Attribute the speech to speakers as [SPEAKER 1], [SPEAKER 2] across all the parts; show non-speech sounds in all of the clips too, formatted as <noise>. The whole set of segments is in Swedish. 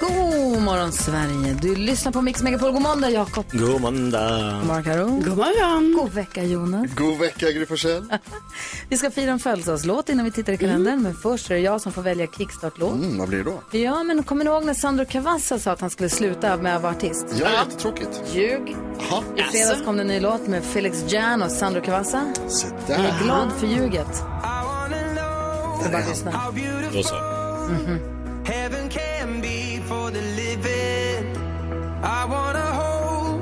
[SPEAKER 1] God morgon Sverige! Du lyssnar på Mix Megapol. God måndag Jakob.
[SPEAKER 2] God måndag.
[SPEAKER 1] Mark God morgon. God vecka Jonas.
[SPEAKER 3] God vecka, Gry Forssell.
[SPEAKER 1] Vi ska fira en födelsedagslåt innan vi tittar i kalendern. Men först är det jag som får välja kickstartlåt.
[SPEAKER 3] Mm, vad blir det då?
[SPEAKER 1] Ja, men kommer ni ihåg när Sandro Cavazza sa att han skulle sluta med att vara artist?
[SPEAKER 3] Ja, ja. jättetråkigt.
[SPEAKER 1] Ljug.
[SPEAKER 3] Jaha,
[SPEAKER 1] I fredags kom det en ny låt med Felix Jan och Sandro Cavazza.
[SPEAKER 3] se
[SPEAKER 1] Jag
[SPEAKER 3] där.
[SPEAKER 1] är glad för ljuget. Ska bara lyssna. Mhm.
[SPEAKER 2] Då så.
[SPEAKER 4] Heaven can be for the living. I wanna hold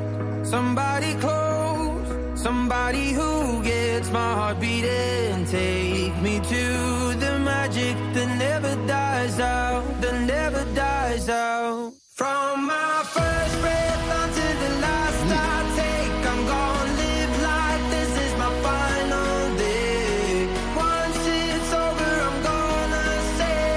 [SPEAKER 4] somebody close, somebody who gets my heart beating. Take me to the magic that never dies out, that never dies out. From my first breath until the last I take, I'm gonna live like this is my final day. Once it's over, I'm gonna say.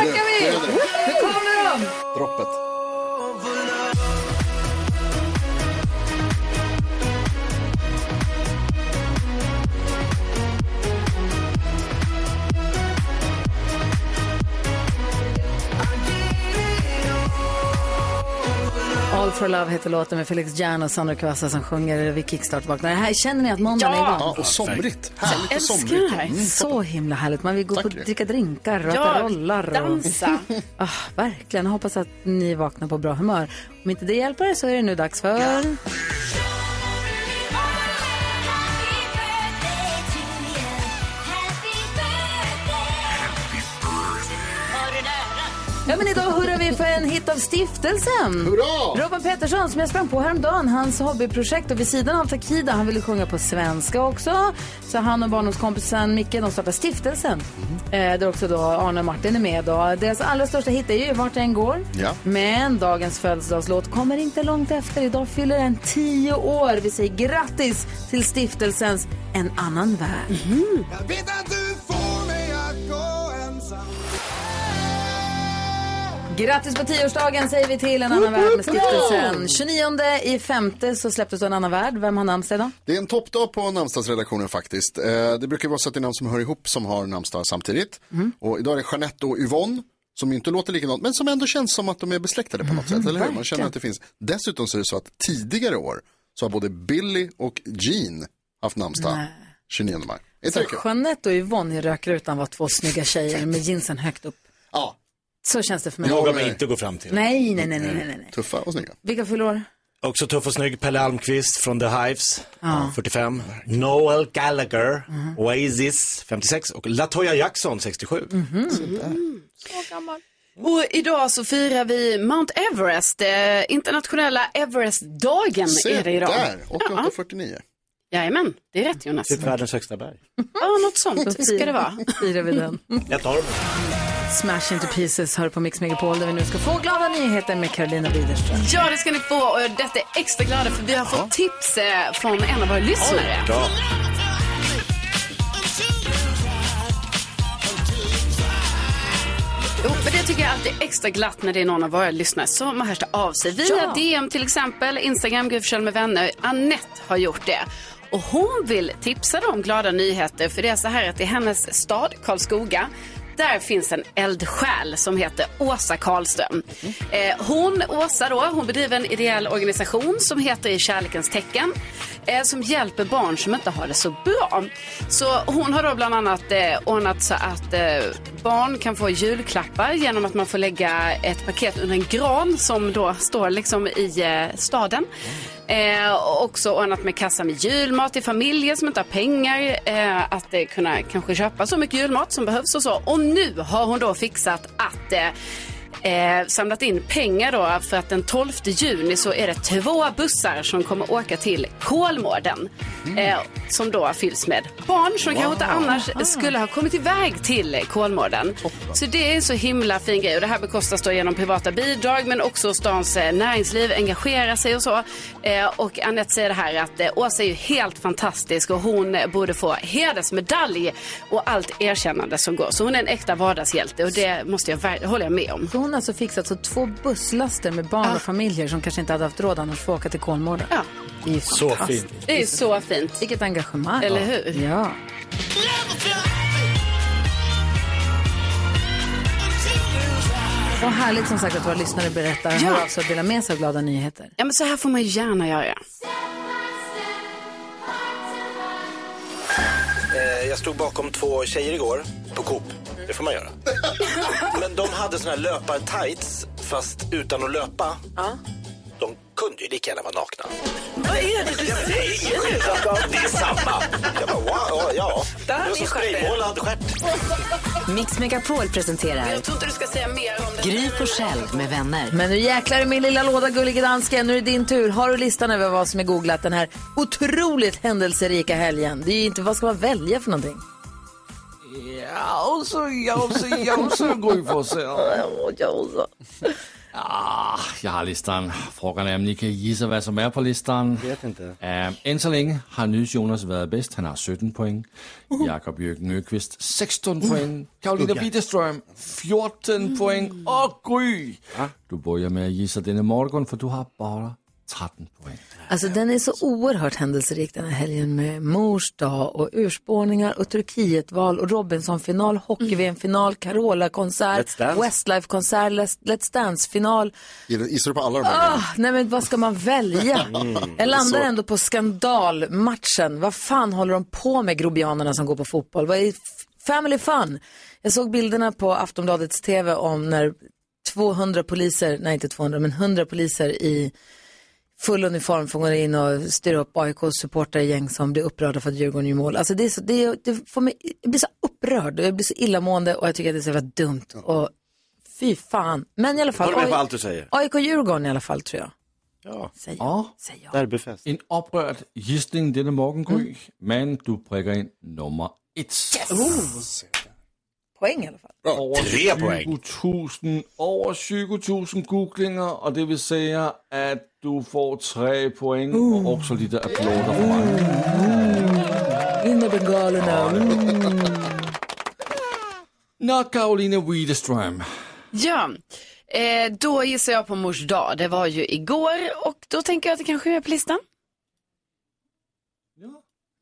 [SPEAKER 1] Nu ökar vi!
[SPEAKER 3] Nu, nu är det.
[SPEAKER 1] Nu kommer de!
[SPEAKER 3] Droppet.
[SPEAKER 1] All for love heter låten med Felix Jan och Sandro Cavazza som sjunger vid Kickstart vaknar. Det här känner ni att måndagen är igång?
[SPEAKER 3] Ja, och somrigt. Härligt och
[SPEAKER 5] älskar
[SPEAKER 3] somrigt.
[SPEAKER 5] det här.
[SPEAKER 3] Mm.
[SPEAKER 1] Så himla härligt. Man vill gå
[SPEAKER 3] Tack,
[SPEAKER 1] på och
[SPEAKER 3] Gry.
[SPEAKER 1] dricka drinkar och äta rollar. Och...
[SPEAKER 5] dansa.
[SPEAKER 1] <laughs> Ah, verkligen. Jag hoppas att ni vaknar på bra humör. Om inte det hjälper er så är det nu dags för... Ja, men idag hurrar vi för en hit av stiftelsen.
[SPEAKER 3] Hurra!
[SPEAKER 1] Robin Pettersson som jag sprang på häromdagen, hans hobbyprojekt och vid sidan av Takida, han ville sjunga på svenska också. Så han och barndomskompisen Micke, de startade stiftelsen. Eh, där också då Arne och Martin är med. Och deras allra största hit är ju Vart jag än går.
[SPEAKER 3] Ja.
[SPEAKER 1] Men dagens födelsedagslåt kommer inte långt efter. Idag fyller den tio år. Vi säger grattis till stiftelsens En annan värld.
[SPEAKER 4] Jag vet att du får mig att gå ensam
[SPEAKER 1] Grattis på tioårsdagen säger vi till En annan värld med stiftelsen. 29 i femte så släpptes då En annan värld. Vem har namnsdag idag?
[SPEAKER 3] Det är en toppdag på namnsdagsredaktionen faktiskt. Eh, det brukar vara så att det är namn som hör ihop som har namnsdag samtidigt. Och idag är det Jeanette och Yvonne, som ju inte låter likadant, men som ändå känns som att de är besläktade på något sätt. Eller hur? Man känner att det finns. Dessutom så är det så att tidigare år så har både Billy och Jean haft namnsdag 29 maj. Är
[SPEAKER 1] Så
[SPEAKER 3] inte det kul?
[SPEAKER 1] Jeanette och Yvonne i rökrutan var två snygga tjejer med jeansen högt upp.
[SPEAKER 3] Ja,
[SPEAKER 1] Så känns det för mig.
[SPEAKER 3] Ja.
[SPEAKER 2] Vågar man inte gå fram till.
[SPEAKER 1] Nej, nej, nej, nej, nej, nej.
[SPEAKER 3] tuffa och snygga.
[SPEAKER 1] Vilka förlorar?
[SPEAKER 2] Också tuff och snygg Pelle Almqvist från The Hives, 45. Noel Gallagher, Oasis, 56. Och Latoya Jackson, 67.
[SPEAKER 1] Mm.
[SPEAKER 5] Och idag så firar vi Mount Everest, eh, internationella Everestdagen
[SPEAKER 3] Se
[SPEAKER 5] är det idag.
[SPEAKER 3] där,
[SPEAKER 5] Ja,
[SPEAKER 3] 8849.
[SPEAKER 5] jajamän, det är rätt Jonas.
[SPEAKER 2] Typ världens högsta berg.
[SPEAKER 5] Ja, något sånt ska det vara.
[SPEAKER 1] Firar vi den.
[SPEAKER 2] Jag tar dem.
[SPEAKER 1] Smash Into Pieces hör på Mix Megapol där vi nu ska få glada nyheter med Carolina Widerström.
[SPEAKER 5] Ja, det ska ni få och detta är extra glada för vi har fått tips eh, från en av våra lyssnare.
[SPEAKER 2] Bra.
[SPEAKER 5] Jo, men det tycker jag alltid är extra glatt när det är någon av våra lyssnare som har hört av sig. Via
[SPEAKER 1] Ja.
[SPEAKER 5] DM till exempel, Instagram, Gry Forssell med vänner. Annette har gjort det. Och hon vill tipsa dem om glada nyheter för det är så här att i hennes stad, Karlskoga, där finns en eldsjäl som heter Åsa Karlström. Eh, hon, Åsa då, hon bedriver en ideell organisation som heter I kärlekens tecken eh, som hjälper barn som inte har det så bra. Så hon har då bland annat eh, ordnat så att eh, barn kan få julklappar genom att man får lägga ett paket under en gran som då står liksom i eh, staden. Eh, och också ordnat med kassa med julmat till familjer som inte har pengar eh, att eh, kunna kanske köpa så mycket julmat som behövs och så. Och nu har hon då fixat att eh, eh, samlat in pengar då för att den 12 juni så är det två bussar som kommer åka till Kolmården. Eh, som då fylls med barn som kanske inte annars skulle ha kommit iväg till Kolmården. Så det är så himla fin grej och det här bekostas då genom privata bidrag men också stans eh, näringsliv engagerar sig och så. Eh, och Annette säger det här att eh, Åsa är ju helt fantastisk och hon eh, borde få hedersmedalj och allt erkännande som går. Så hon är en äkta vardagshjälte och det måste jag, ver- håller jag med om.
[SPEAKER 1] Så hon har alltså fixat så två busslaster med barn och familjer som kanske inte hade haft råd annars för att åka till Kolmården.
[SPEAKER 5] Ja.
[SPEAKER 1] Det är ju
[SPEAKER 2] Så fint.
[SPEAKER 1] fantastiskt.
[SPEAKER 5] Det är ju så fint.
[SPEAKER 1] Vilket engagemang.
[SPEAKER 5] Eller hur?
[SPEAKER 1] Ja. Och härligt som sagt att våra lyssnare berättar,
[SPEAKER 5] Ja.
[SPEAKER 1] hör av sig och alltså delar med sig av glada nyheter.
[SPEAKER 5] Ja men så här får man ju gärna göra.
[SPEAKER 6] Eh, Jag stod bakom två tjejer igår på Coop. Det får man
[SPEAKER 1] <laughs>
[SPEAKER 6] göra. Men de hade såna här löpartights fast utan att löpa. De kunde ju lika gärna vara nakna. Vad är det du säger? Det är ingen skillnad, Jakob. Det är samma. Jag bara, wow, ja, ja. Det
[SPEAKER 7] har
[SPEAKER 6] var
[SPEAKER 7] ni
[SPEAKER 6] som
[SPEAKER 7] skärpt er.
[SPEAKER 6] spraymålad stjärt.
[SPEAKER 8] Mix Megapol presenterar
[SPEAKER 7] tror inte du ska säga mer om det.
[SPEAKER 8] Gry Forssell med vänner.
[SPEAKER 1] Men nu jäklar i min lilla låda, gullige dansken. Nu är det din tur. Har du listan över vad som är googlat den här otroligt händelserika helgen? Det är ju inte, vad ska man välja för någonting?
[SPEAKER 9] Ja, och så, ja, och så, ja, och så går vi på så. Ah, jag har listan. Frågan är om ni kan gissa vad som är på listan. Vet inte. än så länge har Nils Jonas varit bäst. Han har 17 poäng. Jakob Jürgen Öqvist 16
[SPEAKER 10] Uhuh.
[SPEAKER 9] poäng. Karolina Widerström 14 poäng. Och Gry! Du börjar med att gissa denna morgon för du har bara 13 poäng.
[SPEAKER 1] Alltså den är så oerhört händelserik den här helgen med mors dag och urspårningar och Turkietval och Robinson-final, hockey-VM-final,
[SPEAKER 2] Mm. Let's
[SPEAKER 1] Carola-konsert,
[SPEAKER 2] Dance.
[SPEAKER 1] Westlife-konsert, Let's- Let's Dance-final.
[SPEAKER 3] Gissar du på alla de här? Mm.
[SPEAKER 1] Ah, nej men vad ska man
[SPEAKER 3] <laughs>
[SPEAKER 1] välja? Jag landar ändå på skandalmatchen. Vad fan håller de på med grobianerna som går på fotboll? Vad är f- family fun? Jag såg bilderna på Aftonbladets TV om när 200 poliser, nej inte 200, men 100 poliser i full uniform får gå in och styra upp AIKs supportergäng som blir upprörda för att Djurgården gör mål. Alltså det, är så, det, är- det får mig, jag blir så upprörd och jag blir så illamående och jag tycker att det är så jävla dumt. Och fy fan. Men i alla fall.
[SPEAKER 2] Håller med på
[SPEAKER 1] Oj.
[SPEAKER 2] allt du säger.
[SPEAKER 1] AIK-Djurgården i alla fall tror jag.
[SPEAKER 2] Ja.
[SPEAKER 1] Säger jag.
[SPEAKER 9] Ja,
[SPEAKER 1] Säger jag.
[SPEAKER 2] Derbyfest.
[SPEAKER 9] en upprörd gissning denna morgon, Gry. Men du prickar in nummer ett.
[SPEAKER 1] Poäng i alla fall.
[SPEAKER 9] Over
[SPEAKER 2] Tre poäng.
[SPEAKER 9] 20.000, over 20.000 googlinger, och det vill säga att du får tre poäng och också lite applåder från mig.
[SPEAKER 1] In med bengalerna. Mm.
[SPEAKER 9] När Karolina Widerström,
[SPEAKER 5] Ja, eh, då gissar jag på mors dag. Det var ju igår och då tänker jag att det kanske är på listan.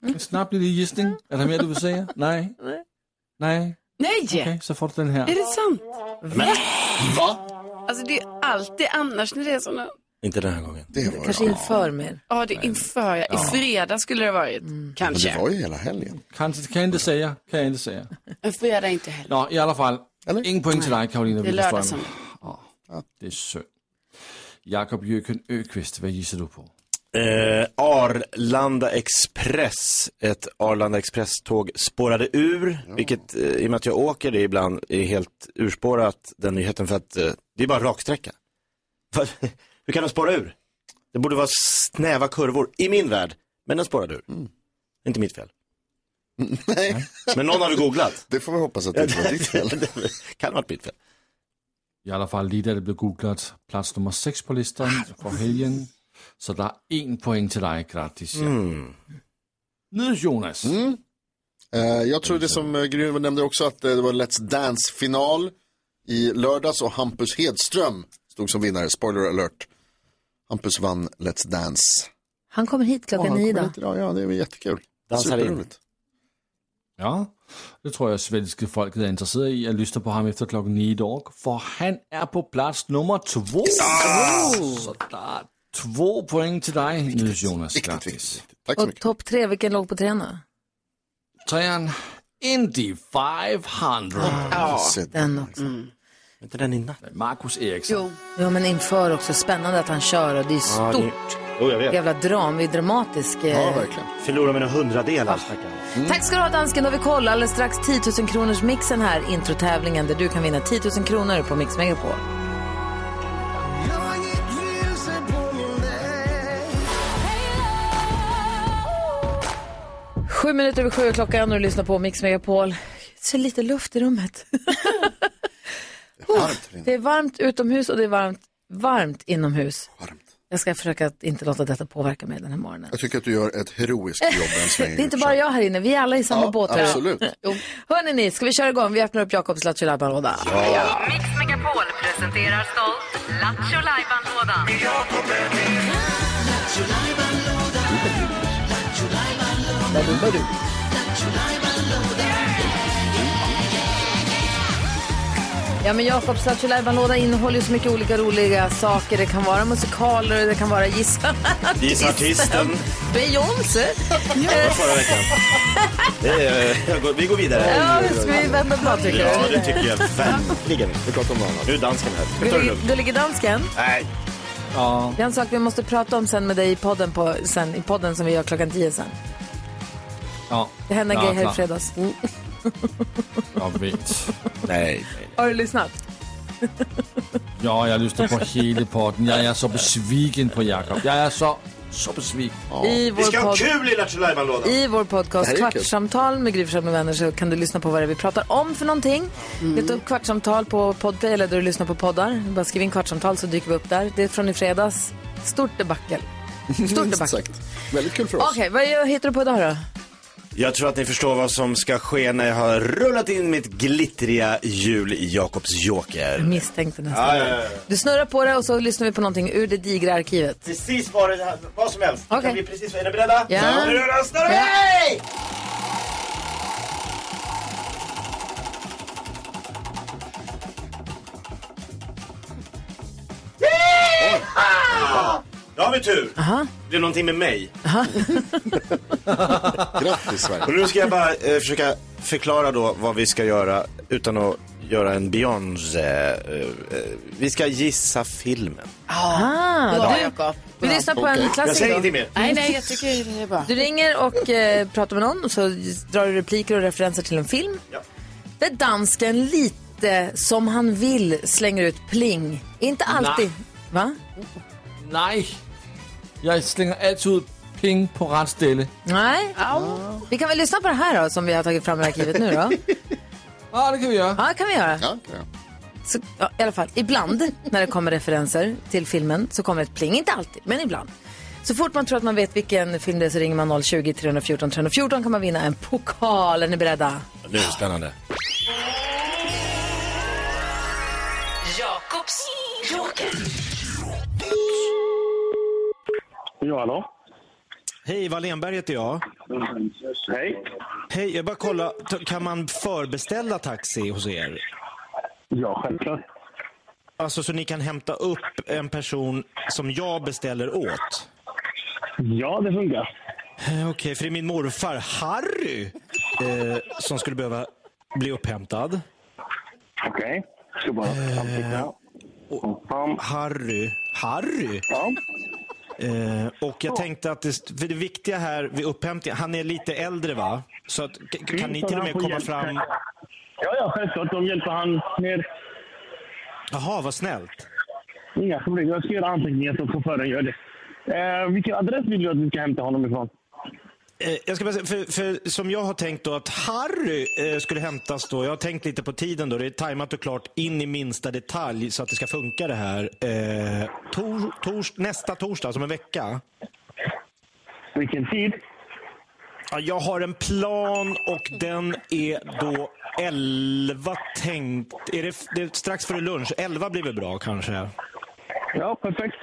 [SPEAKER 9] en snabb liten gissning. Är det mer du vill säga? Nej? Nej?
[SPEAKER 5] Nej!
[SPEAKER 9] Okej, så får du den
[SPEAKER 5] Är
[SPEAKER 9] här.
[SPEAKER 5] det sant? Va? Alltså det är ju alltid annars när det är sådana.
[SPEAKER 2] Inte den här gången.
[SPEAKER 3] Det var
[SPEAKER 1] Kanske inför mer.
[SPEAKER 5] Ja, det är inför. Ja. Mm. I fredag skulle det ha varit.
[SPEAKER 3] Men det
[SPEAKER 5] Kanske.
[SPEAKER 3] var ju hela helgen.
[SPEAKER 9] Kanske, kan jag inte säga, kan jag inte säga.
[SPEAKER 5] En fredag inte heller.
[SPEAKER 9] Nå, i alla fall.
[SPEAKER 3] Eller?
[SPEAKER 9] Ingen poäng till dig, Karolina
[SPEAKER 5] Det är lördag
[SPEAKER 9] Widerström. Ja, det är synd. Jakob Jöken Öqvist, vad gissar du på?
[SPEAKER 2] Eh, Arlanda Express, ett Arlanda Express-tåg spårade ur, vilket eh, i och med att jag åker det ibland är helt urspårat, den nyheten, för att eh, det är bara raksträcka. Va? <laughs> Hur kan den spåra ur? Det borde vara snäva kurvor, i min värld, men den spårade ur. Inte mitt fel.
[SPEAKER 3] Mm. <laughs> Nej,
[SPEAKER 2] Men någon har du googlat.
[SPEAKER 3] <laughs> det får vi hoppas att det inte var ditt
[SPEAKER 2] <laughs>
[SPEAKER 3] fel.
[SPEAKER 2] kan ha varit mitt fel.
[SPEAKER 9] I alla fall lige da det blev googlet, plads nummer 6 på
[SPEAKER 3] Ah.
[SPEAKER 9] listan for helgen. Så der er én point til dig gratis. Ja.
[SPEAKER 3] Hmm.
[SPEAKER 9] Nils Jonas.
[SPEAKER 3] Eh, Jag tror det som eh, Gry nämnde också att eh, det var Let's Dance-final i lördags och Hampus Hedström stod som vinnare. Spoiler alert. Hampus vann Let's Dance.
[SPEAKER 1] Han kommer hit
[SPEAKER 3] Och
[SPEAKER 1] klockan
[SPEAKER 3] han
[SPEAKER 1] nio
[SPEAKER 3] kommer
[SPEAKER 1] idag.
[SPEAKER 3] hit idag. Ja, det är väl jättekul.
[SPEAKER 2] Dansar in.
[SPEAKER 3] Superroligt.
[SPEAKER 9] Ja, det tror jeg, svenske folket er interesseret i at lytte på ham efter klokken 9 i dag, for han er på plads nummer 2. Så der er to point til dig, Nils Jonas,
[SPEAKER 3] Viktigt, viktigt,
[SPEAKER 9] gratis.
[SPEAKER 3] viktigt. Tack så
[SPEAKER 1] Och
[SPEAKER 3] mycket.
[SPEAKER 1] topp tre, vilken låg på tre nu?
[SPEAKER 9] Træerne, Indy 500.
[SPEAKER 2] Ah.
[SPEAKER 3] Se,
[SPEAKER 1] Den också.
[SPEAKER 2] Inte den i natt.
[SPEAKER 9] Markus Eriksen.
[SPEAKER 1] Ja men inför också, spännande att han kör och det är
[SPEAKER 2] Ja, det-
[SPEAKER 1] stort.
[SPEAKER 2] Jo, jag vet.
[SPEAKER 1] Jävla dram, vi är dramatisk. eh.
[SPEAKER 3] Ja, verkligen.
[SPEAKER 2] Förlorar mina hundradelar. stackarn.
[SPEAKER 1] Tack ska du ha dansken, då har vi koll. Alldeles strax 10 000 kronors mixen här, introtävlingen där du kan vinna 10 000 kronor på Mix Megapol. Sju minuter över sju är klockan och du lyssnar på Mix Megapol. Så lite luft i
[SPEAKER 3] <laughs>
[SPEAKER 1] rummet.
[SPEAKER 3] Varmt här inne.
[SPEAKER 1] Det är varmt utomhus och det är varmt, varmt inomhus.
[SPEAKER 3] Varmt.
[SPEAKER 1] Jag ska försöka att inte låta detta påverka mig den här morgonen.
[SPEAKER 3] Jag tycker att du gör ett heroiskt <laughs> jobb än så länge.
[SPEAKER 1] Det är inte bara jag här inne, vi är alla i samma
[SPEAKER 3] Ja,
[SPEAKER 1] båt. <laughs>
[SPEAKER 3] absolut.
[SPEAKER 1] Hörni ni, ska vi köra igång? Vi öppnar upp Jakobs Lattjo Lajban-låda.
[SPEAKER 8] Mix Megapol presenterar stolt Lattjo Lajban-lådan.
[SPEAKER 1] Ja, men Jakobs Lattjo Lajban-låda innehåller ju så mycket olika roliga saker. Det kan vara musikaler, det kan vara gissa
[SPEAKER 2] <laughs> Gissa artisten. <laughs>
[SPEAKER 1] Beyoncé. Eh,
[SPEAKER 2] Förra veckan. Det är, jag går, vi går vidare.
[SPEAKER 1] Ja, ska vi vända blad tycker
[SPEAKER 2] Ja,
[SPEAKER 1] du?
[SPEAKER 2] det tycker jag verkligen.
[SPEAKER 3] Vi pratar om något annat.
[SPEAKER 2] Nu är dansken här. Ska vi ta
[SPEAKER 1] Då
[SPEAKER 2] det
[SPEAKER 1] ligger-
[SPEAKER 2] lugnt?
[SPEAKER 1] Då ligger dansken.
[SPEAKER 2] Nej.
[SPEAKER 9] Ja,
[SPEAKER 1] Det är en sak vi måste prata om sen med dig i podden, på, sen, i podden som vi gör klockan tio sen.
[SPEAKER 9] ja.
[SPEAKER 1] Det hände en
[SPEAKER 9] ja,
[SPEAKER 1] grej här i
[SPEAKER 9] klart.
[SPEAKER 1] fredags.
[SPEAKER 2] Mm.
[SPEAKER 9] Jag vet.
[SPEAKER 2] <laughs> Nej. nej.
[SPEAKER 1] Har du lyssnat?
[SPEAKER 9] Ja, jag lyssnar på hela podden. Jag är så besviken på Jakob. Jag är så, så besviken.
[SPEAKER 1] I,
[SPEAKER 2] Vi
[SPEAKER 1] vår
[SPEAKER 2] ska ha
[SPEAKER 1] podd,
[SPEAKER 2] kul i Lattjo Lajban-lådan.
[SPEAKER 1] I vår podcast
[SPEAKER 3] Det här är kul.
[SPEAKER 1] Kvartssamtal med Gry Forssell med vänner så kan du lyssna på vad det är vi pratar om för någonting.
[SPEAKER 3] Mm.
[SPEAKER 1] Leta upp Kvartssamtal på Podplay eller där du lyssnar på poddar. Bara skriv in Kvartssamtal så dyker vi upp där. Det är från i fredags. Stort
[SPEAKER 3] <laughs>
[SPEAKER 1] debacle. Stort
[SPEAKER 3] Minst
[SPEAKER 1] debacle.
[SPEAKER 3] sagt. Väldigt kul för oss.
[SPEAKER 1] Okej, vad hittar du på idag då?
[SPEAKER 2] Jag tror att ni förstår vad som ska ske när jag har rullat in mitt glittriga hjul i Jakobs joker.
[SPEAKER 1] Misstänkte nästan.
[SPEAKER 2] Ja, ja, ja.
[SPEAKER 1] Du snurrar på det och så lyssnar vi på någonting ur det digra arkivet.
[SPEAKER 2] Precis vad, det, vad som helst.
[SPEAKER 1] Okej.
[SPEAKER 2] Det kan bli precis, är ni beredda?
[SPEAKER 1] Ja.
[SPEAKER 2] Nu rullar snurrar vi! Då har vi tur. Det är någonting med mig. <laughs>
[SPEAKER 3] Grattis Sverige.
[SPEAKER 2] Och nu ska jag bara eh, försöka förklara då vad vi ska göra utan att göra en Beyoncé. Eh, eh, vi ska gissa filmen.
[SPEAKER 1] Ah,
[SPEAKER 5] Bra, Jakob.
[SPEAKER 1] Vi lyssnar på en
[SPEAKER 3] Okej.
[SPEAKER 2] Jag säger
[SPEAKER 1] klassiker. då.
[SPEAKER 2] ingenting mer.
[SPEAKER 5] Nej, nej, jag tycker det är bra.
[SPEAKER 1] Du ringer och eh, pratar med någon och så drar du repliker och referenser till en film.
[SPEAKER 2] Ja.
[SPEAKER 1] Där dansken lite som han vill slänger ut pling. Inte alltid. Va?
[SPEAKER 9] Nej, jag slänger alltid ut ping på rätt ställe.
[SPEAKER 1] Nej. Vi kan väl lyssna på det här då som vi har tagit fram i arkivet nu då.
[SPEAKER 9] <laughs> Ja, det kan vi göra.
[SPEAKER 1] Ja, det kan vi göra.
[SPEAKER 3] Ja, ja.
[SPEAKER 1] Så, ja, I alla fall, ibland när det kommer referenser till filmen så kommer ett pling. Inte alltid, men ibland. Så fort man tror att man vet vilken film det är så ringer man 020-314 314 kan man vinna en pokal. Är ni beredda?
[SPEAKER 2] Nu är det spännande.
[SPEAKER 8] Jakobs joker.
[SPEAKER 7] Ja, hallå?
[SPEAKER 6] Hej, Wallenberg heter jag.
[SPEAKER 7] Hej.
[SPEAKER 6] Hej, jag bara kolla. t- Kan man förbeställa taxi hos er?
[SPEAKER 7] Ja, självklart.
[SPEAKER 6] Alltså så ni kan hämta upp en person som jag beställer åt?
[SPEAKER 7] Ja, det funkar.
[SPEAKER 6] Eh, Okej, för det är min morfar Harry eh, som skulle behöva bli upphämtad. Eh,
[SPEAKER 7] Okej. Ska bara anteckna. Pam,
[SPEAKER 6] Harry. Harry?
[SPEAKER 7] pam.
[SPEAKER 6] Eh, och jag tänkte att det, för det viktiga här vid upphämtningen, han är lite äldre va? Så att, k- kan ni till och med komma fram?
[SPEAKER 7] Ja, ja, självklart. De hjälper han ner.
[SPEAKER 6] Jaha, vad snällt.
[SPEAKER 7] Inga problem. Jag ska göra anteckningar så chauffören gör det. Eh, vilken adress vill du att vi ska hämta honom ifrån?
[SPEAKER 6] Eh, jag ska bara säga, för, för som jag har tänkt då att Harry eh, skulle hämtas då. Jag har tänkt lite på tiden då. Det är tajmat och klart in i minsta detalj så att det ska funka det här. Eh, tor, tors, nästa torsdag, alltså om en vecka.
[SPEAKER 7] Vilken tid?
[SPEAKER 6] Ja, jag har en plan och den är då 11 tänkt. Är det, det är strax före lunch. 11 blir väl bra kanske?
[SPEAKER 7] Ja, perfekt.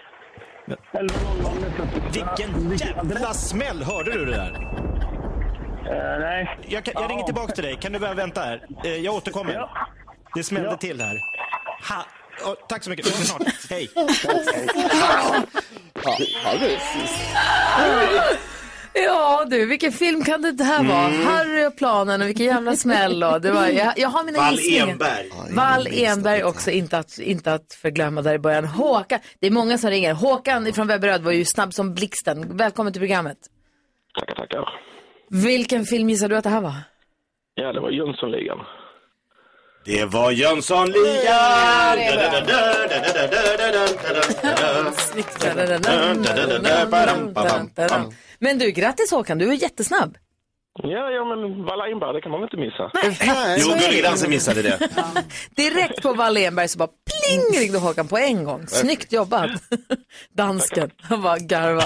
[SPEAKER 7] 11.00 nästa torsdag.
[SPEAKER 6] Vilken jävla smäll! Hörde du det där?
[SPEAKER 7] Eh, nej.
[SPEAKER 6] Jag, kan, jag ringer tillbaka till dig. Kan du bara vänta här? Eh, jag återkommer.
[SPEAKER 7] Ja.
[SPEAKER 6] Det smällde
[SPEAKER 7] Ja.
[SPEAKER 6] till här. Ha. ja, tack så mycket. Vi hörs snart. Hej.
[SPEAKER 3] Ja, ja, det är-
[SPEAKER 1] Ja du, vilken film kan det här vara? Harry och planen och vilken jävla smäll. Och det var, jag, jag har mina
[SPEAKER 2] Wall
[SPEAKER 1] gissningar.
[SPEAKER 2] Enberg.
[SPEAKER 1] Wall Enberg också, inte att, inte att förglömma där i början. Håkan, det är många som ringer. Håkan från Webberöd var ju snabb som blixten. Välkommen till programmet.
[SPEAKER 7] Tackar, tackar.
[SPEAKER 1] Vilken film gissar du att det här var?
[SPEAKER 7] Ja, det var Jönssonligan.
[SPEAKER 2] Det var Jönssonligan!
[SPEAKER 1] Men du, grattis Håkan, du är jättesnabb.
[SPEAKER 11] Ja, ja, men Walla det kan man väl inte missa?
[SPEAKER 1] Nej,
[SPEAKER 2] Jo,
[SPEAKER 1] så är det.
[SPEAKER 2] Gulligdansen missade det.
[SPEAKER 1] Direkt på Wallenberg så bara pling ringde Håkan på en gång. Snyggt jobbat. Dansken, han bara garva.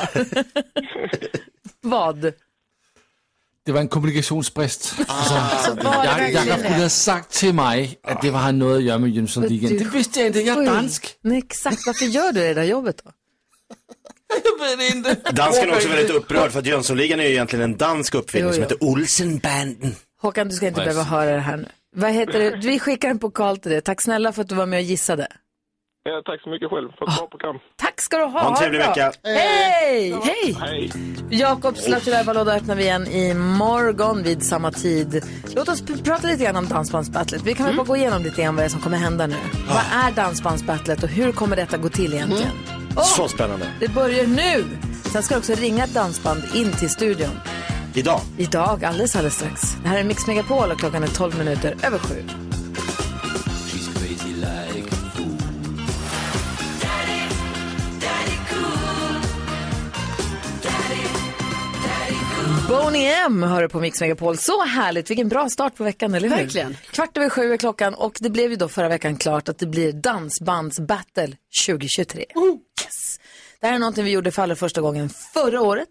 [SPEAKER 1] Vad?
[SPEAKER 9] Det var en kommunikationsbrist.
[SPEAKER 1] Ah, Så
[SPEAKER 9] Altså,
[SPEAKER 1] var det
[SPEAKER 9] jag,
[SPEAKER 1] verkligen
[SPEAKER 9] Jakob
[SPEAKER 1] det.
[SPEAKER 9] kunde ha sagt till mig att det var något att göra med Jönssonligan. Det visste jag inte, jag är
[SPEAKER 1] Oj.
[SPEAKER 9] dansk.
[SPEAKER 1] Nej, exakt, varför gör du det där jobbet då?
[SPEAKER 9] Jag vet inte.
[SPEAKER 2] Dansken är också väldigt upprörd för att Jönssonligan är ju egentligen en dansk uppfinning
[SPEAKER 1] Jo,
[SPEAKER 2] som
[SPEAKER 1] jo.
[SPEAKER 2] heter Olsenbanden.
[SPEAKER 1] Håkan, du ska inte
[SPEAKER 9] Nej,
[SPEAKER 1] behöva
[SPEAKER 9] så-
[SPEAKER 1] höra det här nu. Vad heter det? Vi skickar en pokal till dig. Tack snälla för att du var med och gissade.
[SPEAKER 11] Ja, tack så mycket själv för ett bra program.
[SPEAKER 1] Tack ska du Ah. ha.
[SPEAKER 2] Ha en trevlig
[SPEAKER 1] det bra.
[SPEAKER 2] vecka.
[SPEAKER 1] Hej! Hej!
[SPEAKER 11] Hej!
[SPEAKER 1] Jakobs Lattjo-Lajban-låda öppnar vi igen imorgon vid samma tid. Låt oss p- prata lite grann om Dansbandsbattlet. Vi kan väl bara gå igenom lite grann vad det är som kommer hända nu. Vad är Dansbandsbattlet och hur kommer detta gå till egentligen? Åh,
[SPEAKER 2] Så spännande.
[SPEAKER 1] det börjar nu! Sen ska det också ringa ett dansband in till studion.
[SPEAKER 2] Idag.
[SPEAKER 1] Idag, alldeles, alldeles strax. Det här är Mix Megapol och klockan är 12 minuter över sju. Boney M hör du på Mix Megapol. Så härligt, vilken bra start på veckan, eller hur?
[SPEAKER 5] Verkligen.
[SPEAKER 1] Kvart över sju är klockan och det blev ju då förra veckan klart att det blir dansbandsbattle 2023. Yes! Det här är någonting vi gjorde för allra första gången förra året.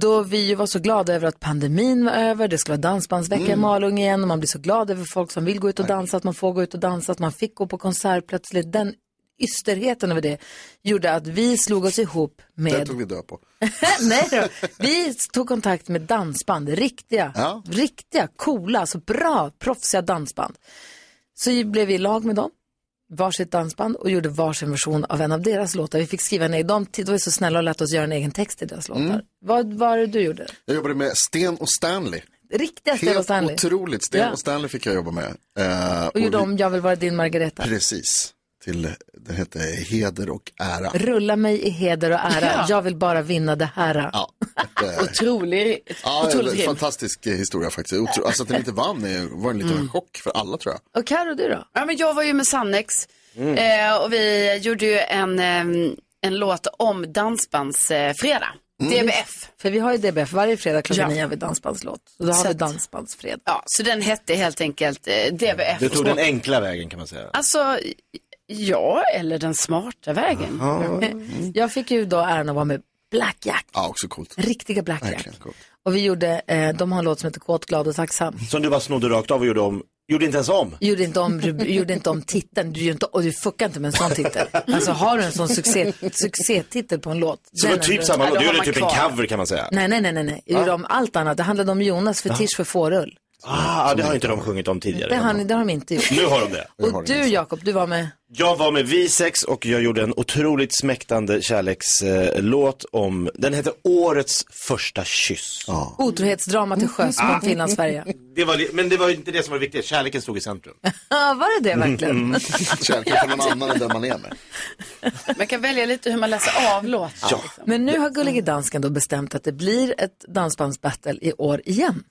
[SPEAKER 1] Då vi ju var så glada över att pandemin var över, det skulle vara dansbandsvecka
[SPEAKER 3] Mm.
[SPEAKER 1] i Malung igen och man blir så glad över folk som vill gå ut och dansa, att man får gå ut och dansa, att man fick gå på konsert plötsligt. Den ysterheten över det gjorde att vi slog oss ihop
[SPEAKER 3] Det
[SPEAKER 1] med
[SPEAKER 3] tog vi död på.
[SPEAKER 1] <laughs> Nej då. Vi tog kontakt med dansband, riktiga,
[SPEAKER 3] Ja.
[SPEAKER 1] riktiga, coola, alltså bra, proffsiga dansband. Så vi blev vi i lag med dem, varsitt dansband och gjorde varsin version av en av deras låtar. Vi fick skriva ner, de de var ju så snälla och lät oss göra en egen text till deras
[SPEAKER 3] Mm.
[SPEAKER 1] låtar. Vad var det du gjorde?
[SPEAKER 3] Jag jobbade med Sten och Stanley.
[SPEAKER 1] Riktiga Stella
[SPEAKER 3] Helt
[SPEAKER 1] Stanley.
[SPEAKER 3] otroligt. Sten
[SPEAKER 1] Ja.
[SPEAKER 3] och Stanley fick jag jobba med. Eh,
[SPEAKER 1] Och gjorde
[SPEAKER 3] vi-
[SPEAKER 1] om Jag vill vara din Margareta.
[SPEAKER 3] Precis. Till, den hette Heder och ära.
[SPEAKER 1] Rulla mig i heder och ära, jag vill bara vinna det här.
[SPEAKER 3] Ja, eh,
[SPEAKER 5] Otrolig,
[SPEAKER 3] ja
[SPEAKER 5] otroligt
[SPEAKER 3] en
[SPEAKER 5] grym.
[SPEAKER 3] fantastisk eh, historia faktiskt. Otro, alltså att den inte vann eh, var en liten
[SPEAKER 1] Mm.
[SPEAKER 3] chock för alla tror jag.
[SPEAKER 1] Och Carro, du då?
[SPEAKER 5] Ja, men jag var ju med Sannex eh, och vi gjorde ju en, eh, en låt om dansbandsfredag. Eh, fredag.
[SPEAKER 3] Mm.
[SPEAKER 5] DBF.
[SPEAKER 1] För vi har ju DBF varje fredag klockan
[SPEAKER 5] Ja.
[SPEAKER 1] nio har vi dansbandslåt. Så då har
[SPEAKER 5] Så
[SPEAKER 1] vi
[SPEAKER 5] att-
[SPEAKER 1] dansbandsfredag.
[SPEAKER 5] Ja, så den hette helt enkelt eh, DBF.
[SPEAKER 2] Du tog den enkla vägen kan man säga.
[SPEAKER 5] Alltså, ja, eller den smarta vägen.
[SPEAKER 1] <laughs> Mm. Jag fick ju då äran att vara med Blackjack,
[SPEAKER 3] Ja, också coolt.
[SPEAKER 1] riktiga Blackjack.
[SPEAKER 3] Verkligen coolt.
[SPEAKER 1] Och vi gjorde, eh, de har en låt som heter Kåt, glad och tacksam.
[SPEAKER 2] Som du bara snodde rakt av och gjorde om. Gjorde inte ens om.
[SPEAKER 1] Gjorde inte om, rub- <laughs> gjorde inte om titeln, du, gör inte, och du fuckar inte med en sån titel. Alltså har du en sån succé, succétitel på en låt.
[SPEAKER 2] Så det
[SPEAKER 1] den
[SPEAKER 2] var
[SPEAKER 1] är
[SPEAKER 2] typ
[SPEAKER 1] du-
[SPEAKER 2] samma
[SPEAKER 5] då
[SPEAKER 2] låt. Du
[SPEAKER 5] har
[SPEAKER 2] gjorde
[SPEAKER 5] man
[SPEAKER 2] typ en
[SPEAKER 5] kvar.
[SPEAKER 2] cover kan man säga.
[SPEAKER 1] Nej, nej, nej, nej, nej. Jag gjorde om allt annat. Det handlade om Jonas fetisch för fårull.
[SPEAKER 2] Ah, det har inte de sjungit om tidigare.
[SPEAKER 1] Det har, ni- det har de inte gjort.
[SPEAKER 2] Nu har de det.
[SPEAKER 1] Och du Jakob, du var med,
[SPEAKER 2] Jag var med Vi sex och jag gjorde en otroligt smäktande kärlekslåt om, den hette Årets första kyss. Ah.
[SPEAKER 1] otrohetsdrama till sjöss
[SPEAKER 2] Mm. <laughs>
[SPEAKER 1] från Finland-Sverige.
[SPEAKER 2] Det var, li- men det var ju inte det som var viktigt, kärleken stod i centrum. Mm.
[SPEAKER 1] Ja, var det det verkligen?
[SPEAKER 3] <laughs> Kärleken för någon annan än den man är med.
[SPEAKER 5] Man kan välja lite hur man läser av låten. liksom.
[SPEAKER 1] Men nu har Gullige Dansken då bestämt att det blir ett dansbandsbattle i år igen.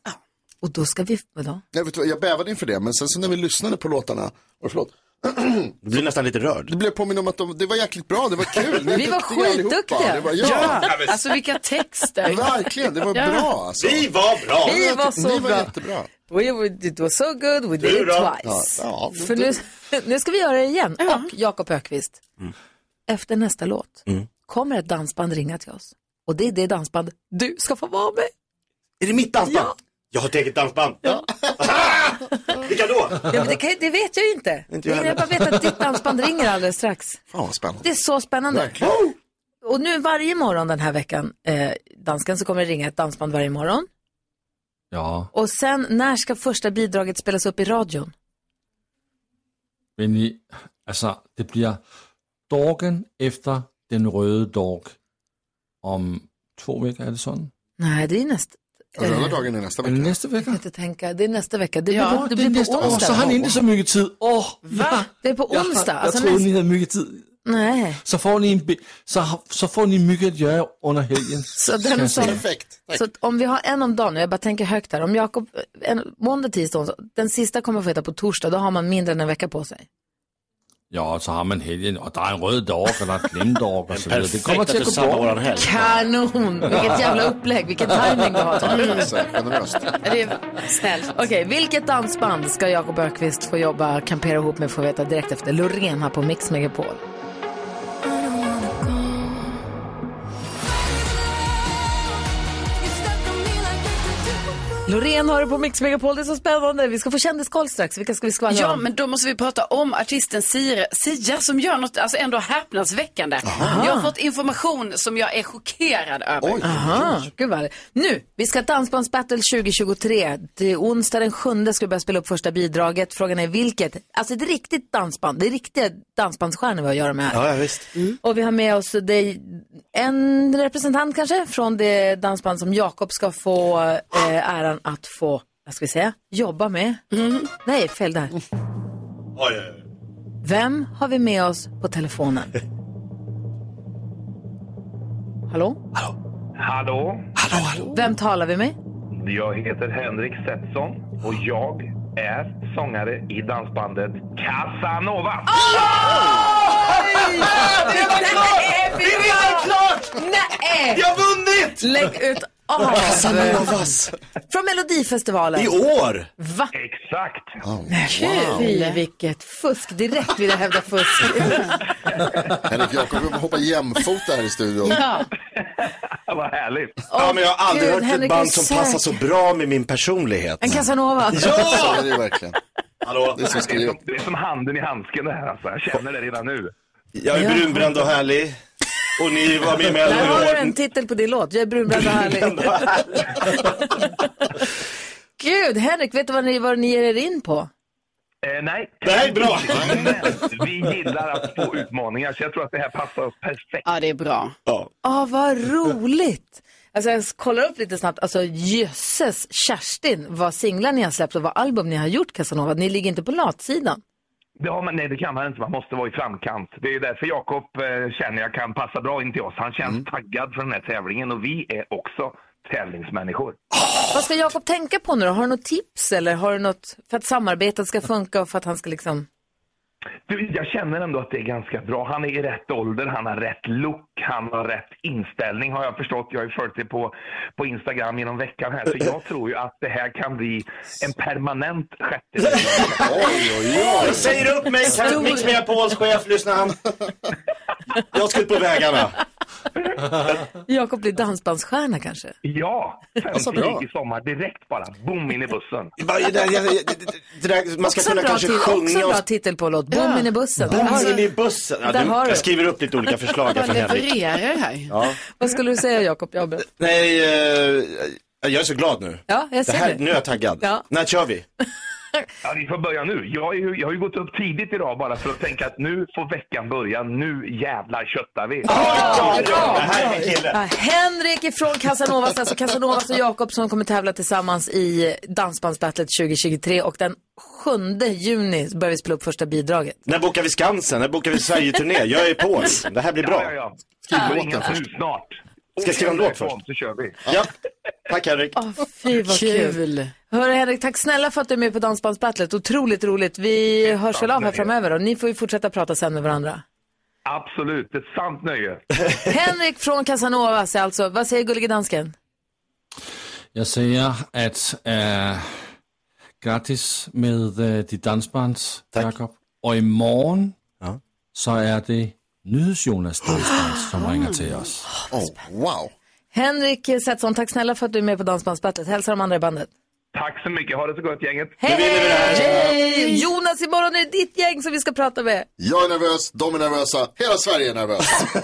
[SPEAKER 1] Och då ska vi, vadå?
[SPEAKER 3] Jag, vet, du vad, jag bävade inför det, men sen så när vi lyssnade på låtarna, och förlåt, <clears throat>
[SPEAKER 2] Du blir nästan lite rörd.
[SPEAKER 3] det blev påminna om att de, det var jäkligt bra, det var kul. Ni är
[SPEAKER 1] Vi var
[SPEAKER 3] duktiga allihopa.
[SPEAKER 1] skitduktiga.
[SPEAKER 3] Det var, ja,
[SPEAKER 5] Alltså vilka texter.
[SPEAKER 3] verkligen, det var bra alltså.
[SPEAKER 2] Vi var bra!
[SPEAKER 1] Vi var
[SPEAKER 3] Ni
[SPEAKER 1] så
[SPEAKER 3] var
[SPEAKER 1] bra.
[SPEAKER 3] jättebra.
[SPEAKER 1] We, we, it was so good, we did
[SPEAKER 2] Du
[SPEAKER 1] it
[SPEAKER 2] då?
[SPEAKER 1] twice.
[SPEAKER 3] Ja, ja.
[SPEAKER 1] För nu, <laughs> nu ska vi göra det igen. Och Jakob Ökvist.
[SPEAKER 2] Mm.
[SPEAKER 1] efter nästa låt kommer ett dansband ringa till oss. Och det är det dansband du ska få vara
[SPEAKER 2] <laughs>
[SPEAKER 1] med.
[SPEAKER 2] Är det mitt dansband? Jag har ett eget dansband. Ah! Vilka då?
[SPEAKER 1] Ja, men det, kan, det vet jag ju inte.
[SPEAKER 2] Inte jag
[SPEAKER 1] jag, jag bara vet att ditt dansband ringer alldeles strax.
[SPEAKER 3] Fan vad spännande.
[SPEAKER 1] Det är så spännande.
[SPEAKER 3] Verkligen.
[SPEAKER 1] Och nu varje morgon den här veckan, eh, dansken, så kommer det ringa ett dansband varje morgon.
[SPEAKER 9] Ja,
[SPEAKER 1] Och sen, när ska första bidraget spelas upp i radion?
[SPEAKER 9] men i, alltså det blir dagen efter den röda dag om två veckor, är det sån?
[SPEAKER 1] Nej, det är nästa.
[SPEAKER 3] Och Röda dagen är nästa
[SPEAKER 9] Eller
[SPEAKER 3] vecka.
[SPEAKER 9] nästa vecka?
[SPEAKER 1] Inte tänka. Det är nästa vecka. Det,
[SPEAKER 5] Ja,
[SPEAKER 1] blir, det blir på
[SPEAKER 9] Åh, så
[SPEAKER 1] onsdag.
[SPEAKER 9] har ni inte så mycket tid. Åh, va?
[SPEAKER 1] Det är på onsdag.
[SPEAKER 9] Jag
[SPEAKER 1] Alltså
[SPEAKER 9] trodde
[SPEAKER 1] nästa...
[SPEAKER 9] ni hade mycket tid.
[SPEAKER 1] Nej,
[SPEAKER 9] Så får ni, en, bi- så, ha- så får ni mycket att göra under helgen.
[SPEAKER 1] så den
[SPEAKER 9] Kanske.
[SPEAKER 1] som...
[SPEAKER 3] Perfekt. Tack.
[SPEAKER 1] Så att om vi har en om dagen, och jag bara tänker högt här, om Jakob, en, måndag, tisdag, onsdag, den sista kommer få heta på torsdag, då har man mindre än en vecka på sig.
[SPEAKER 9] Ja, så har man helgen, og der er en rød dork, og der er en glemt dork, og så videre. Det
[SPEAKER 2] perfekt
[SPEAKER 9] kommer til
[SPEAKER 2] at
[SPEAKER 9] at
[SPEAKER 2] du
[SPEAKER 9] gå
[SPEAKER 2] samler
[SPEAKER 9] bort.
[SPEAKER 2] våran helg.
[SPEAKER 1] Kanon! Vilket jävla upplägg, vilken timing du har. Tom.
[SPEAKER 3] Så här, generöst.
[SPEAKER 5] Ja, Det är snällt.
[SPEAKER 1] Okej, vilket dansband ska Jakob Ökvist få jobba, kampera ihop med, få veta direkt efter Loreen här på Mix Megapol? Loreen har du på Mix Megapol, det är så spännande. Vi ska få kändiskoll strax. Vilka ska vi skvallra
[SPEAKER 5] Ja,
[SPEAKER 1] om?
[SPEAKER 5] men då måste vi prata om artisten Sia, Sia som gör något alltså ändå häpnadsväckande. Jag har fått information som jag är chockerad över.
[SPEAKER 1] Aha, gud vad det- Nu, vi ska ha ett dansbandsbattle 2023. Det är onsdag den 7 ska vi börja spela upp första bidraget. Frågan är vilket? Alltså ett riktigt dansband. Det är riktiga dansbandsstjärnor vi har att göra med här.
[SPEAKER 2] Ja, ja, visst.
[SPEAKER 1] Och vi har med oss det, en representant kanske från det dansband som Jakob ska få eh, äran att få, vad ska vi säga, jobba med. Nej, fel där. Vem har vi med oss på telefonen? Hallå?
[SPEAKER 7] Hallå?
[SPEAKER 1] Vem talar vi med?
[SPEAKER 7] Jag heter Henrik Setson och jag är sångare i dansbandet Casanova.
[SPEAKER 1] Ah! Det är redan klart! Nej!
[SPEAKER 6] Jag har vunnit!
[SPEAKER 1] Lägg ut
[SPEAKER 2] Ah,
[SPEAKER 1] av! Ah, Från Melodifestivalen.
[SPEAKER 2] I år!
[SPEAKER 1] Va?
[SPEAKER 7] Exakt!
[SPEAKER 1] Fy, vilket fusk. Direkt vill jag hävda fusk.
[SPEAKER 3] Henrik Jakob kommer hoppa jämfota här i studion.
[SPEAKER 1] Ja.
[SPEAKER 7] Vad härligt.
[SPEAKER 2] ja, men jag har aldrig
[SPEAKER 1] Gud,
[SPEAKER 2] hört
[SPEAKER 1] Henrik
[SPEAKER 2] ett
[SPEAKER 1] är
[SPEAKER 2] band som
[SPEAKER 1] säker.
[SPEAKER 2] passar så bra med min personlighet.
[SPEAKER 1] En Casanova.
[SPEAKER 3] Så är det ju verkligen.
[SPEAKER 2] Hallå?
[SPEAKER 3] Det är så skrivet.
[SPEAKER 7] Det är som handen i handsken det här alltså. Jag känner det redan nu.
[SPEAKER 2] Jag är brunbränd och härlig. Och ni var med i
[SPEAKER 1] Där har du en
[SPEAKER 2] Mello
[SPEAKER 1] titel på din låt. Jag är brunbränd och härlig.
[SPEAKER 2] i år.
[SPEAKER 1] Gud, Henrik, vet du vad ni, vad ni ger er in på?
[SPEAKER 7] Eh, nej.
[SPEAKER 2] Nej, bra.
[SPEAKER 7] Men vi gillar att få utmaningar så jag tror att det här passar oss perfekt.
[SPEAKER 5] Ja, det är bra.
[SPEAKER 1] Ja, vad roligt. Alltså jag kollar upp lite snabbt. Alltså jösses Kerstin, vad singlar ni har släppt och vad album ni har gjort Casanova. Ni ligger inte på latsidan.
[SPEAKER 7] Det har man, nej, det kan man inte. Man måste vara i framkant. Det är därför Jakob eh, känner jag kan passa bra in till oss. Han känns
[SPEAKER 2] Mm.
[SPEAKER 7] taggad för den här tävlingen och vi är också tävlingsmänniskor.
[SPEAKER 2] Ah!
[SPEAKER 1] Vad ska Jakob tänka på nu då? Har du något tips eller har du något för att samarbetet ska funka och för att han ska liksom...
[SPEAKER 7] Du, jag känner ändå att det är ganska bra. Han är i rätt ålder, han har rätt look, han har rätt inställning har jag förstått. Jag har ju följt det på, på Instagram genom veckan här. Så jag tror ju att det här kan bli en permanent
[SPEAKER 2] <laughs>
[SPEAKER 7] sjätte.
[SPEAKER 3] Oj, oj,
[SPEAKER 2] Jag säger upp mig, Stor... Mix Megapols chef, lyssna han. Jag ska ut på
[SPEAKER 7] <laughs>
[SPEAKER 2] vägarna.
[SPEAKER 1] Jakob blir dansbandsstjärna kanske?
[SPEAKER 7] Ja,
[SPEAKER 2] Alltså,
[SPEAKER 3] bra.
[SPEAKER 7] 50 i sommar direkt bara. Boom in i bussen.
[SPEAKER 2] Bara, det där- det- det- det där- Man ska
[SPEAKER 1] Också en
[SPEAKER 2] kunna
[SPEAKER 1] bra,
[SPEAKER 2] kanske
[SPEAKER 1] tit- också en
[SPEAKER 2] sjunga och
[SPEAKER 1] bra titel på låt. Bommen i bussen.
[SPEAKER 2] Bom
[SPEAKER 1] Alltså,
[SPEAKER 2] in i bussen. Ja,
[SPEAKER 1] Där
[SPEAKER 2] du,
[SPEAKER 1] har du.
[SPEAKER 2] jag skriver upp lite
[SPEAKER 1] <laughs>
[SPEAKER 2] olika förslag här
[SPEAKER 5] Vad
[SPEAKER 2] från Henrik.
[SPEAKER 5] levererar det här?
[SPEAKER 1] Vad skulle du säga Jakob? Jag ber-
[SPEAKER 2] Nej, eh, jag är så glad nu.
[SPEAKER 1] Ja, jag
[SPEAKER 2] Det
[SPEAKER 1] ser
[SPEAKER 2] här,
[SPEAKER 1] det.
[SPEAKER 2] nu är jag taggad.
[SPEAKER 1] Ja.
[SPEAKER 2] När kör vi?
[SPEAKER 7] Ja, vi får börja nu. Jag, är ju, jag har ju gått upp tidigt idag bara för att tänka att nu får veckan börja. Nu jävlar köttar vi.
[SPEAKER 2] Det här är min kille.
[SPEAKER 1] Ja, Henrik ifrån Casanovas, alltså Casanovas och Jakob som kommer tävla tillsammans i Dansbandsbattlet 2023 och den 7 juni börjar vi spela upp första bidraget.
[SPEAKER 2] När bokar vi Skansen? När bokar vi Sverige-turné? Jag är på. liksom. Det här blir
[SPEAKER 7] Ja, ja,
[SPEAKER 2] bra.
[SPEAKER 7] ja.
[SPEAKER 3] Skriv
[SPEAKER 7] Ring
[SPEAKER 3] låten
[SPEAKER 7] oss
[SPEAKER 3] först.
[SPEAKER 7] nu snart.
[SPEAKER 2] Ska jag skriva en låt
[SPEAKER 7] Åk
[SPEAKER 2] först?
[SPEAKER 7] Så kör vi.
[SPEAKER 2] Ja. Tack Henrik.
[SPEAKER 1] Åh, fy vad kul. Hörru Henrik, tack snälla för att du är med på Dansbandsbattlet. Otroligt roligt. Vi hörs väl av här framöver och ni får ju fortsätta prata sen
[SPEAKER 2] <laughs>
[SPEAKER 1] med varandra.
[SPEAKER 7] Absolut, ett sant nöje.
[SPEAKER 1] Henrik från Casanovas är alltså, vad säger gullige dansken?
[SPEAKER 9] Jeg siger, at øh, gratis med øh, dit dansbands, Jakob. Og i morgen,
[SPEAKER 2] Ja.
[SPEAKER 9] så er det Nyhedsjonas Dansbands, som ringer til os.
[SPEAKER 3] Oh, wow.
[SPEAKER 1] Henrik Setson, tack snälla för att du är med på Dansbandsbattlet. Hälsa de andra i bandet.
[SPEAKER 7] Tack så mycket. Ha det så gott, gänget.
[SPEAKER 1] Hej!
[SPEAKER 2] vinner vi det här.
[SPEAKER 1] Hej! Jonas, imorgon är det ditt gäng som vi ska prata med.
[SPEAKER 3] Jag är nervös, de är nervösa, hela Sverige är nervöst.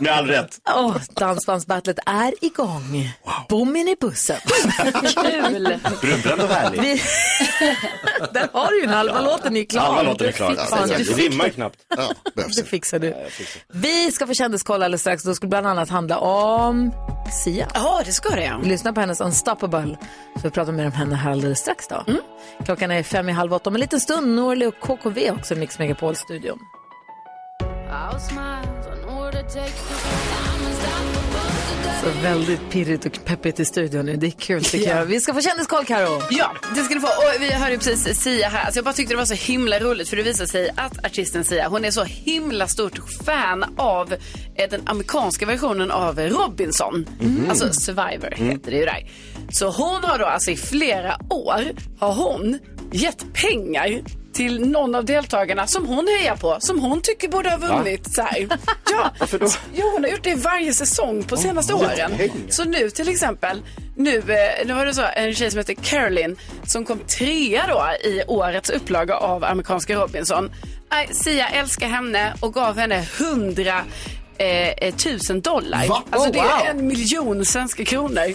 [SPEAKER 2] Med all rätt.
[SPEAKER 1] Åh, dansbandsbattlet är igång. Bommen i bussen.
[SPEAKER 5] Kul!
[SPEAKER 2] Brunbränd och härlig.
[SPEAKER 1] Vi... <laughs> Där har du ju en halva låten är klar.
[SPEAKER 2] Halva låten är klar.
[SPEAKER 1] Fy fan,
[SPEAKER 2] Det
[SPEAKER 1] du
[SPEAKER 2] rimmar ju knappt.
[SPEAKER 3] Ja, behövs
[SPEAKER 1] Det
[SPEAKER 3] inte.
[SPEAKER 1] fixar du. Vi ska få kändiskoll alldeles strax. Då skulle det bland annat handla om Sia.
[SPEAKER 5] Ja, det ska det.
[SPEAKER 1] Vi lyssnar på hennes Unstoppable. Så vi pratar mer om henne här alldeles strax då.
[SPEAKER 5] Mm.
[SPEAKER 1] Klockan är fem i halv åtta. Om en liten stund Norli och KKV också i Mix Megapol-studion.
[SPEAKER 8] I'll smile in order to take the diamonds
[SPEAKER 1] Så väldigt pirrigt och peppigt i studion nu. Det är kul tycker jag. Vi ska få kändiskoll Karo.
[SPEAKER 5] Ja, det ska ni få. Och vi hörde ju precis Sia här. Alltså jag bara tyckte det var så himla roligt för det visar sig att artisten Sia, hon är så himla stort fan av eh, den amerikanska versionen av Robinson. Alltså Survivor heter det ju där. Så hon har då alltså i flera år har hon gett pengar till någon av deltagarna som hon hejar på, som hon tycker borde ha vunnit. Så här. Ja. Varför då? Jo, hon har gjort det varje säsong på senaste åren. Så nu till exempel, nu, eh, nu var det så en tjej som heter Caroline som kom trea då i årets upplaga av amerikanska Robinson. Nej, Sia älskar henne och gav henne hundra eh, tusen dollar.
[SPEAKER 3] Va?
[SPEAKER 5] Alltså
[SPEAKER 3] Oh,
[SPEAKER 5] det är
[SPEAKER 3] wow.
[SPEAKER 5] en miljon svenska kronor.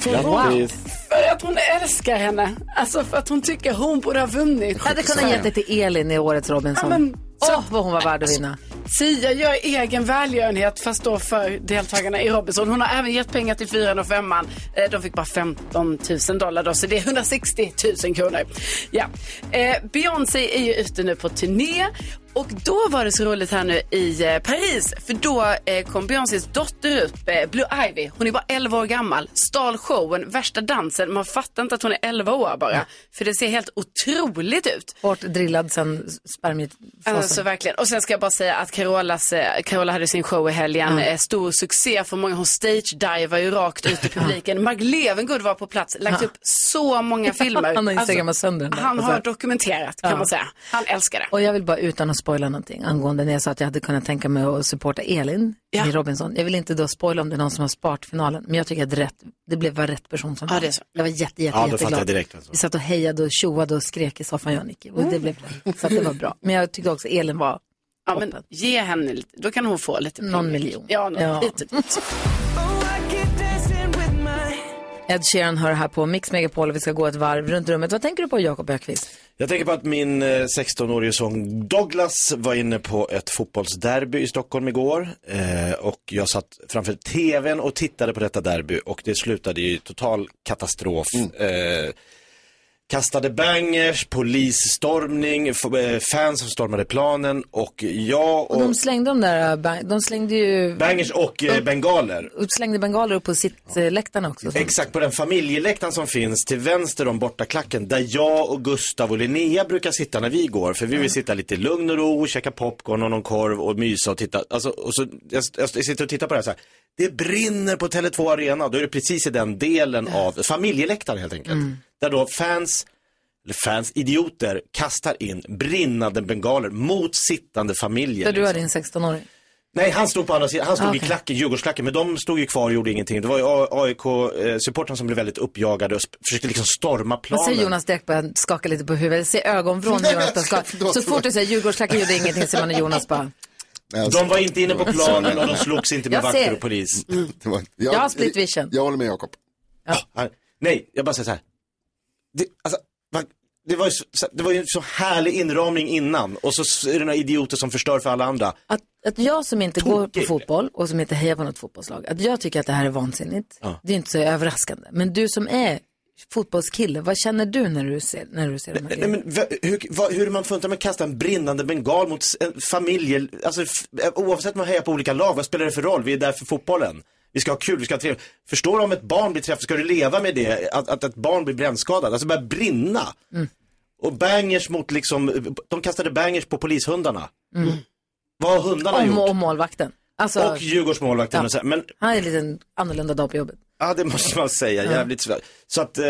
[SPEAKER 5] För att hon älskar henne. Alltså för att hon tycker hon borde ha vunnit.
[SPEAKER 1] Jag hade kunnat ge det till Elin i årets Robinson.
[SPEAKER 5] Ja, men-
[SPEAKER 1] Så
[SPEAKER 5] Åh! Alltså,
[SPEAKER 1] vad hon var värd att vinna.
[SPEAKER 5] Sia gör egen välgörenhet fast då för deltagarna i Robinson. Hon har även gett pengar till fyran och femman. Eh, De fick bara 15 000 dollar då, så det är 160 000 kronor. Ja. Eh, Beyoncé är ju ute nu på turné. Och då var det så roligt här nu i eh, Paris, för då eh, kom Beyoncés dotter upp, eh, Blue Ivy. Hon är bara 11 år gammal, stal showen, värsta dansen. Man fattar inte att hon är 11 år bara, för det ser helt otroligt ut.
[SPEAKER 1] Hårt drillad sen spermiefasen.
[SPEAKER 5] Alltså verkligen. Och sen ska jag bara säga att Carolas, eh, Carola hade sin show i helgen. Eh, Stor succé för många. Hon stage-divar ju rakt ut i publiken. Mark Levengood var på plats, lagt upp så
[SPEAKER 1] <laughs>
[SPEAKER 5] många filmer.
[SPEAKER 1] Han har instagrammat sönder den där.
[SPEAKER 5] Han
[SPEAKER 1] Alltså.
[SPEAKER 5] har dokumenterat kan man säga. Han älskar det.
[SPEAKER 1] Och jag vill bara utan att spoila någonting angående när jag sa att jag hade kunnat tänka mig att supporta Elin
[SPEAKER 5] Ja.
[SPEAKER 1] i Robinson. Jag vill inte då spoila om det är någon som har sparat finalen, men jag tycker att rätt, det blev var rätt person som
[SPEAKER 5] Ja,
[SPEAKER 1] vann.
[SPEAKER 5] det är så.
[SPEAKER 1] Jag var jätte, jätte,
[SPEAKER 2] Ja, då fattar
[SPEAKER 1] jätteglad.
[SPEAKER 2] jag direkt. Alltså.
[SPEAKER 1] Vi satt och hejade och tjoade och skrek i soffan jag och Nicky. Och
[SPEAKER 5] Mm.
[SPEAKER 1] det blev rätt. Så att det var bra. Men jag tyckte också att Elin var
[SPEAKER 5] Ja, men ge henne lite, då kan hon få lite
[SPEAKER 1] någon miljon.
[SPEAKER 5] Ja, någon,
[SPEAKER 1] Ja.
[SPEAKER 5] lite.
[SPEAKER 1] Ed Sheeran hör här på Mix Megapol och vi ska gå ett varv runt rummet. Vad tänker du på Jakob Ökvist?
[SPEAKER 2] Jag tänker på att min eh, 16-årige son Douglas var inne på ett fotbollsderby i Stockholm igår. Eh, och jag satt framför tvn och tittade på detta derby och det slutade i total katastrof. Eh, kastade bangers, polisstormning, f- eh, fans som stormade planen och jag och...
[SPEAKER 1] De slängde de där, äh, bang- de slängde ju,
[SPEAKER 2] Bangers och eh, bengaler.
[SPEAKER 1] slängde bengaler upp på sitt äh, läktarna också.
[SPEAKER 2] Exakt, på den familjeläktaren som finns till vänster om bortaklacken där jag och Gustav och Linnea brukar sitta när vi går. För vi vill sitta lite i lugn och ro, käka popcorn och någon korv och mysa och titta. Alltså, och så, jag, jag sitter och tittar på det här så här. Det brinner på Tele2 Arena. Då är det precis i den delen av familjeläktaren helt enkelt.
[SPEAKER 1] Mm.
[SPEAKER 4] Mm.
[SPEAKER 2] Där då fans, eller fans, idioter kastar in brinnande bengaler mot sittande familjer.
[SPEAKER 1] Där du har
[SPEAKER 2] liksom.
[SPEAKER 1] din 16-åring.
[SPEAKER 2] Nej, han stod på andra sidan. Han stod i
[SPEAKER 1] Okej.
[SPEAKER 2] klacken, Djurgårdsklacken, men de stod ju kvar och gjorde ingenting. Det var ju AIK-supportrarna som blev väldigt uppjagade och sp- försökte liksom storma
[SPEAKER 1] Vad
[SPEAKER 2] planen.
[SPEAKER 1] säger Jonas direkt börjar skaka lite på huvudet. Se ögonvrån
[SPEAKER 3] Nej,
[SPEAKER 1] Jonas
[SPEAKER 3] jag ska-
[SPEAKER 1] skaka.
[SPEAKER 3] förlåt,
[SPEAKER 1] Så fort du
[SPEAKER 3] förlåt.
[SPEAKER 1] säger Djurgårdsklacken gjorde ingenting så man och Jonas bara.
[SPEAKER 2] De var inte inne på planen och de slogs inte med
[SPEAKER 1] Jag
[SPEAKER 2] vakter
[SPEAKER 1] ser.
[SPEAKER 2] och polis.
[SPEAKER 3] Det var-
[SPEAKER 1] Jag har split vision.
[SPEAKER 3] Jag håller med Jakob.
[SPEAKER 2] Han- Nej, jag bara säger så här. Det, alltså, va- det, var ju så, så- det var ju en så härlig inramning innan och så s- är det några idioter som förstör för alla andra.
[SPEAKER 1] Att, att jag som inte går på
[SPEAKER 2] Tokig.
[SPEAKER 1] fotboll och som inte hejar på något fotbollslag, att jag tycker att det här är vansinnigt.
[SPEAKER 2] Ja.
[SPEAKER 1] Det är inte så överraskande. Men du som är fotbollskille, vad känner du när du ser, när du ser de här
[SPEAKER 2] Nej,
[SPEAKER 1] grejerna?
[SPEAKER 2] men, vä- hur, vad, hur man funtar med att kasta en brinnande bengal mot s- en familj, alltså, f- oavsett om man hejar på olika lag, vad spelar det för roll? Vi är där för fotbollen. Vi ska ha kul, vi ska ha trevligt. Förstår du om ett barn blir träffat, ska du leva med det? Att, att ett barn blir brännskadat, alltså börjar brinna.
[SPEAKER 1] Mm.
[SPEAKER 2] Och bangers mot liksom, de kastade bangers på polishundarna. Vad har hundarna
[SPEAKER 1] Om
[SPEAKER 2] gjort?
[SPEAKER 1] Mm. och målvakten. Alltså,
[SPEAKER 2] Och Djurgårdsmålvakten och så här. Men
[SPEAKER 1] han är en liten annorlunda dag på jobbet.
[SPEAKER 2] Ja, det måste man säga. Jävligt svär. Så att, eh,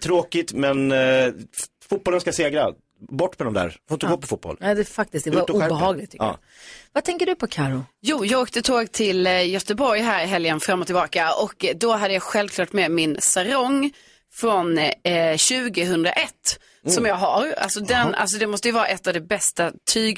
[SPEAKER 2] tråkigt, men eh, f- fotbollen ska segra. Bort med dem där. Får inte gå på fotboll.
[SPEAKER 1] Nej, det är faktiskt, det
[SPEAKER 2] Ut
[SPEAKER 1] var
[SPEAKER 2] och skärp er.
[SPEAKER 1] obehagligt tycker jag.
[SPEAKER 2] Ja.
[SPEAKER 1] Vad tänker du på Karo?
[SPEAKER 5] Jo, jag åkte tåg till eh, Göteborg här i helgen fram och tillbaka och eh, då hade jag självklart med min sarong från eh, 2001 som jag har. Alltså, den, alltså det måste ju vara ett av de bästa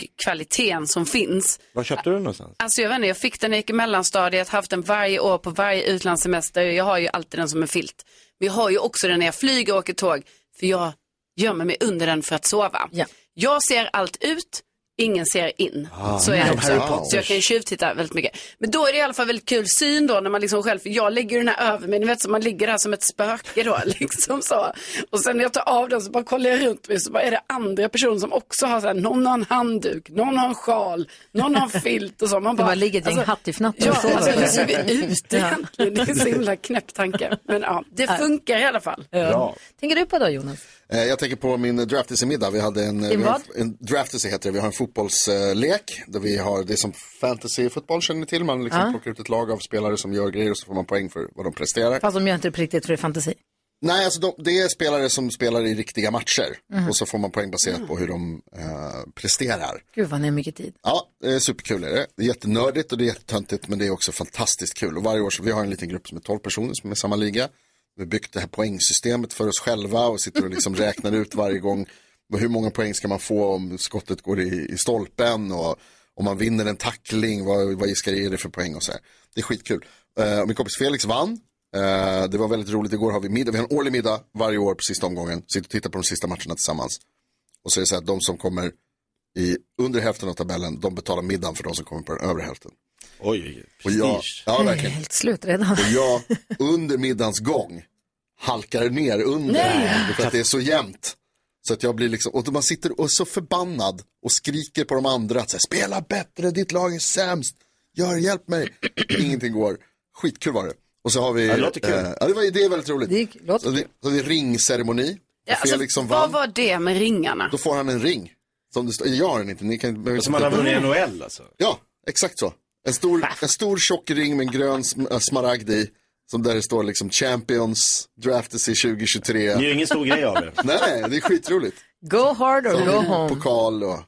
[SPEAKER 5] tygkvaliteten som finns.
[SPEAKER 2] Var köpte du den någonstans?
[SPEAKER 5] Alltså jag vet inte, jag fick den när jag gick i mellanstadiet, haft den varje år på varje utlandssemester. Jag har ju alltid den som en filt. Men jag har ju också den när jag flyger och åker tåg, för jag gömmer mig under den för att sova.
[SPEAKER 1] Ja.
[SPEAKER 5] Jag ser allt ut, Ingen ser in.
[SPEAKER 12] Ah,
[SPEAKER 5] så är
[SPEAKER 12] de
[SPEAKER 5] det
[SPEAKER 12] Harry
[SPEAKER 5] också.
[SPEAKER 12] Potters.
[SPEAKER 5] Så jag kan ju tjuvtitta väldigt mycket. Men då är det i alla fall väldigt kul syn då när man liksom själv, för jag lägger ju den här över mig, ni vet så man ligger där som ett spöke då <laughs> liksom så. Och sen när jag tar av den så bara kollar jag runt mig så bara är det andra personer som också har så här, någon har en handduk, någon har en sjal, någon har en filt och så. Man
[SPEAKER 1] Det
[SPEAKER 5] bara,
[SPEAKER 1] bara ligger ett gäng hattifnattar
[SPEAKER 5] Ja,
[SPEAKER 1] och sover.
[SPEAKER 5] alltså hur ser vi ut
[SPEAKER 1] Ja.
[SPEAKER 5] egentligen? Det är en så himla knäpp tanke. Men ja, det funkar i alla fall.
[SPEAKER 3] Bra.
[SPEAKER 1] Tänker du på då Jonas?
[SPEAKER 3] Eh, Jag tänker på min draftisi-middag. Vi hade en, eh,
[SPEAKER 1] Din
[SPEAKER 3] vi har-
[SPEAKER 1] vad?
[SPEAKER 3] en draftisi heter det. Vi har en fotbollslek där vi har det är som fantasy-fotboll känner ni till. Man liksom
[SPEAKER 1] Ja.
[SPEAKER 3] plockar ut ett lag av spelare som gör grejer och så får man poäng för vad de presterar.
[SPEAKER 1] Fast de gör inte det på riktigt för det är fantasi.
[SPEAKER 3] Nej, alltså de, det är spelare som spelar i riktiga matcher
[SPEAKER 1] Mhm.
[SPEAKER 3] och så får man poäng baserat på hur de eh, presterar.
[SPEAKER 1] Gud vad ni har mycket tid.
[SPEAKER 3] Ja, det är superkul är det. Det är jättenördigt och det är jättetöntigt men det är också fantastiskt kul. Och varje år så vi har en liten grupp som är 12 personer som är i samma liga. Vi har byggt det här poängsystemet för oss själva och sitter och liksom räknar ut varje gång hur många poäng ska man få om skottet går i, i stolpen och om man vinner en tackling, vad, vad ska det ge det för poäng och så här. Det är skitkul. Eh, och min kompis Felix vann. Eh, det var väldigt roligt, igår har vi middag, vi har en årlig middag varje år på sista omgången. Sitter och tittar på de sista matcherna tillsammans. Och så är det så här att de som kommer i under hälften av tabellen, de betalar middagen för de som kommer på den övre hälften.
[SPEAKER 2] Oj,
[SPEAKER 3] och jag, ja,
[SPEAKER 1] Jag är
[SPEAKER 3] verkligen.
[SPEAKER 1] helt slut redan.
[SPEAKER 3] Och jag, under middagens gång, halkar ner under.
[SPEAKER 1] Nej.
[SPEAKER 3] För att det är så jämnt. Så att jag blir liksom, och man sitter och är så förbannad och skriker på de andra att så här, spela bättre, ditt lag är sämst, gör, hjälp mig. <clears throat> Ingenting går. Skitkul var det. Och så har vi,
[SPEAKER 2] Ja, det låter kul.
[SPEAKER 3] eh, ja, det, var, det är väldigt roligt.
[SPEAKER 1] Det låter alltså,
[SPEAKER 3] så vi, så har vi ringceremoni.
[SPEAKER 5] Ja,
[SPEAKER 3] Och Felix som
[SPEAKER 5] alltså, vad
[SPEAKER 3] vann,
[SPEAKER 5] var det med ringarna?
[SPEAKER 3] då får han en ring. Som det står, jag har den inte, ni kan...
[SPEAKER 2] Som man har vunnit NHL alltså.
[SPEAKER 3] Ja, exakt så. En stor, en stor tjock ring med en grön sm- äh, smaragd i. Som där det står liksom Champions, Draft i 2023.
[SPEAKER 2] Det är ju ingen stor grej av det.
[SPEAKER 3] Nej, <laughs> nej, det är skitroligt.
[SPEAKER 1] Go hard or
[SPEAKER 3] Som
[SPEAKER 1] go
[SPEAKER 3] en
[SPEAKER 1] home. <laughs>
[SPEAKER 3] Pokal och...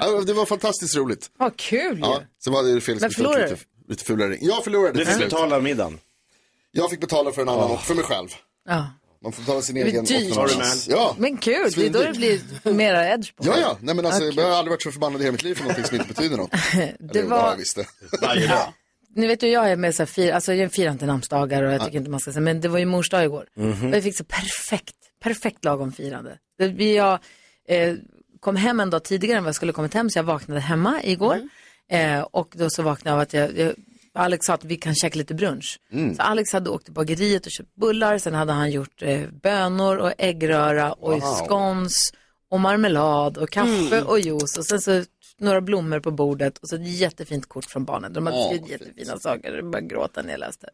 [SPEAKER 3] Ja, det var fantastiskt roligt.
[SPEAKER 1] Vad kul
[SPEAKER 3] Ja,
[SPEAKER 1] ju.
[SPEAKER 3] sen var det Felix
[SPEAKER 1] Men
[SPEAKER 3] som fick
[SPEAKER 1] förlorade
[SPEAKER 3] lite, lite fulare ring. Jag förlorade
[SPEAKER 2] Du
[SPEAKER 3] till
[SPEAKER 2] fick
[SPEAKER 3] slut.
[SPEAKER 2] betala middagen.
[SPEAKER 3] Jag fick betala för en annan och för mig själv.
[SPEAKER 1] Ja.
[SPEAKER 3] Man får betala sin
[SPEAKER 1] blir
[SPEAKER 3] egen
[SPEAKER 1] dyrt.
[SPEAKER 3] och
[SPEAKER 2] Sorry, man.
[SPEAKER 3] Ja,
[SPEAKER 1] Men kul, det är då det blir mera edge på
[SPEAKER 3] ja,
[SPEAKER 1] det.
[SPEAKER 3] ja. Nej, men alltså,
[SPEAKER 1] Ja,
[SPEAKER 3] jag har aldrig varit så förbannad i hela mitt liv för någonting som inte
[SPEAKER 1] <laughs>
[SPEAKER 3] betyder något.
[SPEAKER 1] Det
[SPEAKER 3] Eller, ja,
[SPEAKER 1] var,
[SPEAKER 3] jag visste.
[SPEAKER 2] <laughs> Varje dag.
[SPEAKER 1] ni vet ju jag är med så här, fir, alltså jag firar inte namnsdagar och jag tycker inte man ska säga, men det var ju mors dag igår. Och jag fick så perfekt, perfekt lagom firande. Det, vi- jag eh, kom hem en dag tidigare än vad jag skulle kommit hem, så jag vaknade hemma igår. Eh, och då så vaknade jag av att jag, jag Alex sa att vi kan käka lite brunch. Så Alex hade åkt till bageriet och köpt bullar, sen hade han gjort eh, bönor och äggröra och
[SPEAKER 3] Wow.
[SPEAKER 1] scones och marmelad och kaffe och juice och sen så några blommor på bordet och så ett jättefint kort från barnen. De hade
[SPEAKER 3] Åh,
[SPEAKER 1] skrivit
[SPEAKER 3] vad fint.
[SPEAKER 1] jättefina saker och jag började gråta när jag läste.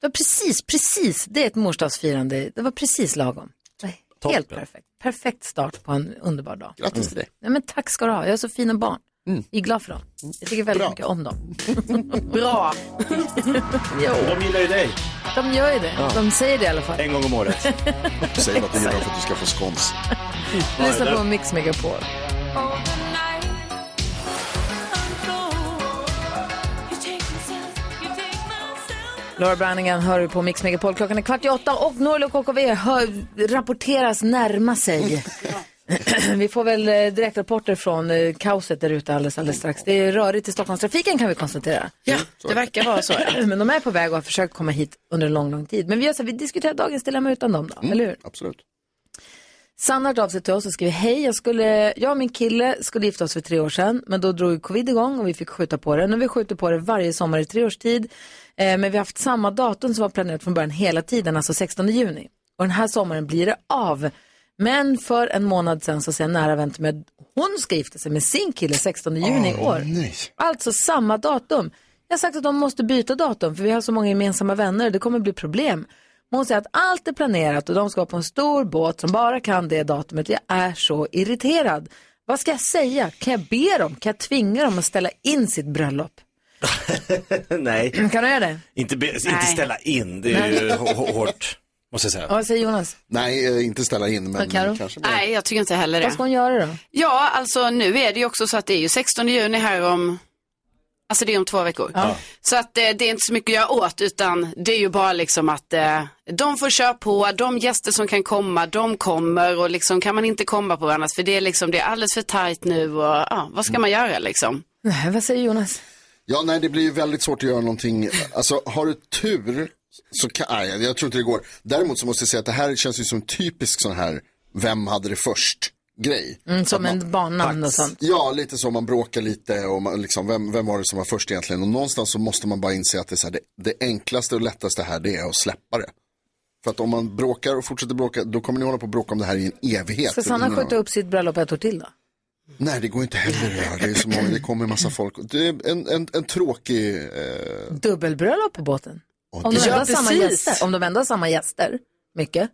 [SPEAKER 1] Det var precis, precis, det är ett morsdagsfirande, det var precis lagom. Det var Helt perfekt. Perfekt start på en underbar dag.
[SPEAKER 3] Grattis till dig.
[SPEAKER 1] Nej, men tack ska du ha, jag har så fina barn. Jag är glad för dem. Jag tycker väldigt
[SPEAKER 3] Bra.
[SPEAKER 1] mycket om dem.
[SPEAKER 5] Bra.
[SPEAKER 2] De gillar ju dig
[SPEAKER 1] De gör ju det, de säger det i alla fall.
[SPEAKER 2] en gång om <laughs> året.
[SPEAKER 3] Säg vad du gör för att du ska få skons.
[SPEAKER 1] Lyssna på Mix Megapol. Laura Branningen hör du på Mix Megapol. Klockan är kvart i åtta och Norli och KKV hör, rapporteras närma sig. <clears throat> vi får väl eh, direktrapporter från eh, kaoset där ute alldeles, alldeles strax. Det är rörigt i Stockholmstrafiken kan vi konstatera.
[SPEAKER 5] Ja, det verkar vara så. ja.
[SPEAKER 1] <clears throat> Men de är på väg och har försökt komma hit under en lång, lång tid. Men vi, gör så här, vi diskuterar dagens dilemma utan dem
[SPEAKER 5] Mm,
[SPEAKER 1] då, eller hur?
[SPEAKER 3] Absolut.
[SPEAKER 1] Sanna har hört av sig till oss och skriver hej, jag, skulle, jag och min kille skulle gifta oss för tre år sedan men då drog ju covid igång och vi fick skjuta på det. Nu har vi skjutit på det varje sommar i tre års tid eh, men vi har haft samma datum som var planerat från början hela tiden, alltså 16 juni. Och den här sommaren blir det av. Men för en månad sedan så ser en nära vän till mig att hon ska gifta sig med sin kille 16 juni i år.
[SPEAKER 3] Nej.
[SPEAKER 1] Alltså samma datum. Jag har sagt att de måste byta datum för vi har så många gemensamma vänner. Det kommer bli problem. Men Hon säger att allt är planerat och de ska på en stor båt som bara kan det datumet. Jag är så irriterad. Vad ska jag säga? Kan jag be dem? Kan jag tvinga dem att ställa in sitt bröllop?
[SPEAKER 2] <laughs> Nej,
[SPEAKER 1] <clears throat> Kan du göra det?
[SPEAKER 2] inte, be, inte ställa in. Det är ju hå- hå- hårt, måste jag
[SPEAKER 1] Ja,
[SPEAKER 2] säga.
[SPEAKER 1] Vad säger Jonas?
[SPEAKER 3] Nej, eh, inte ställa in, men
[SPEAKER 1] Ja, Karo?
[SPEAKER 3] kanske bara...
[SPEAKER 5] Nej, jag tycker inte heller
[SPEAKER 1] Typ. Vad
[SPEAKER 5] det.
[SPEAKER 1] ska hon göra då?
[SPEAKER 5] Ja, alltså nu är det ju också så att det är ju 16 juni här om, alltså det är om två veckor. Så att eh, det är inte så mycket att göra åt utan det är ju bara liksom att eh, de får köra på, de gäster som kan komma, de kommer och liksom kan man inte komma på varandra för det är liksom, det är alldeles för tajt nu och ja, vad
[SPEAKER 1] Mm.
[SPEAKER 5] ska man göra liksom?
[SPEAKER 1] Nej, vad säger Jonas?
[SPEAKER 3] Ja, nej, det blir ju väldigt svårt att göra någonting. Alltså, har du tur så kan... Nej, jag tror inte det går. Däremot så måste jag säga att det här känns ju som en typisk sån här, vem hade det först? grej.
[SPEAKER 1] Mm, som en barnnamn och sånt.
[SPEAKER 3] Ja, lite så. Man bråkar lite och man, liksom, vem, vem var det som var först egentligen? Och någonstans så måste man bara inse att det, är så här, det, det enklaste och lättaste här det är att släppa det. För att om man bråkar och fortsätter bråka, då kommer ni hålla på och bråka om det här i en evighet.
[SPEAKER 1] Ska Sanna
[SPEAKER 3] Ingen
[SPEAKER 1] skjuta upp sitt bröllop ett år till då?
[SPEAKER 3] Nej, det går inte heller att göra. Det är så många, det kommer en massa folk. Det är en, en, en tråkig... Eh...
[SPEAKER 1] Dubbelbröllop på båten? Om
[SPEAKER 3] det-
[SPEAKER 1] de, ändå har
[SPEAKER 3] Ja,
[SPEAKER 1] samma
[SPEAKER 3] precis.
[SPEAKER 1] gäster, om de ändå har samma gäster, mycket.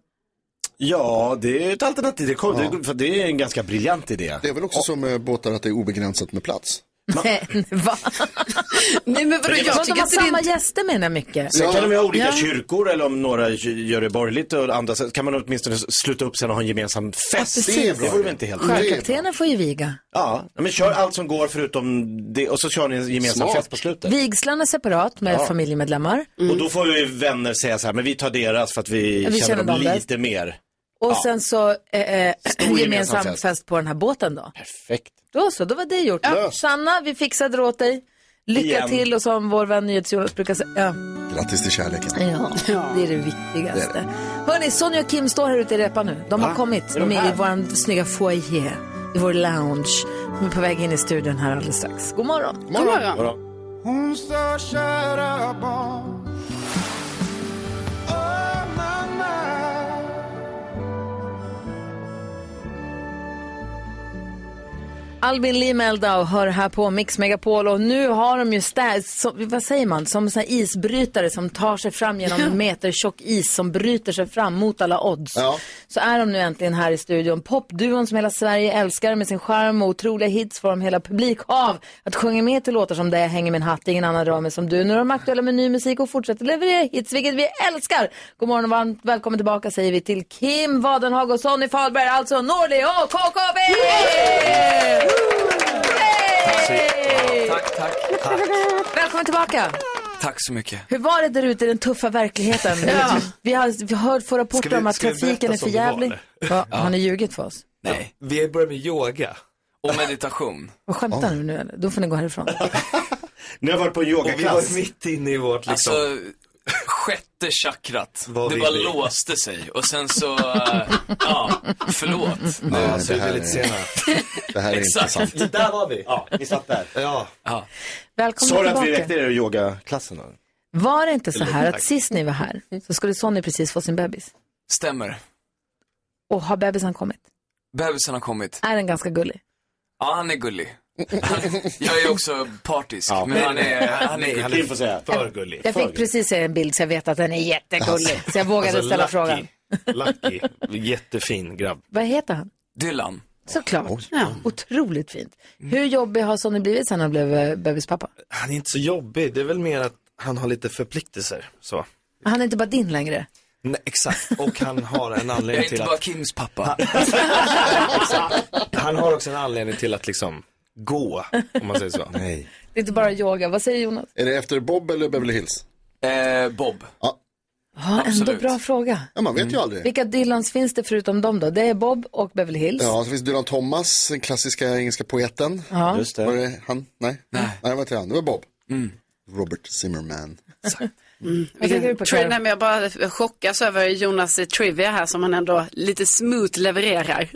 [SPEAKER 2] Ja, det är ett alternativ. Det, kom, det, för det är en ganska briljant idé.
[SPEAKER 3] Det är väl också som med båtar att det är obegränsat med plats.
[SPEAKER 1] Nej, va?
[SPEAKER 5] Nej, men
[SPEAKER 2] vadå, jag
[SPEAKER 1] om
[SPEAKER 2] tycker
[SPEAKER 1] de har
[SPEAKER 2] inte det är
[SPEAKER 1] samma gäster menar jag mycket.
[SPEAKER 2] Sen kan de ju ha olika
[SPEAKER 1] Ja.
[SPEAKER 2] kyrkor eller om några gör det borgerligt och andra så kan man åtminstone sluta upp sen och ha en gemensam fest.
[SPEAKER 1] precis.
[SPEAKER 2] det vore väl inte helt
[SPEAKER 1] Sjökaptenen får ju viga.
[SPEAKER 2] Ja, men kör allt som går förutom det och så kör ni en gemensam
[SPEAKER 1] Smart.
[SPEAKER 2] fest på slutet.
[SPEAKER 1] Vigslan är separat med
[SPEAKER 2] Ja. Mm.
[SPEAKER 1] familjemedlemmar.
[SPEAKER 2] Och då får ju vänner säga så här, men vi tar deras för att vi,
[SPEAKER 1] Mm. Vi
[SPEAKER 2] känner
[SPEAKER 1] känner
[SPEAKER 2] dem
[SPEAKER 1] dem bäst.
[SPEAKER 2] lite mer.
[SPEAKER 1] Och
[SPEAKER 2] Ja.
[SPEAKER 1] sen så eh, eh,
[SPEAKER 2] gemensam
[SPEAKER 1] gemensam
[SPEAKER 2] fest.
[SPEAKER 1] fest. på den här båten då.
[SPEAKER 2] Perfekt.
[SPEAKER 1] Då så, då var det gjort.
[SPEAKER 3] Löst.
[SPEAKER 1] Sanna, vi fixade det åt dig. Lycka
[SPEAKER 3] Igen.
[SPEAKER 1] till och som vår vän NyhetsJonas brukar säga. Ja.
[SPEAKER 3] Grattis till kärleken.
[SPEAKER 1] Ja, det är det viktigaste.
[SPEAKER 3] Det är
[SPEAKER 1] Hörni, Sonja och Kim står här ute i repan nu. De
[SPEAKER 3] Va?
[SPEAKER 1] har kommit.
[SPEAKER 3] Är
[SPEAKER 1] De
[SPEAKER 3] de
[SPEAKER 1] är i
[SPEAKER 3] här?
[SPEAKER 1] vår snygga foyer, i vår lounge. De är på väg in i studion här alldeles strax. God morgon.
[SPEAKER 4] God morgon. God Hon sa kära barn Åh mamma
[SPEAKER 1] Albin Lee Meldau hör här på Mix Megapol och nu har de ju stä- som, vad säger man, som såna här isbrytare som tar sig fram genom en meter tjock is som bryter sig fram mot alla odds.
[SPEAKER 4] Ja.
[SPEAKER 1] Så är de nu äntligen här i studion. Popduon som hela Sverige älskar med sin charm och otroliga hits får de hela publik av att sjunga med till låtar som Det jag hänger min hatt, ingen annan rör mig som du. Nu är de aktuella med ny musik och fortsätter leverera hits, vilket vi älskar. God morgon och varmt välkommen tillbaka säger vi till Kim Wadenhag och Sonny Fahlberg, alltså Norli och KKB!
[SPEAKER 12] Tack, tack, tack.
[SPEAKER 1] Välkommen tillbaka!
[SPEAKER 12] Tack så mycket.
[SPEAKER 1] Hur var det där ute i den tuffa verkligheten?
[SPEAKER 12] Ja.
[SPEAKER 1] Vi har vi har hört få rapporter
[SPEAKER 12] Ska vi-
[SPEAKER 1] om att
[SPEAKER 12] ska vi berätta
[SPEAKER 1] trafiken är för
[SPEAKER 12] som det var,
[SPEAKER 1] jävlig.
[SPEAKER 12] eller?
[SPEAKER 1] Va,
[SPEAKER 12] Ja.
[SPEAKER 1] Har ni ljugit för oss?
[SPEAKER 12] Nej, vi börjar med yoga och meditation.
[SPEAKER 1] Vad skämtar ni nu eller? Då får ni gå
[SPEAKER 12] <laughs>
[SPEAKER 1] härifrån.
[SPEAKER 2] Ni har varit på
[SPEAKER 12] Och vi var mitt
[SPEAKER 13] inne i vårt
[SPEAKER 12] liksom. Alltså, sjätte chakrat. det
[SPEAKER 13] vi
[SPEAKER 12] bara
[SPEAKER 13] vill.
[SPEAKER 12] låste sig och sen så, eh, ja, förlåt.
[SPEAKER 3] Ja, det
[SPEAKER 12] så
[SPEAKER 3] här
[SPEAKER 12] är
[SPEAKER 3] är-
[SPEAKER 12] lite senare.
[SPEAKER 3] Det här är
[SPEAKER 12] Exakt.
[SPEAKER 3] intressant.
[SPEAKER 13] Där var vi.
[SPEAKER 2] Ja, vi satt där.
[SPEAKER 13] Ja.
[SPEAKER 12] ja.
[SPEAKER 1] Välkommen
[SPEAKER 2] Sorry att
[SPEAKER 1] tillbaka.
[SPEAKER 2] vi väckte er i yogaklassen. då.
[SPEAKER 1] Var det inte så här att
[SPEAKER 12] Tack.
[SPEAKER 1] sist ni var här så skulle Sonny precis få sin bebis?
[SPEAKER 12] Stämmer.
[SPEAKER 1] Och har bebisen kommit?
[SPEAKER 12] Bebisen har kommit.
[SPEAKER 1] Är den ganska gullig?
[SPEAKER 12] Ja, han är gullig. Jag är också partisk, men han är, han är, han är
[SPEAKER 2] Kim får säga.
[SPEAKER 13] För gullig.
[SPEAKER 1] Jag fick precis se en bild så jag vet att den är jättegullig. Så jag vågade
[SPEAKER 13] Alltså,
[SPEAKER 1] ställa
[SPEAKER 13] Lucky.
[SPEAKER 1] frågan.
[SPEAKER 13] Lucky, jättefin grabb.
[SPEAKER 1] Vad heter han?
[SPEAKER 12] Dylan.
[SPEAKER 1] Såklart. Ja, otroligt fint.
[SPEAKER 12] Mm.
[SPEAKER 1] Hur jobbig har Sonny blivit sen han blev eh, bebispappa?
[SPEAKER 13] Han är inte så jobbig, det är väl mer att han har lite förpliktelser. Så.
[SPEAKER 1] Han är inte bara din längre.
[SPEAKER 13] Nej, exakt, och han har en
[SPEAKER 12] Jag <laughs> är
[SPEAKER 13] anledning till
[SPEAKER 12] inte
[SPEAKER 13] att...
[SPEAKER 12] bara
[SPEAKER 13] <laughs>
[SPEAKER 12] Kims pappa.
[SPEAKER 13] Han har också en anledning till att liksom gå, om man säger så.
[SPEAKER 3] Nej.
[SPEAKER 1] Det är inte bara yoga. Vad säger Jonas?
[SPEAKER 3] Är det efter Bob eller Beverly Hills?
[SPEAKER 12] Eh, Bob.
[SPEAKER 3] Ja.
[SPEAKER 1] Ja, ändå
[SPEAKER 3] Absolut.
[SPEAKER 1] bra fråga. Mm.
[SPEAKER 3] Ja, man vet ju aldrig.
[SPEAKER 1] Vilka Dylans finns det förutom dem då? Det är Bob och Beverly Hills.
[SPEAKER 3] Ja, så finns Dylan Thomas, den klassiska engelska poeten.
[SPEAKER 1] Ja. Just
[SPEAKER 3] Var det han? Nej. Nej. Nej, vad heter han? Det var Bob. Robert Zimmerman.
[SPEAKER 1] Vad tänker du på,
[SPEAKER 5] Tror,
[SPEAKER 1] Karo?
[SPEAKER 5] nej, men jag bara chockas över Jonas eh, trivia här som han ändå lite smooth levererar.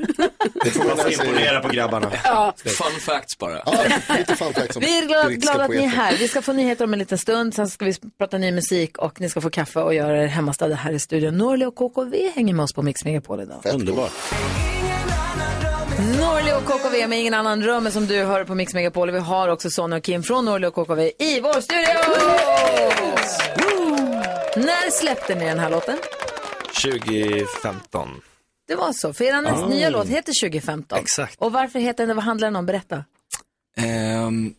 [SPEAKER 3] Det får
[SPEAKER 2] man imponera på grabbarna.
[SPEAKER 5] Ja.
[SPEAKER 12] Fun facts bara.
[SPEAKER 1] Vi är glada, glada att ni är här. Vi ska få nyheter om en liten stund, sen ska vi prata ny musik och ni ska få kaffe och göra er hemmastadda här i studion. Norli och KKV hänger med oss på Mix Megapol idag.
[SPEAKER 2] Underbart.
[SPEAKER 1] Norli och KKV med ingen annan römme som du hör på Mix Megapol. Vi har också Sonja och Kim från Norli och KKV i vår studio! När släppte ni den här låten?
[SPEAKER 13] 2015.
[SPEAKER 1] Det var så, för er näst
[SPEAKER 13] Ah.
[SPEAKER 1] nya låt heter 2015.
[SPEAKER 12] Exakt.
[SPEAKER 1] Och varför heter den det? Vad handlar den om? Berätta.
[SPEAKER 12] Ehm,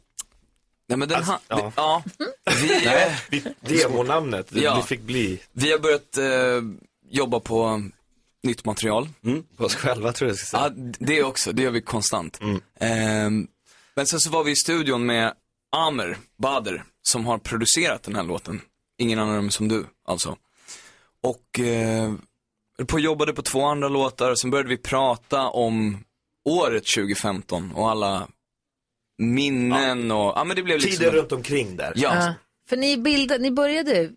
[SPEAKER 12] nej men den han,
[SPEAKER 13] Alltså, ja. Mm.
[SPEAKER 12] det- ja. <laughs> Vi,
[SPEAKER 13] vi, demonamnet, det- det fick bli.
[SPEAKER 12] Vi har börjat eh, jobba på um, nytt material.
[SPEAKER 13] Mm. På oss själva tror jag jag ska säga. Mm.
[SPEAKER 12] Ja, d- det också, det gör vi konstant. Ehm, men sen så var vi i studion med Amer Bader, som har producerat den här låten. Ingen annan än som du, alltså. Och eh, höll på och jobbade på två andra låtar, sen började vi prata om året 2015 och alla minnen och, ja men det blev liksom
[SPEAKER 13] Tiden runt omkring där.
[SPEAKER 12] Ja.
[SPEAKER 1] För ni, bildade, ni började,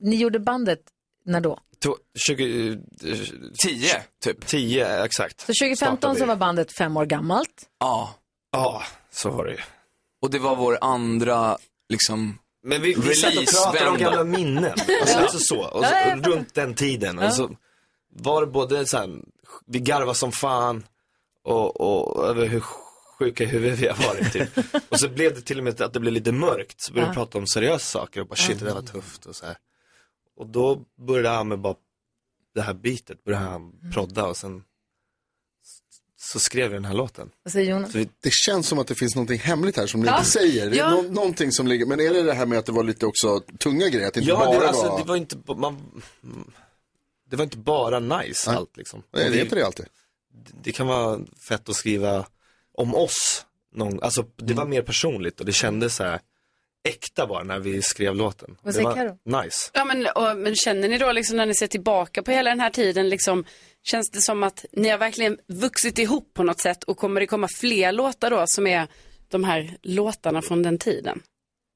[SPEAKER 1] ni gjorde bandet när då?
[SPEAKER 13] to- 20... 10 typ. 10 exakt.
[SPEAKER 1] Så 2015 så var bandet fem år gammalt.
[SPEAKER 12] Ja.
[SPEAKER 13] Ja, så var det ju.
[SPEAKER 12] Och det var vår andra, liksom,
[SPEAKER 13] Men vi, vi satt och pratade om
[SPEAKER 12] releasevända.
[SPEAKER 13] gamla minnen. Alltså, alltså så, och så,
[SPEAKER 12] Ja, ja, ja.
[SPEAKER 13] runt den tiden.
[SPEAKER 12] Ja.
[SPEAKER 13] Och så var det både så här, vi garvade som fan och, och över hur sjuka i huvudet vi har varit
[SPEAKER 12] <laughs>
[SPEAKER 13] typ. Och så blev det till och med att det blev lite mörkt. Så började vi
[SPEAKER 14] Ja.
[SPEAKER 13] prata om seriösa saker och bara shit det där var tufft och så här. Och då började han med bara det här bitet, började
[SPEAKER 12] Mm.
[SPEAKER 13] han prodda och sen så skrev vi den här låten.
[SPEAKER 1] Vad säger Jonas?
[SPEAKER 3] Det känns som att det finns någonting hemligt här som ni
[SPEAKER 1] Ja.
[SPEAKER 3] inte säger. Det är
[SPEAKER 1] Ja.
[SPEAKER 3] nå- någonting som ligger, men är det det här med att det var lite också tunga grejer? Att det inte
[SPEAKER 13] Ja,
[SPEAKER 3] bara
[SPEAKER 13] det, alltså,
[SPEAKER 3] var...
[SPEAKER 13] det var inte, ba- man, mm. det var inte bara nice
[SPEAKER 3] Nej.
[SPEAKER 13] allt liksom.
[SPEAKER 3] Nej,
[SPEAKER 13] Och
[SPEAKER 3] det heter det alltid.
[SPEAKER 13] Det, det kan vara fett att skriva om oss, någon, alltså det
[SPEAKER 3] Mm.
[SPEAKER 13] var mer personligt och det kändes så här äkta bara när vi skrev låten.
[SPEAKER 5] Vad
[SPEAKER 13] det
[SPEAKER 5] säger
[SPEAKER 13] var nice.
[SPEAKER 5] Ja, men, och, men känner ni då liksom när ni ser tillbaka på hela den här tiden, liksom, känns det som att ni har verkligen vuxit ihop på något sätt och kommer det komma fler låtar då som är de här låtarna från den tiden?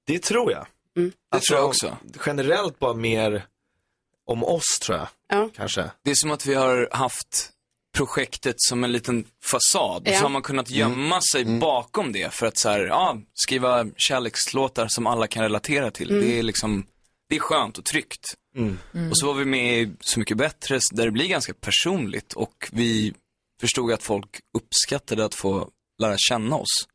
[SPEAKER 13] Det tror jag.
[SPEAKER 5] Mm.
[SPEAKER 13] Det tror jag också. Generellt bara mer om oss tror jag,
[SPEAKER 5] Ja.
[SPEAKER 13] kanske.
[SPEAKER 12] Det är som att vi har haft projektet som en liten fasad.
[SPEAKER 13] Ja.
[SPEAKER 12] Och så har man kunnat
[SPEAKER 13] Mm.
[SPEAKER 12] gömma sig bakom det för att så här, ja, skriva kärlekslåtar som alla kan relatera till.
[SPEAKER 13] Mm.
[SPEAKER 12] Det är liksom, det är skönt och tryggt.
[SPEAKER 13] Mm.
[SPEAKER 12] Och så var vi med i Så mycket bättre där det blir ganska personligt och vi förstod att folk uppskattade att få lära känna oss.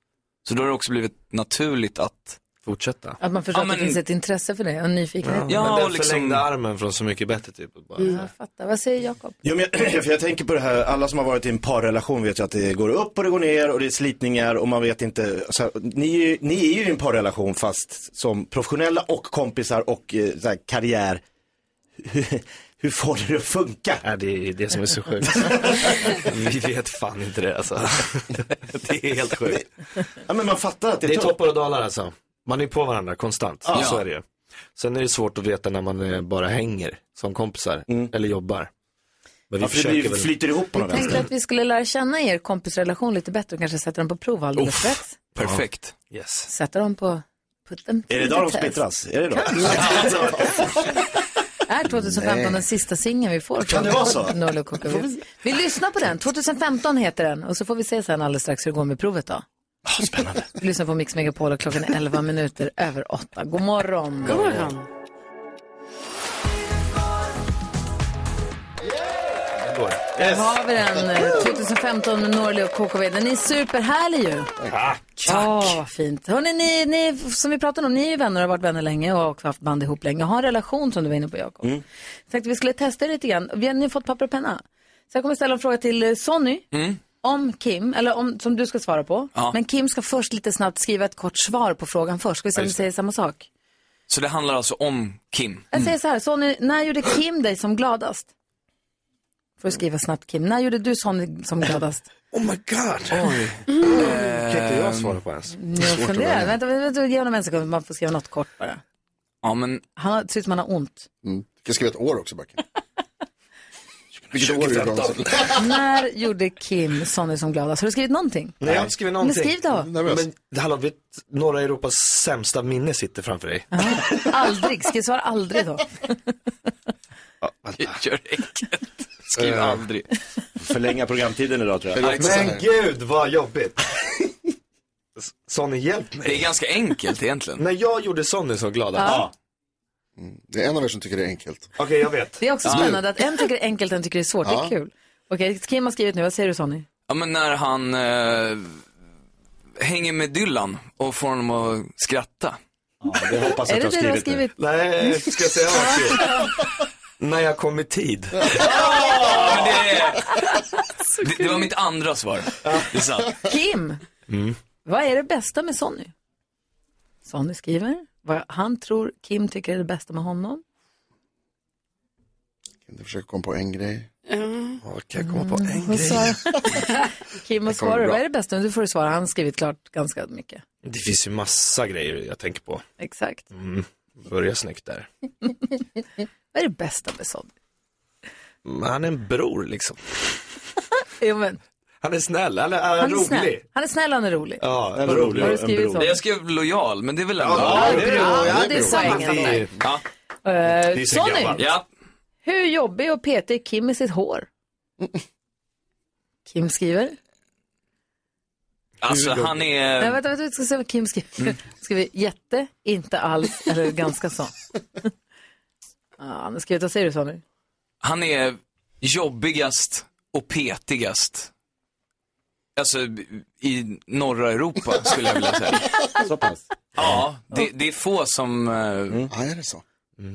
[SPEAKER 12] Så då har det också blivit naturligt att
[SPEAKER 13] fortsätta.
[SPEAKER 1] Att man förstår
[SPEAKER 12] Ja,
[SPEAKER 1] att det
[SPEAKER 12] men-
[SPEAKER 1] finns ett intresse för det och en nyfikenhet.
[SPEAKER 12] Ja,
[SPEAKER 13] men den
[SPEAKER 12] och liksom-
[SPEAKER 13] förlängda armen från Så mycket bättre typ. och Bara,
[SPEAKER 1] Mm, jag fattar. Vad säger Jakob?
[SPEAKER 2] Jo, men <clears throat> jag, för jag tänker på det här, alla som har varit i en parrelation vet ju att det går upp och det går ner och det är slitningar och man vet inte. Så här, ni, är ju- ni är ju i en parrelation fast som professionella och kompisar och eh, så här, karriär. Hur, <laughs> hur får ni det att funka?
[SPEAKER 13] Ja, det är det som är så
[SPEAKER 2] <laughs>
[SPEAKER 13] sjukt. Vi vet fan inte det alltså. <laughs> det är helt sjukt.
[SPEAKER 2] Ja, men man fattar att det är
[SPEAKER 13] Det är
[SPEAKER 2] tungt.
[SPEAKER 13] toppar och dalar alltså. Man är på varandra konstant,
[SPEAKER 2] Ja.
[SPEAKER 13] så är det ju. Sen är det svårt att veta när man eh, bara hänger som kompisar eller jobbar. Men
[SPEAKER 2] Mm. Ja, för det blir- flyter ihop på något
[SPEAKER 1] Jag tänkte att vi skulle lära känna er kompisrelation lite bättre och kanske sätta den på prov alldeles
[SPEAKER 2] Uff.
[SPEAKER 1] strax.
[SPEAKER 12] Perfekt.
[SPEAKER 13] Yes.
[SPEAKER 1] Sätta dem på... Put them to
[SPEAKER 2] Är det
[SPEAKER 1] the
[SPEAKER 2] då de
[SPEAKER 1] test.
[SPEAKER 2] splittras? Är det då? <laughs> Alltså,
[SPEAKER 1] Är 2015
[SPEAKER 2] Nej.
[SPEAKER 1] den sista singeln vi får?
[SPEAKER 2] Kan det vara så?
[SPEAKER 1] Noll och Coco.
[SPEAKER 2] Får
[SPEAKER 1] vi... lyssnar på den. 2015 heter den. Och så får vi se sen alldeles strax hur det går med provet då.
[SPEAKER 2] Ah,
[SPEAKER 1] <laughs>
[SPEAKER 2] spännande.
[SPEAKER 1] Vi lyssnar på Mix Megapol och klockan är 11 minuter över 8. God morgon.
[SPEAKER 5] God morgon.
[SPEAKER 1] Där har vi den. eh, 2015 med Norli och KKV. Den är superhärlig ju.
[SPEAKER 2] Ah.
[SPEAKER 13] Tack.
[SPEAKER 1] Åh, vad fint. Hörrni, ni, ni, som vi pratade om, ni är ju vänner och har varit vänner länge och har också haft band ihop länge. Har en relation som du var inne på Jakob. Mm. Tänkte vi skulle testa det lite grann. Vi har nu fått papper och penna. Så jag kommer ställa en fråga till eh, Sonny.
[SPEAKER 2] Mm.
[SPEAKER 1] Om Kim, eller om, som du ska svara på.
[SPEAKER 12] Ja.
[SPEAKER 1] Men Kim ska först lite snabbt skriva ett kort svar på frågan först. Ska vi se
[SPEAKER 12] Ja,
[SPEAKER 1] om vi
[SPEAKER 12] just
[SPEAKER 1] säger samma sak?
[SPEAKER 12] Så det handlar alltså om Kim. Mm.
[SPEAKER 1] Jag säger så här, Sonny, när gjorde Kim dig som gladast? Får du skriva snabbt Kim. När gjorde du Sonny som
[SPEAKER 12] <laughs>
[SPEAKER 1] gladast?
[SPEAKER 13] Oh my god.
[SPEAKER 12] Oj.
[SPEAKER 13] Kan inte jag svara på ens?
[SPEAKER 1] Mm. Jag funderar. Vänta, vänta, ge honom en sekund. Man får skriva något kort bara.
[SPEAKER 12] Ja, men...
[SPEAKER 1] Han har- ser ut som han har ont.
[SPEAKER 3] Mm. Du kan skriva ett år också, Backen. Vilket år är det?
[SPEAKER 1] När gjorde Kim Sonny som gladast? Har du skrivit någonting?
[SPEAKER 13] Nej, jag har inte skrivit någonting.
[SPEAKER 1] Men skriv då.
[SPEAKER 13] Men det handlar om, vet, norra Europas sämsta minne sitter framför dig.
[SPEAKER 1] Aldrig. Skriv svar
[SPEAKER 13] <laughs>
[SPEAKER 1] aldrig då.
[SPEAKER 12] <laughs> Gör enkelt. Skriv aldrig.
[SPEAKER 2] Eh, Förlänga programtiden idag tror jag.
[SPEAKER 13] Men gud vad jobbigt. S- Sonny, hjälp mig.
[SPEAKER 12] Det är ganska enkelt egentligen.
[SPEAKER 13] När jag gjorde Sonny så glad.
[SPEAKER 1] Ja.
[SPEAKER 3] Mm. Det är en av er som tycker det är enkelt.
[SPEAKER 13] Okej, jag vet.
[SPEAKER 1] Det är också spännande att en tycker det är enkelt, en tycker det är svårt. Det
[SPEAKER 12] Ja.
[SPEAKER 1] är kul. Okej, Kim har skrivit nu. Vad säger du Sonny?
[SPEAKER 12] Ja, men när han eh, hänger med Dylan och får honom att skratta. Ja,
[SPEAKER 2] det
[SPEAKER 1] hoppas jag Är att det du har det du har skrivit
[SPEAKER 13] nu. Nej, ska jag säga vad jag skrev? När jag kom i tid.
[SPEAKER 12] Det, det var mitt andra svar. Det är sant.
[SPEAKER 1] Kim, vad är det bästa med Sonny? Sonny skriver vad han tror Kim tycker är det bästa med honom.
[SPEAKER 3] Kan du försöka komma på en grej?
[SPEAKER 1] Mm.
[SPEAKER 3] Ja, kan jag komma på en
[SPEAKER 1] Vad
[SPEAKER 3] <laughs>
[SPEAKER 1] svarar- Kim, vad
[SPEAKER 13] Det kommer
[SPEAKER 1] svarar du?
[SPEAKER 13] bra.
[SPEAKER 1] Vad är det bästa? Du får du svara. Han har skrivit klart ganska mycket.
[SPEAKER 13] Det finns ju massa grejer jag tänker på.
[SPEAKER 1] Exakt.
[SPEAKER 13] Mm. Börja snyggt där.
[SPEAKER 1] Vad är det bästa med Sonny?
[SPEAKER 13] Men han är en bror liksom.
[SPEAKER 1] Jo, men,
[SPEAKER 13] Han är snäll, eller är
[SPEAKER 1] han
[SPEAKER 13] han
[SPEAKER 1] är snäll.
[SPEAKER 13] rolig?
[SPEAKER 1] Han är snäll och han är rolig.
[SPEAKER 13] Ja,
[SPEAKER 1] en rolig och en bror.
[SPEAKER 12] Nej, Jag skrev lojal, men det är väl ändå...
[SPEAKER 1] Ja, det är- ja, det är
[SPEAKER 12] bror.
[SPEAKER 1] samma.
[SPEAKER 12] Ja.
[SPEAKER 1] Eh,
[SPEAKER 12] Det är så
[SPEAKER 1] Sonny,
[SPEAKER 12] gammalt. Ja.
[SPEAKER 1] Hur jobbig och petig är Kim i sitt hår? Kim skriver.
[SPEAKER 12] Alltså han är...
[SPEAKER 1] Nej, vänta, vänta, vi ska se vad Kim skriver.
[SPEAKER 12] Mm.
[SPEAKER 1] <laughs> Skriver jätte, inte alls eller ganska
[SPEAKER 12] <laughs>
[SPEAKER 1] så. ah, han har skrivit, vad säger du Samuel?
[SPEAKER 12] Han är jobbigast och petigast. Alltså i norra Europa skulle jag vilja säga.
[SPEAKER 2] Så
[SPEAKER 12] Alltså-
[SPEAKER 2] pass?
[SPEAKER 12] Ja, det, det är få som...
[SPEAKER 3] Mm. Ja, är det så?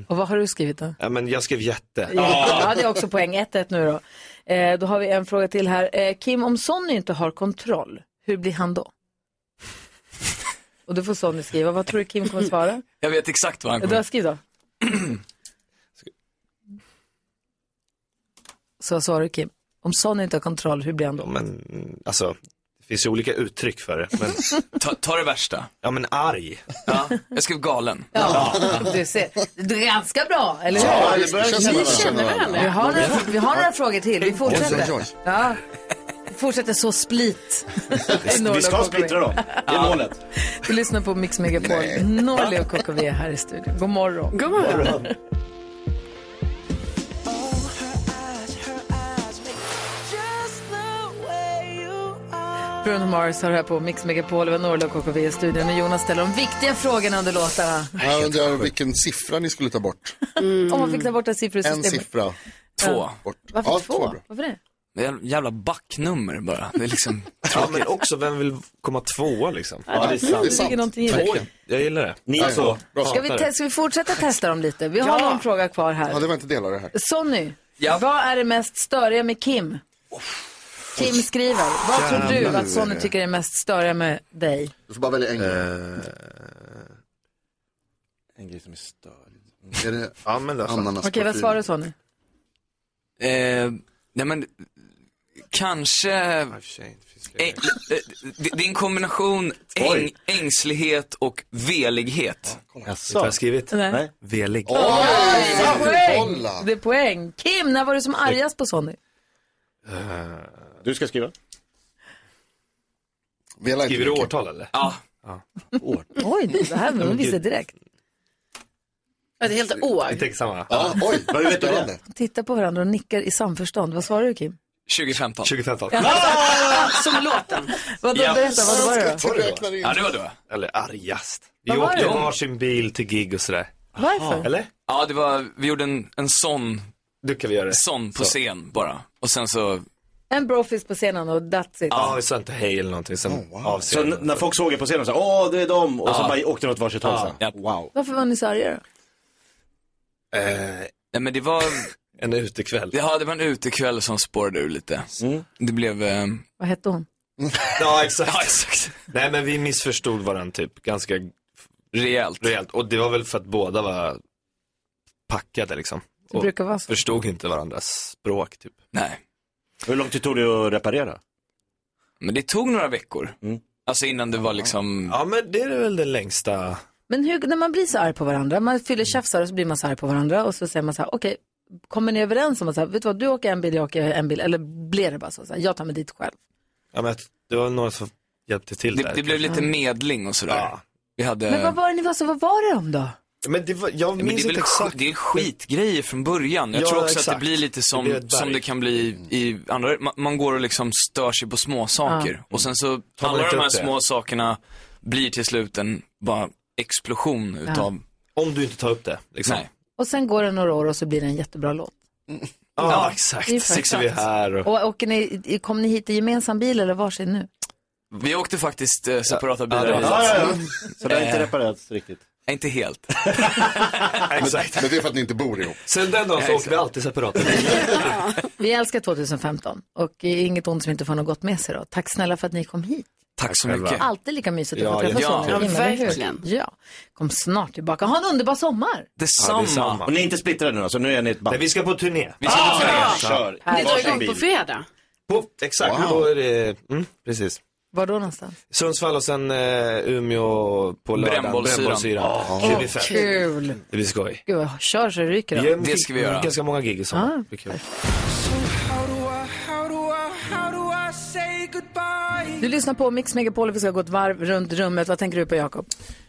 [SPEAKER 1] Och vad har du skrivit då?
[SPEAKER 13] Ja, men jag skrev jätte.
[SPEAKER 1] Ja, det är också poäng 1-1 nu då. Eh, då har vi en fråga till här. Eh, Kim, om Sonny inte har kontroll, hur blir han då? Och då får Sonny skriva. Vad tror du Kim kommer
[SPEAKER 12] <laughs>
[SPEAKER 1] svara?
[SPEAKER 12] Jag vet exakt vad han
[SPEAKER 1] Du har
[SPEAKER 12] kommer...
[SPEAKER 1] skrivit
[SPEAKER 12] <clears throat>
[SPEAKER 1] då? Så vad svarar du Kim? Om Sonny inte har kontroll, hur blir han då?
[SPEAKER 13] Men alltså, det finns ju olika uttryck för det. Men...
[SPEAKER 12] <laughs> ta, ta det värsta.
[SPEAKER 13] Ja men arg.
[SPEAKER 12] Ja, jag skrev galen.
[SPEAKER 1] Ja. <laughs> Du ser, du är ganska bra, eller hur?
[SPEAKER 12] Ja, det börjar känna
[SPEAKER 1] vi
[SPEAKER 12] varandra.
[SPEAKER 1] känner varandra. Vi har, några, vi har några frågor till, vi fortsätter. Ja. Vi fortsätter så split.
[SPEAKER 2] Vi ska splittra dem. Det är målet.
[SPEAKER 1] Du lyssnar på Mix Megapol. Norli och KKV är här i studion. God morgon. God morgon. Bruno Mars har här på Mix Megapol. Det var Norli och KKV i studion. Och Jonas ställer de viktiga frågorna under låtarna.
[SPEAKER 3] Jag undrar vilken siffra ni skulle ta bort.
[SPEAKER 1] Om man fick ta bort ett siffersystem.
[SPEAKER 3] En siffra.
[SPEAKER 12] Två.
[SPEAKER 3] Bort.
[SPEAKER 1] Varför
[SPEAKER 3] Ja,
[SPEAKER 1] två?
[SPEAKER 3] två bra.
[SPEAKER 1] Varför det?
[SPEAKER 12] Det är ett jävla backnummer bara. Det är liksom
[SPEAKER 13] <laughs> Ja men också, vem vill komma tvåa liksom?
[SPEAKER 1] Ja, det är sant. Det ligger någonting i det.
[SPEAKER 13] Två, Jag gillar det.
[SPEAKER 2] Ni
[SPEAKER 13] Ja,
[SPEAKER 2] två.
[SPEAKER 13] bra.
[SPEAKER 1] Ska vi, te- ska vi fortsätta testa dem lite? Vi har någon fråga kvar
[SPEAKER 3] Ja,
[SPEAKER 1] här.
[SPEAKER 3] det var inte delar det här.
[SPEAKER 1] Sonny, vad är det mest störiga med Kim? Kim skriver, vad tror du
[SPEAKER 3] Jävlar,
[SPEAKER 1] att Sonny
[SPEAKER 3] det.
[SPEAKER 1] tycker är mest störiga med dig?
[SPEAKER 3] Du får bara välja en grej.
[SPEAKER 2] Eh, En grej som är störig.
[SPEAKER 3] Mm. Är det
[SPEAKER 13] Ja men det
[SPEAKER 3] ananas?
[SPEAKER 1] Okej, vad svarar du Sonny?
[SPEAKER 12] Eh, nej men, kanske, Eh, eh, det, det är en kombination äng, ängslighet och veligvet.
[SPEAKER 13] Vet du vad jag skrivit?
[SPEAKER 1] Nej.
[SPEAKER 13] Velig.
[SPEAKER 1] Oj, det är poäng!
[SPEAKER 3] kolla.
[SPEAKER 1] Det är poäng. Kim, när var du som argast på Sonny?
[SPEAKER 2] Du ska skriva.
[SPEAKER 3] Vela inte
[SPEAKER 13] Skriver du
[SPEAKER 3] mycket.
[SPEAKER 13] årtal eller?
[SPEAKER 12] Ja,
[SPEAKER 1] Oj, det här var hon visste direkt.
[SPEAKER 5] Ja, det är helt år.
[SPEAKER 13] Inte exakt samma.
[SPEAKER 3] Ja, oj, vad
[SPEAKER 2] vet du det?
[SPEAKER 3] spännande.
[SPEAKER 1] Titta på varandra och nickar i samförstånd. Vad svarar du Kim?
[SPEAKER 12] 2015.
[SPEAKER 13] 2015.
[SPEAKER 5] Som låten.
[SPEAKER 1] Vadå,
[SPEAKER 12] Ja.
[SPEAKER 1] berätta, vad var det då?
[SPEAKER 3] Jag räknar in.
[SPEAKER 12] Ja det var du va?
[SPEAKER 13] Eller argast. Vi
[SPEAKER 1] Vad var
[SPEAKER 13] åkte
[SPEAKER 1] det?
[SPEAKER 13] varsin bil till gig och sådär.
[SPEAKER 1] Varför?
[SPEAKER 13] Eller?
[SPEAKER 12] Ja det var, vi gjorde en, en sån,
[SPEAKER 13] Du kan vi göra det.
[SPEAKER 12] sån på scen bara. Och sen så,
[SPEAKER 1] En brofist på scenen och that's it.
[SPEAKER 13] Ja, vi sa inte hej eller någonting. Sen oh,
[SPEAKER 2] Så n- när folk såg er på scenen så åh det är dem och så
[SPEAKER 12] Ja.
[SPEAKER 2] bara åkte de åt varsitt håll
[SPEAKER 12] Ja.
[SPEAKER 2] sen.
[SPEAKER 12] Ja.
[SPEAKER 2] Wow.
[SPEAKER 1] Varför var ni så arga då?
[SPEAKER 13] eh,
[SPEAKER 12] nej men det var,
[SPEAKER 13] en utekväll. Mm.
[SPEAKER 12] ja, det var en utekväll som spårade ur lite. Det blev, eh,
[SPEAKER 1] Vad hette hon?
[SPEAKER 13] Ja, exakt.
[SPEAKER 12] ja exakt,
[SPEAKER 13] Nej, men vi missförstod varandra typ ganska
[SPEAKER 12] rejält.
[SPEAKER 13] rejält. Och det var väl för att båda var packade liksom.
[SPEAKER 1] Det
[SPEAKER 13] Och
[SPEAKER 1] brukar vara
[SPEAKER 5] Alltså.
[SPEAKER 1] så.
[SPEAKER 13] förstod inte varandras språk typ.
[SPEAKER 12] Nej,
[SPEAKER 2] Hur lång tid tog det att reparera?
[SPEAKER 12] men det tog några veckor.
[SPEAKER 2] Mm.
[SPEAKER 12] Alltså innan det var liksom,
[SPEAKER 13] Ja, men det är väl den längsta.
[SPEAKER 1] Men hur, när man blir så arg på varandra, man fyller tjafsar och så blir man så arg på varandra och så säger man så här, okej, kommer ni överens om att så här, vet du vad, du åker en bil, jag åker en bil, eller blir det bara så, så här, jag tar mig dit själv.
[SPEAKER 13] Ja, men att det var några som hjälpte till
[SPEAKER 12] det,
[SPEAKER 13] där.
[SPEAKER 12] det blev lite medling och sådär.
[SPEAKER 13] Ja.
[SPEAKER 12] Vi hade...
[SPEAKER 1] Men vad var det ni var, så vad var det om då?
[SPEAKER 13] Men det var, jag
[SPEAKER 12] Men det
[SPEAKER 13] minns
[SPEAKER 12] är väl
[SPEAKER 13] inte exakt.
[SPEAKER 12] sk- det är skitgrejer från början. Jag
[SPEAKER 13] Ja,
[SPEAKER 12] tror också att
[SPEAKER 13] exakt.
[SPEAKER 12] det blir lite som
[SPEAKER 13] Det
[SPEAKER 12] det,
[SPEAKER 13] blir ett berg.
[SPEAKER 12] som det kan bli i andra, man, man går och liksom stör sig på små saker Och sen så,
[SPEAKER 13] man
[SPEAKER 12] alla
[SPEAKER 13] inte
[SPEAKER 12] de här
[SPEAKER 13] Mm. upp det?
[SPEAKER 12] små sakerna blir till slut en bara explosion utav,
[SPEAKER 13] Om du inte tar upp det. Liksom.
[SPEAKER 12] nej.
[SPEAKER 1] Och sen går det några år och så blir det en jättebra låt.
[SPEAKER 13] Ja,
[SPEAKER 12] Ja,
[SPEAKER 1] det är
[SPEAKER 13] exakt.
[SPEAKER 1] perfekt.
[SPEAKER 13] Sitter vi här och...
[SPEAKER 1] Och åker ni, i- kom ni hit i gemensam bil eller varsin nu?
[SPEAKER 12] Vi åkte faktiskt eh, separata bilar
[SPEAKER 13] det var
[SPEAKER 12] hit.
[SPEAKER 2] Så det har inte
[SPEAKER 12] Eh.
[SPEAKER 2] reparerats riktigt.
[SPEAKER 12] Nej,
[SPEAKER 2] <laughs>
[SPEAKER 12] Inte helt.
[SPEAKER 13] Exakt.
[SPEAKER 3] Men det är för att ni inte bor ihop.
[SPEAKER 13] Sen den dagen så åker vi alltid separat.
[SPEAKER 1] Vi älskar 2015 och inget ont som inte får något gott med sig då. Tack snälla för att ni kom hit.
[SPEAKER 12] Tack så
[SPEAKER 13] själva.
[SPEAKER 12] mycket.
[SPEAKER 1] Alltid lika mysigt att
[SPEAKER 13] Ja,
[SPEAKER 1] få träffa
[SPEAKER 12] ja.
[SPEAKER 1] sådana
[SPEAKER 12] Ja,
[SPEAKER 1] himla med hur?
[SPEAKER 5] verkligen.
[SPEAKER 1] Ja, kom snart tillbaka. Ha en underbar sommar.
[SPEAKER 12] Detsamma.
[SPEAKER 13] detsamma.
[SPEAKER 2] Och ni är inte splittrade nu alltså, nu är ni ett band.
[SPEAKER 13] Nej, vi ska på turné.
[SPEAKER 12] Vi ska på turné.
[SPEAKER 2] Kör.
[SPEAKER 5] Det Ah! drar
[SPEAKER 2] Varsin
[SPEAKER 5] igång på
[SPEAKER 2] bil.
[SPEAKER 5] fredag.
[SPEAKER 13] På, exakt,
[SPEAKER 3] Wow.
[SPEAKER 13] då är det, mm, precis.
[SPEAKER 1] Var då någonstans?
[SPEAKER 13] Sundsvall och sen eh, Umeå på lördagen.
[SPEAKER 12] Brännbollsyran.
[SPEAKER 13] Oh, oh,
[SPEAKER 1] Kul.
[SPEAKER 13] det blir skoj.
[SPEAKER 1] Gud, vad- kör så det ryker. då.
[SPEAKER 13] gör
[SPEAKER 12] Det ska vi
[SPEAKER 13] g-
[SPEAKER 12] göra.
[SPEAKER 13] Ganska många gig i sommar.
[SPEAKER 1] Ah,
[SPEAKER 13] Det blir kul.
[SPEAKER 4] How do I, how do I, how do I say goodbye?
[SPEAKER 1] Du lyssnar på Mix Megapol och vi ska gå ett varv runt rummet. Vad tänker du på Jakob?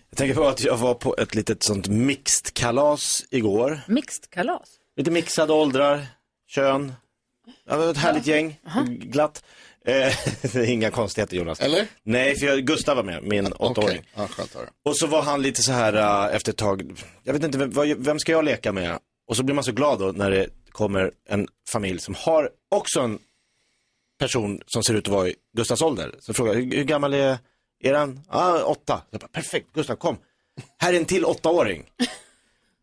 [SPEAKER 2] Jag tänker på att jag var på ett litet sånt mixed kalas igår.
[SPEAKER 1] Mixed kalas?
[SPEAKER 2] Lite mixade åldrar, kön. Ja, det var ett härligt gäng, glatt. Eh, <laughs> det är inga konstigheter Jonas.
[SPEAKER 3] Eller?
[SPEAKER 2] Nej, för jag, Gustav var med, min åttaåring.
[SPEAKER 3] Ja, skönt att höra.
[SPEAKER 2] Och så var han lite så här eh, efter ett tag, jag vet inte, vem, vad- vem ska jag leka med? Och så blir man så glad då när det kommer en familj som har också en person som ser ut att vara i Gustavs ålder. Så frågar jag, hur, hur gammal är eran? Ah, åtta. Jag bara, Perfekt, Gustav kom. Här är en till åttaåring.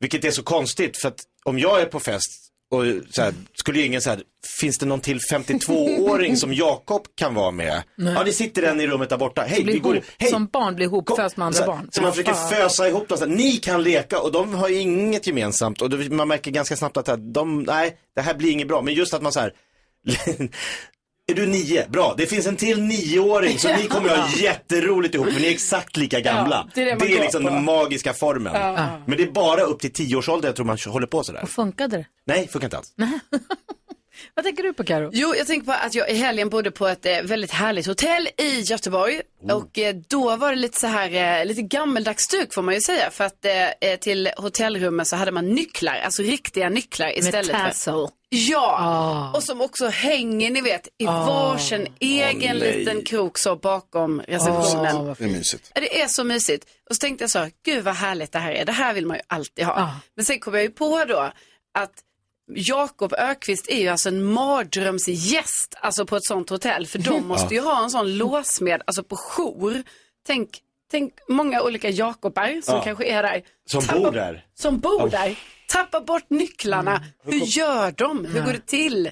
[SPEAKER 2] Vilket är så konstigt för att om jag är på fest och så här, skulle ju ingen så här, finns det någon till 52-åring som Jakob kan vara med?
[SPEAKER 1] Nej.
[SPEAKER 2] Ja, det sitter en i rummet där borta. Hej,
[SPEAKER 1] blir
[SPEAKER 2] vi går,
[SPEAKER 1] ihop,
[SPEAKER 2] hej,
[SPEAKER 1] Som barn blir ihopföst med andra
[SPEAKER 2] så,
[SPEAKER 1] barn. Ah.
[SPEAKER 2] Så man försöker
[SPEAKER 1] Fan.
[SPEAKER 2] fösa ihop dem. Så här, ni kan leka och de har ju inget gemensamt. Och det, man märker ganska snabbt att det här- de, nej, det här blir inget bra. Men just att man så här, <laughs> är du nio? Bra, det finns en till nioåring så
[SPEAKER 1] <laughs>
[SPEAKER 2] ni kommer ha jätteroligt ihop för ni är exakt lika gamla.
[SPEAKER 1] Ja, det är det man går
[SPEAKER 2] liksom
[SPEAKER 1] på.
[SPEAKER 2] den magiska formeln.
[SPEAKER 1] Ja.
[SPEAKER 2] Men det är bara upp till tioårsåldern jag tror man håller på sådär.
[SPEAKER 1] Och funkade det?
[SPEAKER 2] Nej, funkar inte alls.
[SPEAKER 1] Vad tänker du på Karo?
[SPEAKER 5] Jo, jag tänker på att jag i helgen bodde på ett eh, väldigt härligt hotell i Göteborg. Och eh, då var det lite så här, eh, lite gammeldags stuk får man ju säga. För att eh, eh, till hotellrummen så hade man nycklar, alltså riktiga nycklar istället för...
[SPEAKER 1] tassel.
[SPEAKER 5] Ja,
[SPEAKER 1] Ah.
[SPEAKER 5] och som också hänger, ni vet, i
[SPEAKER 1] Ah.
[SPEAKER 5] varsin egen
[SPEAKER 3] nej.
[SPEAKER 5] liten krok så bakom
[SPEAKER 1] Ah.
[SPEAKER 5] receptionen.
[SPEAKER 3] det är mysigt.
[SPEAKER 5] Ja, Det är så mysigt. Och så tänkte jag så, här, gud vad härligt det här är. Det här vill man ju alltid ha. Men sen kom jag ju på då att Jakob Ökvist är ju alltså en mardrömsgäst alltså på ett sånt hotell.
[SPEAKER 2] <laughs>
[SPEAKER 5] För de måste ju ha en sån låsmed, alltså på jour. Tänk, tänk många olika Jakobar som
[SPEAKER 2] Ja.
[SPEAKER 5] kanske är där.
[SPEAKER 2] Som
[SPEAKER 5] Tappa-
[SPEAKER 2] bor där. Mm.
[SPEAKER 5] Som bor
[SPEAKER 2] Ja.
[SPEAKER 5] där. Tappa bort nycklarna. Hur gör de? Hur går det till?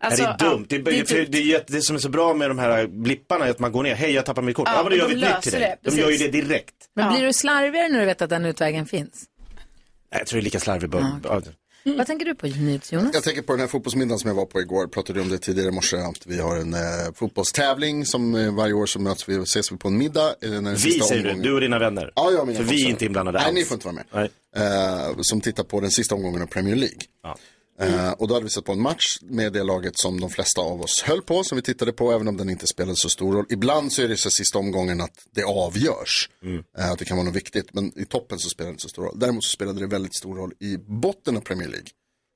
[SPEAKER 5] Alltså,
[SPEAKER 2] är det är dumt. Det,
[SPEAKER 5] ja,
[SPEAKER 2] är, det, är det, är jätte- det som är så bra med de här blipparna är att man går ner, hej jag tappar mitt kort.
[SPEAKER 5] Ja,
[SPEAKER 2] Ja, men då
[SPEAKER 5] och
[SPEAKER 2] gör
[SPEAKER 5] de
[SPEAKER 2] vi ett nytt
[SPEAKER 5] löser
[SPEAKER 2] till dig.
[SPEAKER 5] det,
[SPEAKER 2] De gör ju det
[SPEAKER 5] precis.
[SPEAKER 2] direkt.
[SPEAKER 1] Men blir du slarvigare när du vet att den utvägen finns?
[SPEAKER 2] Nej, jag tror det är lika slarvig bör- Mm.
[SPEAKER 1] Vad tänker du på Nils Jonas?
[SPEAKER 3] Mm. Jag tänker på den här fotbollsmiddagen som jag var på igår, pratade om det tidigare i morse. att Vi har en eh, fotbollstävling som eh, varje år så möts vi, ses vi på en middag. Eh, när den
[SPEAKER 2] Vi
[SPEAKER 3] sista
[SPEAKER 2] säger du,
[SPEAKER 3] omgången-
[SPEAKER 2] du och dina vänner.
[SPEAKER 3] Ja, jag och mina
[SPEAKER 2] För vi
[SPEAKER 3] kompisar.
[SPEAKER 2] är inte inblandade
[SPEAKER 3] Nej,
[SPEAKER 2] alls.
[SPEAKER 3] ni får inte vara med.
[SPEAKER 2] Nej.
[SPEAKER 3] Eh, som tittar på den sista omgången av Premier League. Eh, och då hade vi sett på en match med det laget som de flesta av oss höll på, som vi tittade på, även om den inte spelade så stor roll. Ibland så är det så sista omgången att det avgörs, eh, att det kan vara något viktigt, men i toppen så spelar det inte så stor roll. Däremot så spelade det väldigt stor roll i botten av Premier League.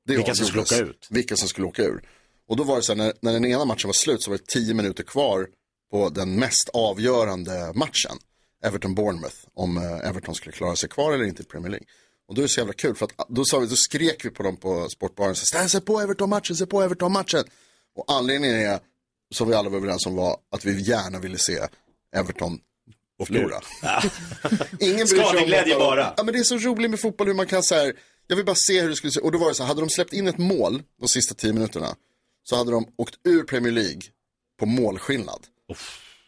[SPEAKER 3] Det
[SPEAKER 2] Vilka som
[SPEAKER 3] avgjordes.
[SPEAKER 2] skulle åka ut.
[SPEAKER 3] Vilka som skulle åka ur. Och då var det så här, när, när den ena matchen var slut så var det tio minuter kvar på den mest avgörande matchen. Everton-Bournemouth, om eh, Everton skulle klara sig kvar eller inte i Premier League. Och då är det så jävla kul, för att ah, då, sa vi, då skrek vi på dem på sportbaren, så här, se på Everton-matchen, se på Everton-matchen. Och anledningen är, som vi alla var överens om, var att vi gärna ville se Everton förlora. Ingen bryr sig om
[SPEAKER 2] Skadeglädje
[SPEAKER 3] fotboll.
[SPEAKER 2] bara.
[SPEAKER 3] Ja, men det är så roligt med fotboll hur man kan så här, jag vill bara se hur det skulle se Och då var det så här, hade de släppt in ett mål de sista tio minuterna så hade de åkt ur Premier League på målskillnad.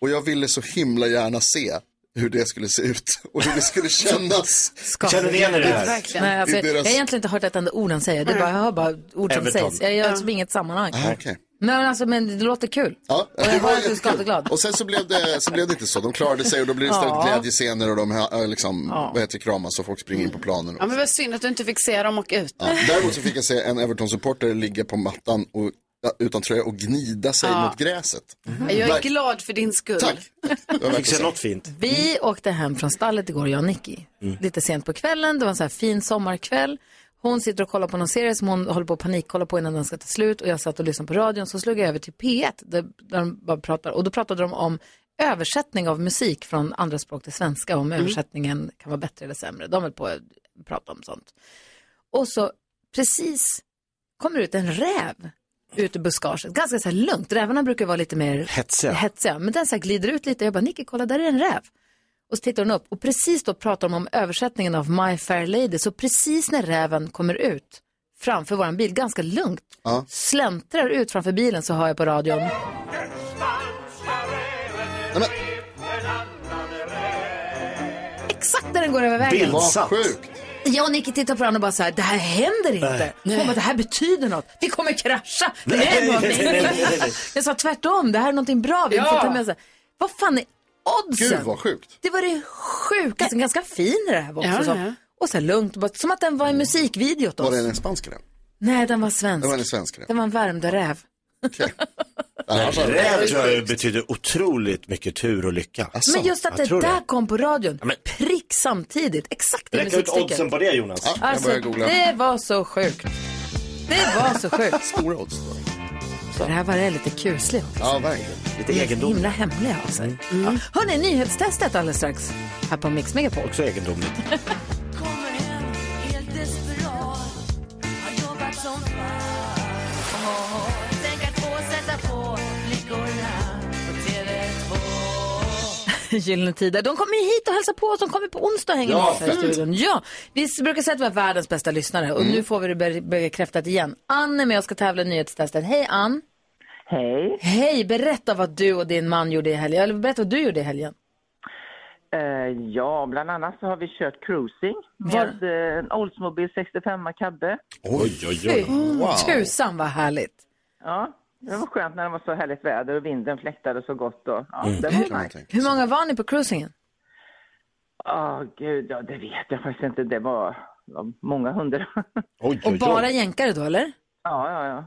[SPEAKER 3] Och jag ville så himla gärna se hur det skulle se ut och hur det skulle kännas.
[SPEAKER 2] Känner ni igen er i det här?
[SPEAKER 1] Nej, alltså,
[SPEAKER 3] I
[SPEAKER 1] jag,
[SPEAKER 3] deras-
[SPEAKER 1] jag har egentligen inte hört ett enda ord han säger. Det är bara, jag hör bara ord som
[SPEAKER 3] Everton.
[SPEAKER 1] sägs. Jag gör alltså inget sammanhang.
[SPEAKER 3] Ah, okej.
[SPEAKER 1] Nej, men, alltså, men det låter kul.
[SPEAKER 3] Ja,
[SPEAKER 1] Och jag hör att du är
[SPEAKER 3] jättekul.
[SPEAKER 1] skadeglad.
[SPEAKER 3] Och sen så blev, det, så blev det inte så. De klarade sig och då blev det istället
[SPEAKER 5] Ja.
[SPEAKER 3] glädjescener och de eh, liksom,
[SPEAKER 5] Ja.
[SPEAKER 3] vad heter det, kramas och folk springer in på planen.
[SPEAKER 5] men vad synd att du inte fick se dem åka ut.
[SPEAKER 3] Ja. Däremot så fick jag se en Everton-supporter ligga på mattan och, ja, utan tröja och gnida sig
[SPEAKER 5] Ja. Mm-hmm.
[SPEAKER 3] mot gräset.
[SPEAKER 5] Jag är
[SPEAKER 3] Verk-
[SPEAKER 5] glad för din skull. Tack.
[SPEAKER 3] Jag
[SPEAKER 2] Fick se något fint.
[SPEAKER 1] Vi åkte hem från stallet igår, jag och Nicky. Lite sent på kvällen, det var en så här fin sommarkväll. Hon sitter och kollar på någon serie som hon håller på att panikkolla på innan den ska ta slut. Och jag satt och lyssnade på radion, så slog jag över till P1, där, där de bara pratar. Och då pratade de om översättning av musik från andra språk till svenska. Om översättningen kan vara bättre eller sämre. De höll på att prata om sånt. Och så precis kommer ut en räv ut ur buskaget. Ganska så här lugnt. Rävarna brukar vara lite mer
[SPEAKER 2] Hetsiga.
[SPEAKER 1] hetsiga. Men den så här glider ut lite. Jag bara, Nicky, kolla, där är en räv. Och så tittar hon upp och precis då pratar de om översättningen av My Fair Lady. Så precis när räven kommer ut framför våran bil, ganska lugnt,
[SPEAKER 3] Ja.
[SPEAKER 1] släntrar ut framför bilen så hör jag på radion. Exakt när den går över vägen.
[SPEAKER 3] Vad sjukt.
[SPEAKER 1] Jag och Nicky tittar på varandra och bara så här, det här händer inte. Hon bara, det här betyder något. Vi kommer krascha. Det är en av mig.
[SPEAKER 2] Nej, nej, nej, nej.
[SPEAKER 1] Jag sa tvärtom, det här är någonting bra. Vi
[SPEAKER 5] Ja.
[SPEAKER 1] får ta med oss. Vad fan är oddsen?
[SPEAKER 3] Gud vad sjukt.
[SPEAKER 1] Det var det sjukaste, ganska fin det här var också.
[SPEAKER 5] Ja,
[SPEAKER 1] så.
[SPEAKER 5] ja.
[SPEAKER 1] Och så här lugnt, bara, som att den var i musikvideot
[SPEAKER 3] Var
[SPEAKER 1] oss.
[SPEAKER 3] det en spansk räv?
[SPEAKER 1] Nej, den var
[SPEAKER 3] Det
[SPEAKER 1] svensk.
[SPEAKER 3] var en svensk räv.
[SPEAKER 1] Den var en värmdöräv.
[SPEAKER 3] Ja, alltså, bara-
[SPEAKER 2] Räv tror jag betyder otroligt mycket tur och lycka.
[SPEAKER 1] Men just att
[SPEAKER 2] jag
[SPEAKER 1] det
[SPEAKER 2] tror
[SPEAKER 1] där kom på radion, prick samtidigt, exakt i
[SPEAKER 2] Räkna ut oddsen
[SPEAKER 1] musikstycket.
[SPEAKER 2] på det Jonas.
[SPEAKER 3] Ja, jag
[SPEAKER 1] Alltså,
[SPEAKER 3] börjar googla.
[SPEAKER 1] det var så sjukt. Det var så sjukt.
[SPEAKER 3] Stora odds.
[SPEAKER 1] Så det här var det lite kusligt. också.
[SPEAKER 3] Ja, verkligen.
[SPEAKER 1] Lite egendomligt. Himla hemliga av sig. Mm. Hörni, nyhetstestet alldeles strax här på Mix Megapol.
[SPEAKER 2] Också egendomligt.
[SPEAKER 1] <laughs> Gyllene Tider. De kommer ju hit och hälsar på oss. De kommer på onsdag och hänger
[SPEAKER 14] Ja,
[SPEAKER 1] med oss här i
[SPEAKER 14] fint. Mm.
[SPEAKER 1] studion. Ja, vi brukar säga att vi har världens bästa lyssnare och nu får vi det be- bekräftat igen. Ann är med och ska tävla i nyhetstestet. Hej Ann! Hej! Hej! Berätta vad du och din man gjorde i helgen. Eller berätta vad du gjorde i helgen.
[SPEAKER 15] Eh, ja, bland annat så har vi kört cruising med eh, en Oldsmobile 65 Cabbe.
[SPEAKER 2] Oj, oj,
[SPEAKER 1] Fy tusan vad härligt!
[SPEAKER 15] Ja, det var skönt när det var så härligt väder och vinden fläktade så gott. Och, ja,
[SPEAKER 1] Mm.
[SPEAKER 15] det
[SPEAKER 1] Kan
[SPEAKER 15] var
[SPEAKER 1] man
[SPEAKER 15] nice.
[SPEAKER 1] Hur många var ni på cruisingen?
[SPEAKER 15] Åh gud, ja, det vet jag faktiskt inte. Det var, var många hundra.
[SPEAKER 1] Och bara jänkare då eller?
[SPEAKER 15] Ja, ja, ja.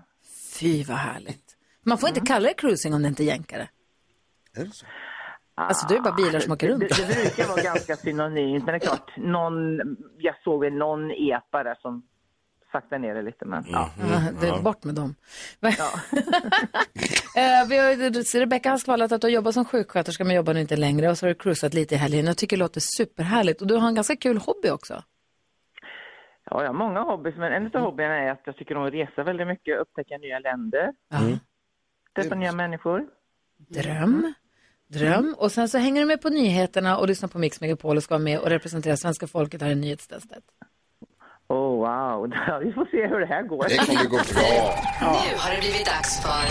[SPEAKER 1] Fy vad härligt. Man får inte kalla det cruising om det inte är jänkare.
[SPEAKER 3] Är det så?
[SPEAKER 1] Alltså det är bara bilar som åker
[SPEAKER 15] Det,
[SPEAKER 1] runt.
[SPEAKER 15] det brukar vara ganska synonymt, men det är klart, någon, jag såg väl någon epa där som sakta ner det lite. Men, Mm. ja.
[SPEAKER 1] Mm-hmm. Ja, det är bort med dem. <laughs> Eh, vi har, Rebecka har skvallrat att du har jobbat som sjuksköterska men jobbar nu inte längre och så har du cruisat lite i helgen. Jag tycker det låter superhärligt och du har en ganska kul hobby också.
[SPEAKER 3] Mm-hmm.
[SPEAKER 15] Ja, jag har många hobbys, men en av
[SPEAKER 1] Mm.
[SPEAKER 15] hobbyerna är att jag tycker om att resa väldigt mycket, upptäcka nya länder, träffa nya människor.
[SPEAKER 1] Dröm, dröm och sen så hänger du med på nyheterna och lyssnar på Mix Megapol och ska vara med och representera svenska folket här i nyhetstestet.
[SPEAKER 15] Åh, oh, wow. <laughs> Vi får se hur det här går.
[SPEAKER 3] Det kommer gå bra.
[SPEAKER 8] Nu har det blivit dags för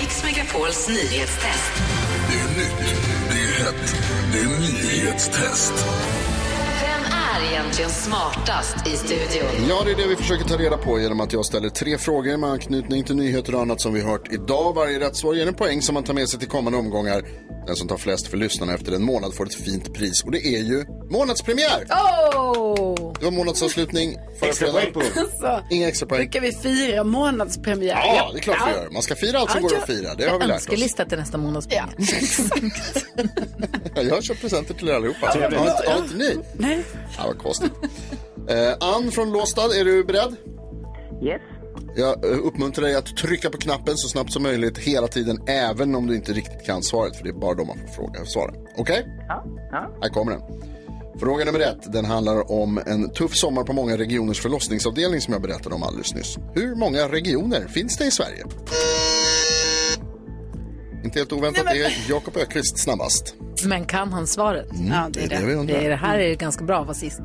[SPEAKER 8] Mix Megapols nyhetstest.
[SPEAKER 16] Det är nytt, det är hett, det är nyhetstest.
[SPEAKER 8] Vem är egentligen smartast i studion?
[SPEAKER 3] Ja, det är det vi försöker ta reda på genom att jag ställer tre frågor med anknytning till nyheter och annat som vi hört idag. Varje rätt svar ger en poäng som man tar med sig till kommande omgångar. Den som tar flest för lyssnarna efter en månad får ett fint pris och det är ju månadspremiär!
[SPEAKER 1] Oh!
[SPEAKER 3] Det var månadsavslutning förra
[SPEAKER 17] Extra
[SPEAKER 3] fredagen.
[SPEAKER 5] <laughs>
[SPEAKER 17] Alltså,
[SPEAKER 3] Inga extra poäng.
[SPEAKER 17] brukar vi fira månadspremiär?
[SPEAKER 3] Ja, det är klart vi gör. Man ska fira allt som går att fira. Det har vi lärt oss.
[SPEAKER 1] Önskelista till nästa månads ja.
[SPEAKER 3] Jag har köpt presenter till er allihopa. Har
[SPEAKER 17] Trevligt.
[SPEAKER 3] inte- har inte ni?
[SPEAKER 17] Nej.
[SPEAKER 3] Ja, vad konstigt. Eh, Ann från Låstad, är du beredd?
[SPEAKER 15] Yes.
[SPEAKER 3] Jag eh, uppmuntrar dig att trycka på knappen så snabbt som möjligt hela tiden, även om du inte riktigt kan svaret, för det är bara då man får fråga svaren. Okej?
[SPEAKER 15] Ja, ja.
[SPEAKER 3] Här kommer den. Fråga nummer ett, den handlar om en tuff sommar på många regioners förlossningsavdelning som jag berättade om alldeles nyss. Hur många regioner finns det i Sverige? Inte helt oväntat, det är Jakob Ökvist snabbast.
[SPEAKER 1] Men kan han svaret? ja,
[SPEAKER 3] Mm, det är det vi undrar.
[SPEAKER 1] det, är det här är ganska bra att vara sist.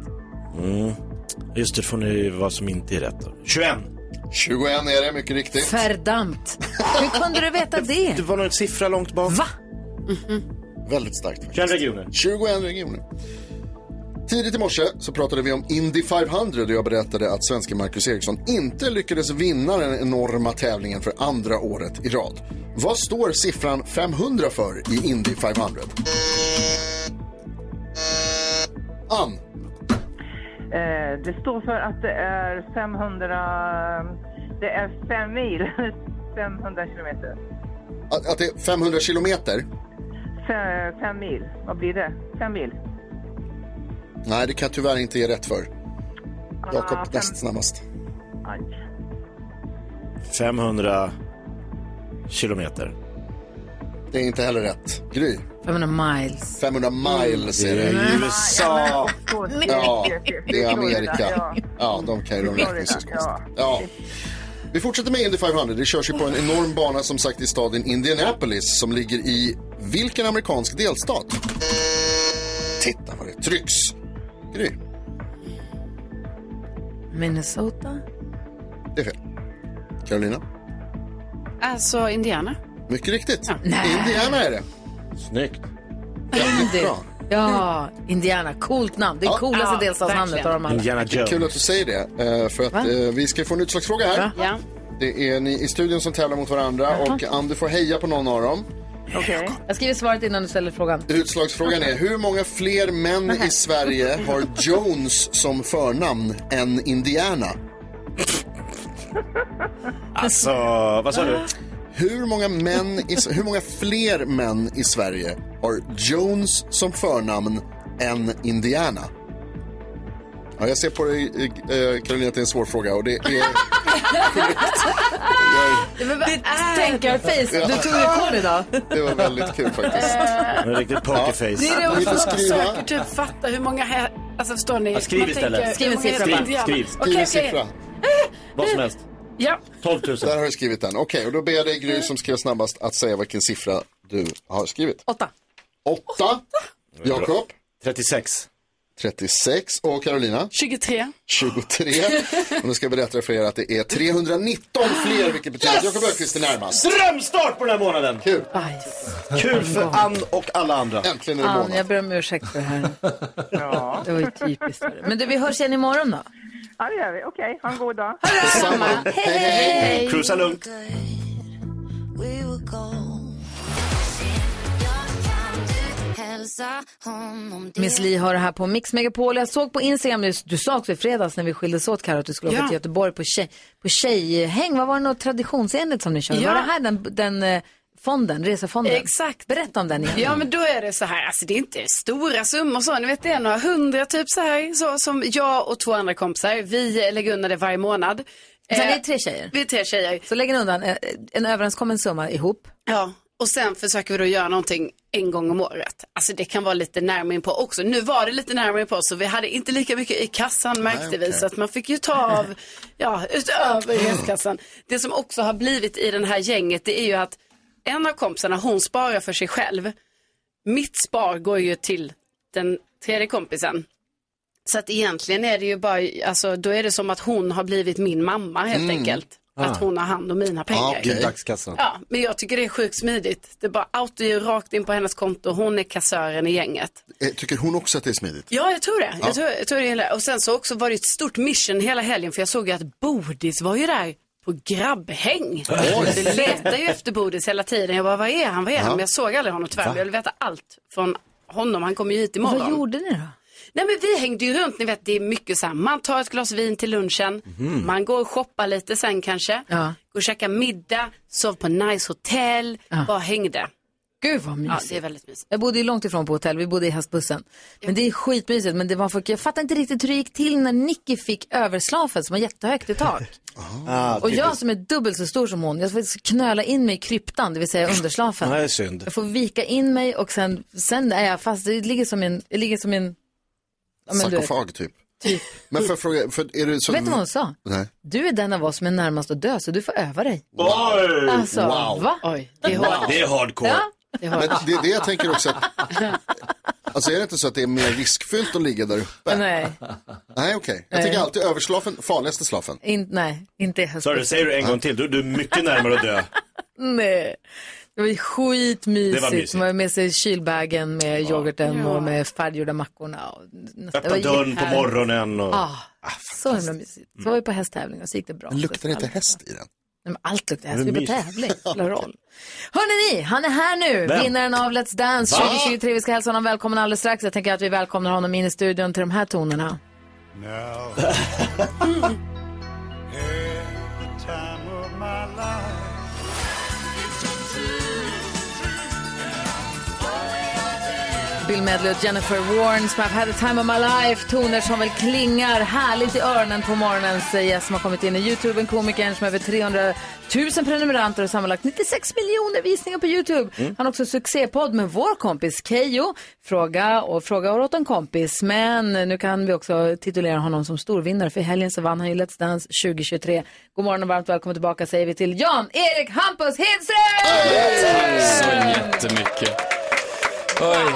[SPEAKER 2] Mm. Just det, får ni vad som inte är rätt. då. 21.
[SPEAKER 3] 21 är det, mycket riktigt.
[SPEAKER 1] Verdammt! Hur kunde du
[SPEAKER 3] <laughs>
[SPEAKER 1] veta det? Det
[SPEAKER 2] var nog en siffra långt bak.
[SPEAKER 1] Va?
[SPEAKER 3] Mhm. Väldigt starkt. faktiskt.
[SPEAKER 2] 21 regioner.
[SPEAKER 3] 21 regioner. Tidigt i morse så pratade vi om Indy 500 och jag berättade att svenske Marcus Eriksson inte lyckades vinna den enorma tävlingen för andra året i rad. Vad står siffran 500 för i Indy 500? Ann,
[SPEAKER 15] Eh, det står för att det är 500... Det är fem mil. <laughs> 500 kilometer.
[SPEAKER 3] att, att det är 500 kilometer?
[SPEAKER 15] Fem, fem mil. Vad blir det? Fem mil.
[SPEAKER 3] Nej, det kan jag tyvärr inte ge rätt för. Jakob
[SPEAKER 15] Ah, fem-
[SPEAKER 3] näst snabbast.
[SPEAKER 15] Aj.
[SPEAKER 2] 500 kilometer.
[SPEAKER 3] Det är inte heller rätt. Gry?
[SPEAKER 1] 500 miles.
[SPEAKER 3] 500 miles är det.
[SPEAKER 2] Det är USA.
[SPEAKER 3] Ja, det är Amerika. Ja, de kan ju de räkna
[SPEAKER 15] Florida,
[SPEAKER 3] sig.
[SPEAKER 15] ja.
[SPEAKER 3] Ja. Vi fortsätter med Indy 500. Det körs ju på en enorm bana som sagt i staden Indianapolis som ligger i vilken amerikansk delstat? Titta vad det trycks. Gry,
[SPEAKER 1] Minnesota?
[SPEAKER 3] det är fel. Carolina,
[SPEAKER 5] Alltså Indiana.
[SPEAKER 3] mycket riktigt. Indiana är det.
[SPEAKER 2] Snyggt.
[SPEAKER 1] Indy.
[SPEAKER 3] bra.
[SPEAKER 1] Ja, Indiana. Coolt namn. Det är coolaste
[SPEAKER 5] Ja,
[SPEAKER 1] delstatsnamnet av dem alla.
[SPEAKER 3] Kul att du säger det, eh, för att
[SPEAKER 1] Va?
[SPEAKER 3] eh, vi ska få en utslagsfråga här.
[SPEAKER 5] Ja.
[SPEAKER 3] Det är ni i studion som tävlar mot varandra och Ann, du får heja på någon av dem.
[SPEAKER 1] Okej. Jag skriver svaret innan du ställer frågan.
[SPEAKER 3] Utslagsfrågan är hur många fler män i Sverige har Jones som förnamn än Indiana?
[SPEAKER 2] Alltså, vad sa du?
[SPEAKER 3] Hur många, män i, hur många fler män i Sverige har Jones som förnamn än Indiana? Ja, jag ser på dig, eh, Karolina, att det är en svår fråga och det är...
[SPEAKER 1] Ditt <laughs> tänkarface. Du tog rekord idag.
[SPEAKER 3] Det var väldigt kul faktiskt.
[SPEAKER 2] En riktigt pokerface.
[SPEAKER 17] Det är det också
[SPEAKER 2] Vill du
[SPEAKER 17] man
[SPEAKER 2] skriva?
[SPEAKER 17] söker, typ fatta hur många här... Alltså förstår ni?
[SPEAKER 2] Ja, skriv
[SPEAKER 17] Man
[SPEAKER 2] istället.
[SPEAKER 17] tänker,
[SPEAKER 2] Skriv en
[SPEAKER 17] hur många
[SPEAKER 2] siffra
[SPEAKER 17] är det
[SPEAKER 2] bara.
[SPEAKER 17] som
[SPEAKER 2] Skriv,
[SPEAKER 17] gör?
[SPEAKER 2] skriv
[SPEAKER 17] Okej,
[SPEAKER 3] en
[SPEAKER 17] okej.
[SPEAKER 3] siffra.
[SPEAKER 2] <laughs> Vad som helst.
[SPEAKER 17] Ja.
[SPEAKER 2] 12 000.
[SPEAKER 3] Där har du skrivit den. Okej, och då ber jag dig Gry som skrev snabbast att säga vilken siffra du har skrivit.
[SPEAKER 1] Åtta.
[SPEAKER 3] Åtta. Jakob?
[SPEAKER 2] 36.
[SPEAKER 3] 36. Och Carolina?
[SPEAKER 17] 23.
[SPEAKER 3] 23. Och nu ska jag berätta för er att det är 319 fler, vilket betyder
[SPEAKER 2] Yes!
[SPEAKER 3] att Jakob Öqvist är närmast.
[SPEAKER 2] Drömstart på den här månaden!
[SPEAKER 3] Kul!
[SPEAKER 2] Kul för Ann och alla andra.
[SPEAKER 3] Äntligen
[SPEAKER 1] Ann, jag ber om ursäkt för det här. ja. Det var ju typiskt. för dig. Men du, vi hörs igen imorgon då.
[SPEAKER 15] Ja, det gör vi. Okej, ha en god dag.
[SPEAKER 1] Hej, hej, hej.
[SPEAKER 2] Cruisa lugnt.
[SPEAKER 1] Mm. Miss Li har det här på Mix Megapol. Jag såg på Instagram, du, du sa också i fredags när vi skildes åt Karo att du skulle åka
[SPEAKER 17] Ja.
[SPEAKER 1] till Göteborg på, tjej, på tjejhäng. Vad var det något traditionsenligt som ni körde?
[SPEAKER 17] Ja.
[SPEAKER 1] Var det här den, den eh, fonden, resefonden?
[SPEAKER 17] Exakt.
[SPEAKER 1] Berätta om den igen.
[SPEAKER 5] Ja, men då är det så här, alltså det är inte stora summor så, ni vet det är några hundra typ så här, så som jag och två andra kompisar, vi lägger undan det varje månad. Eh,
[SPEAKER 1] Sen är det tre tjejer.
[SPEAKER 5] Vi är tre tjejer.
[SPEAKER 1] Så lägger ni undan eh, en, en överenskommen summa ihop.
[SPEAKER 5] Ja, och sen försöker vi då göra någonting en gång om året. Alltså det kan vara lite närmare in på också. Nu var det lite närmare in på så vi hade inte lika mycket i kassan märkte
[SPEAKER 17] Nej, okej.
[SPEAKER 5] vi så att man fick ju ta av, ja utöver reskassan. Det som också har blivit i den här gänget det är ju att en av kompisarna hon sparar för sig själv. Mitt spar går ju till den tredje kompisen. Så att egentligen är det ju bara, alltså då är det som att hon har blivit min mamma helt
[SPEAKER 8] Mm.
[SPEAKER 5] enkelt. Att
[SPEAKER 8] Ah.
[SPEAKER 5] hon har hand om mina pengar.
[SPEAKER 2] Alltså.
[SPEAKER 5] Ja, men jag tycker det är sjukt smidigt. Det är bara autogir rakt in på hennes konto. Hon är kassören i gänget.
[SPEAKER 3] Eh, Tycker hon också att det är smidigt?
[SPEAKER 5] Ja, jag tror det.
[SPEAKER 3] Ja.
[SPEAKER 5] Jag tror, jag tror det hela. Och sen så också var det ett stort mission hela helgen för jag såg ju att Bodis var ju där på grabbhäng.
[SPEAKER 8] Oj.
[SPEAKER 5] Det letar ju efter Bodis hela tiden. Jag bara, var är han? Var är han?
[SPEAKER 8] Ja.
[SPEAKER 5] Men jag såg aldrig honom tyvärr.
[SPEAKER 8] Va?
[SPEAKER 5] Jag vill veta allt från honom. Han kommer ju hit imorgon.
[SPEAKER 1] Vad gjorde ni då?
[SPEAKER 5] Nej men vi hängde ju runt, ni vet det är mycket så här, man tar ett glas vin till lunchen,
[SPEAKER 8] Mhm.
[SPEAKER 5] man går och shoppar lite sen kanske,
[SPEAKER 1] Ja.
[SPEAKER 5] går och käkar middag, sov på nice hotell, bara hängde.
[SPEAKER 1] Gud vad
[SPEAKER 5] Ja,
[SPEAKER 1] mysigt.
[SPEAKER 5] det är väldigt mysigt.
[SPEAKER 1] Jag bodde ju långt ifrån på hotell, vi bodde i hästbussen. Men det är skitmysigt, men det var för... jag fattar inte riktigt hur det gick till när Nicky fick överslafen som var jättehögt i tak. Och jag som är dubbelt så stor som hon, jag får knöla in mig i kryptan, det vill säga underslafen.
[SPEAKER 2] Nej, det är synd.
[SPEAKER 1] Jag får vika in mig och sen, sen är jag fast, det ligger som en, det ligger som en, ja, men du vet.
[SPEAKER 3] Sarkofag typ. Men för fråga, för är det så...
[SPEAKER 1] Vet du vad hon sa?
[SPEAKER 3] Nej.
[SPEAKER 1] Du är den av oss som är närmast att dö, så du får öva dig.
[SPEAKER 3] Oj!
[SPEAKER 1] Alltså,
[SPEAKER 3] Wow.
[SPEAKER 1] va?
[SPEAKER 3] det är hardcore. Det är hardcore.
[SPEAKER 1] Ja, det är
[SPEAKER 3] Men
[SPEAKER 1] hardcore.
[SPEAKER 3] det är det jag tänker också att...
[SPEAKER 10] <laughs>
[SPEAKER 3] Alltså är det inte så att det är mer riskfyllt att ligga där uppe?
[SPEAKER 1] Nej. Eh.
[SPEAKER 3] Nej, okej. Jag
[SPEAKER 1] Nej.
[SPEAKER 3] tänker alltid överslafen, farligaste slafen.
[SPEAKER 1] In, nej, inte i
[SPEAKER 2] Så
[SPEAKER 1] hästbussen.
[SPEAKER 2] det säger du en gång till, du, du är mycket närmare att dö.
[SPEAKER 1] Nej. Det var ju skitmysigt.
[SPEAKER 2] Det var mysigt.
[SPEAKER 1] Man var med sig kylbagen med yoghurten och med färdiggjorda mackorna. Och nästa-
[SPEAKER 2] Öppna
[SPEAKER 1] det var
[SPEAKER 2] dörren på
[SPEAKER 1] jättehärligt.
[SPEAKER 2] morgonen och...
[SPEAKER 1] Ah, så himla mysigt. Så var vi på hästtävling och så gick det bra.
[SPEAKER 3] Men luktar det inte häst i den?
[SPEAKER 1] Nej, men allt luktar
[SPEAKER 3] Det
[SPEAKER 1] häst. Vi
[SPEAKER 3] är
[SPEAKER 1] är på
[SPEAKER 3] mysigt.
[SPEAKER 1] tävling.
[SPEAKER 3] <laughs>
[SPEAKER 1] Det spelar roll. Hörrni ni, han är här nu.
[SPEAKER 8] Vem?
[SPEAKER 1] Vinnaren av Let's Dance
[SPEAKER 8] Va?
[SPEAKER 1] 2023. Vi ska hälsa honom välkommen alldeles strax. Jag tänker att vi välkomnar honom in i studion till de här
[SPEAKER 3] <laughs>
[SPEAKER 1] tonerna.
[SPEAKER 14] Now, the time of my life.
[SPEAKER 1] Bill Medley och Jennifer Warren som har had a time of my life. Toner som väl klingar härligt i öronen på morgonen säger jag som har kommit in i Youtube. En komiker som har över 300 000 prenumeranter och sammanlagt 96 miljoner visningar på Youtube. Han har också succépodd med vår kompis Kejo. Fråga och fråga åt en kompis. Men nu kan vi också titulera honom som storvinnare för i helgen så vann han ju Let's Dance 2023. God morgon och varmt välkommen tillbaka säger vi till Jan-Erik Hampus
[SPEAKER 10] Så
[SPEAKER 1] Hedström!
[SPEAKER 10] jättemycket. Oj.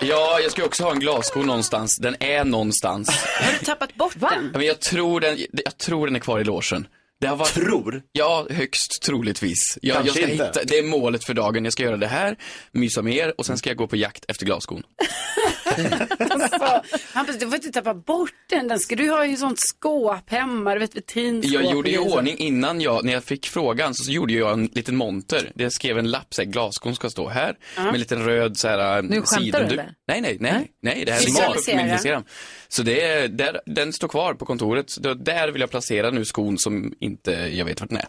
[SPEAKER 10] Ja, jag ska ju också ha en glassko någonstans. Den är någonstans.
[SPEAKER 5] <laughs> Har du tappat bort den?
[SPEAKER 10] Men jag tror den, jag tror den är kvar i logen. Det har varit... Tror? Ja, högst troligtvis. Jag, jag
[SPEAKER 2] Kanske
[SPEAKER 10] ska
[SPEAKER 2] inte.
[SPEAKER 10] hitta, det är målet för dagen. Jag ska göra det här, mysa med er och sen ska jag gå på jakt efter glasskon.
[SPEAKER 5] Alltså, Hampus, du får inte tappa bort den. Den ska du ha i ett sånt skåp hemma, du vet vitrinskåp.
[SPEAKER 10] Jag gjorde i
[SPEAKER 5] och grejer.
[SPEAKER 10] ordning innan jag, när jag fick frågan så, så gjorde jag en liten monter. Jag skrev en lapp, så här, glasskon ska stå här,
[SPEAKER 5] Ja.
[SPEAKER 10] med en liten röd så här,
[SPEAKER 1] Nu skämtar du,
[SPEAKER 10] sidonduk.
[SPEAKER 1] eller?
[SPEAKER 10] Nej, nej, nej,
[SPEAKER 1] Nej.
[SPEAKER 10] nej, det här är smart på
[SPEAKER 1] Visualisera.
[SPEAKER 10] min Instagram. Så det är, där, den står kvar på kontoret, så då- där vill jag placera nu skon som inte jag vet vart den är.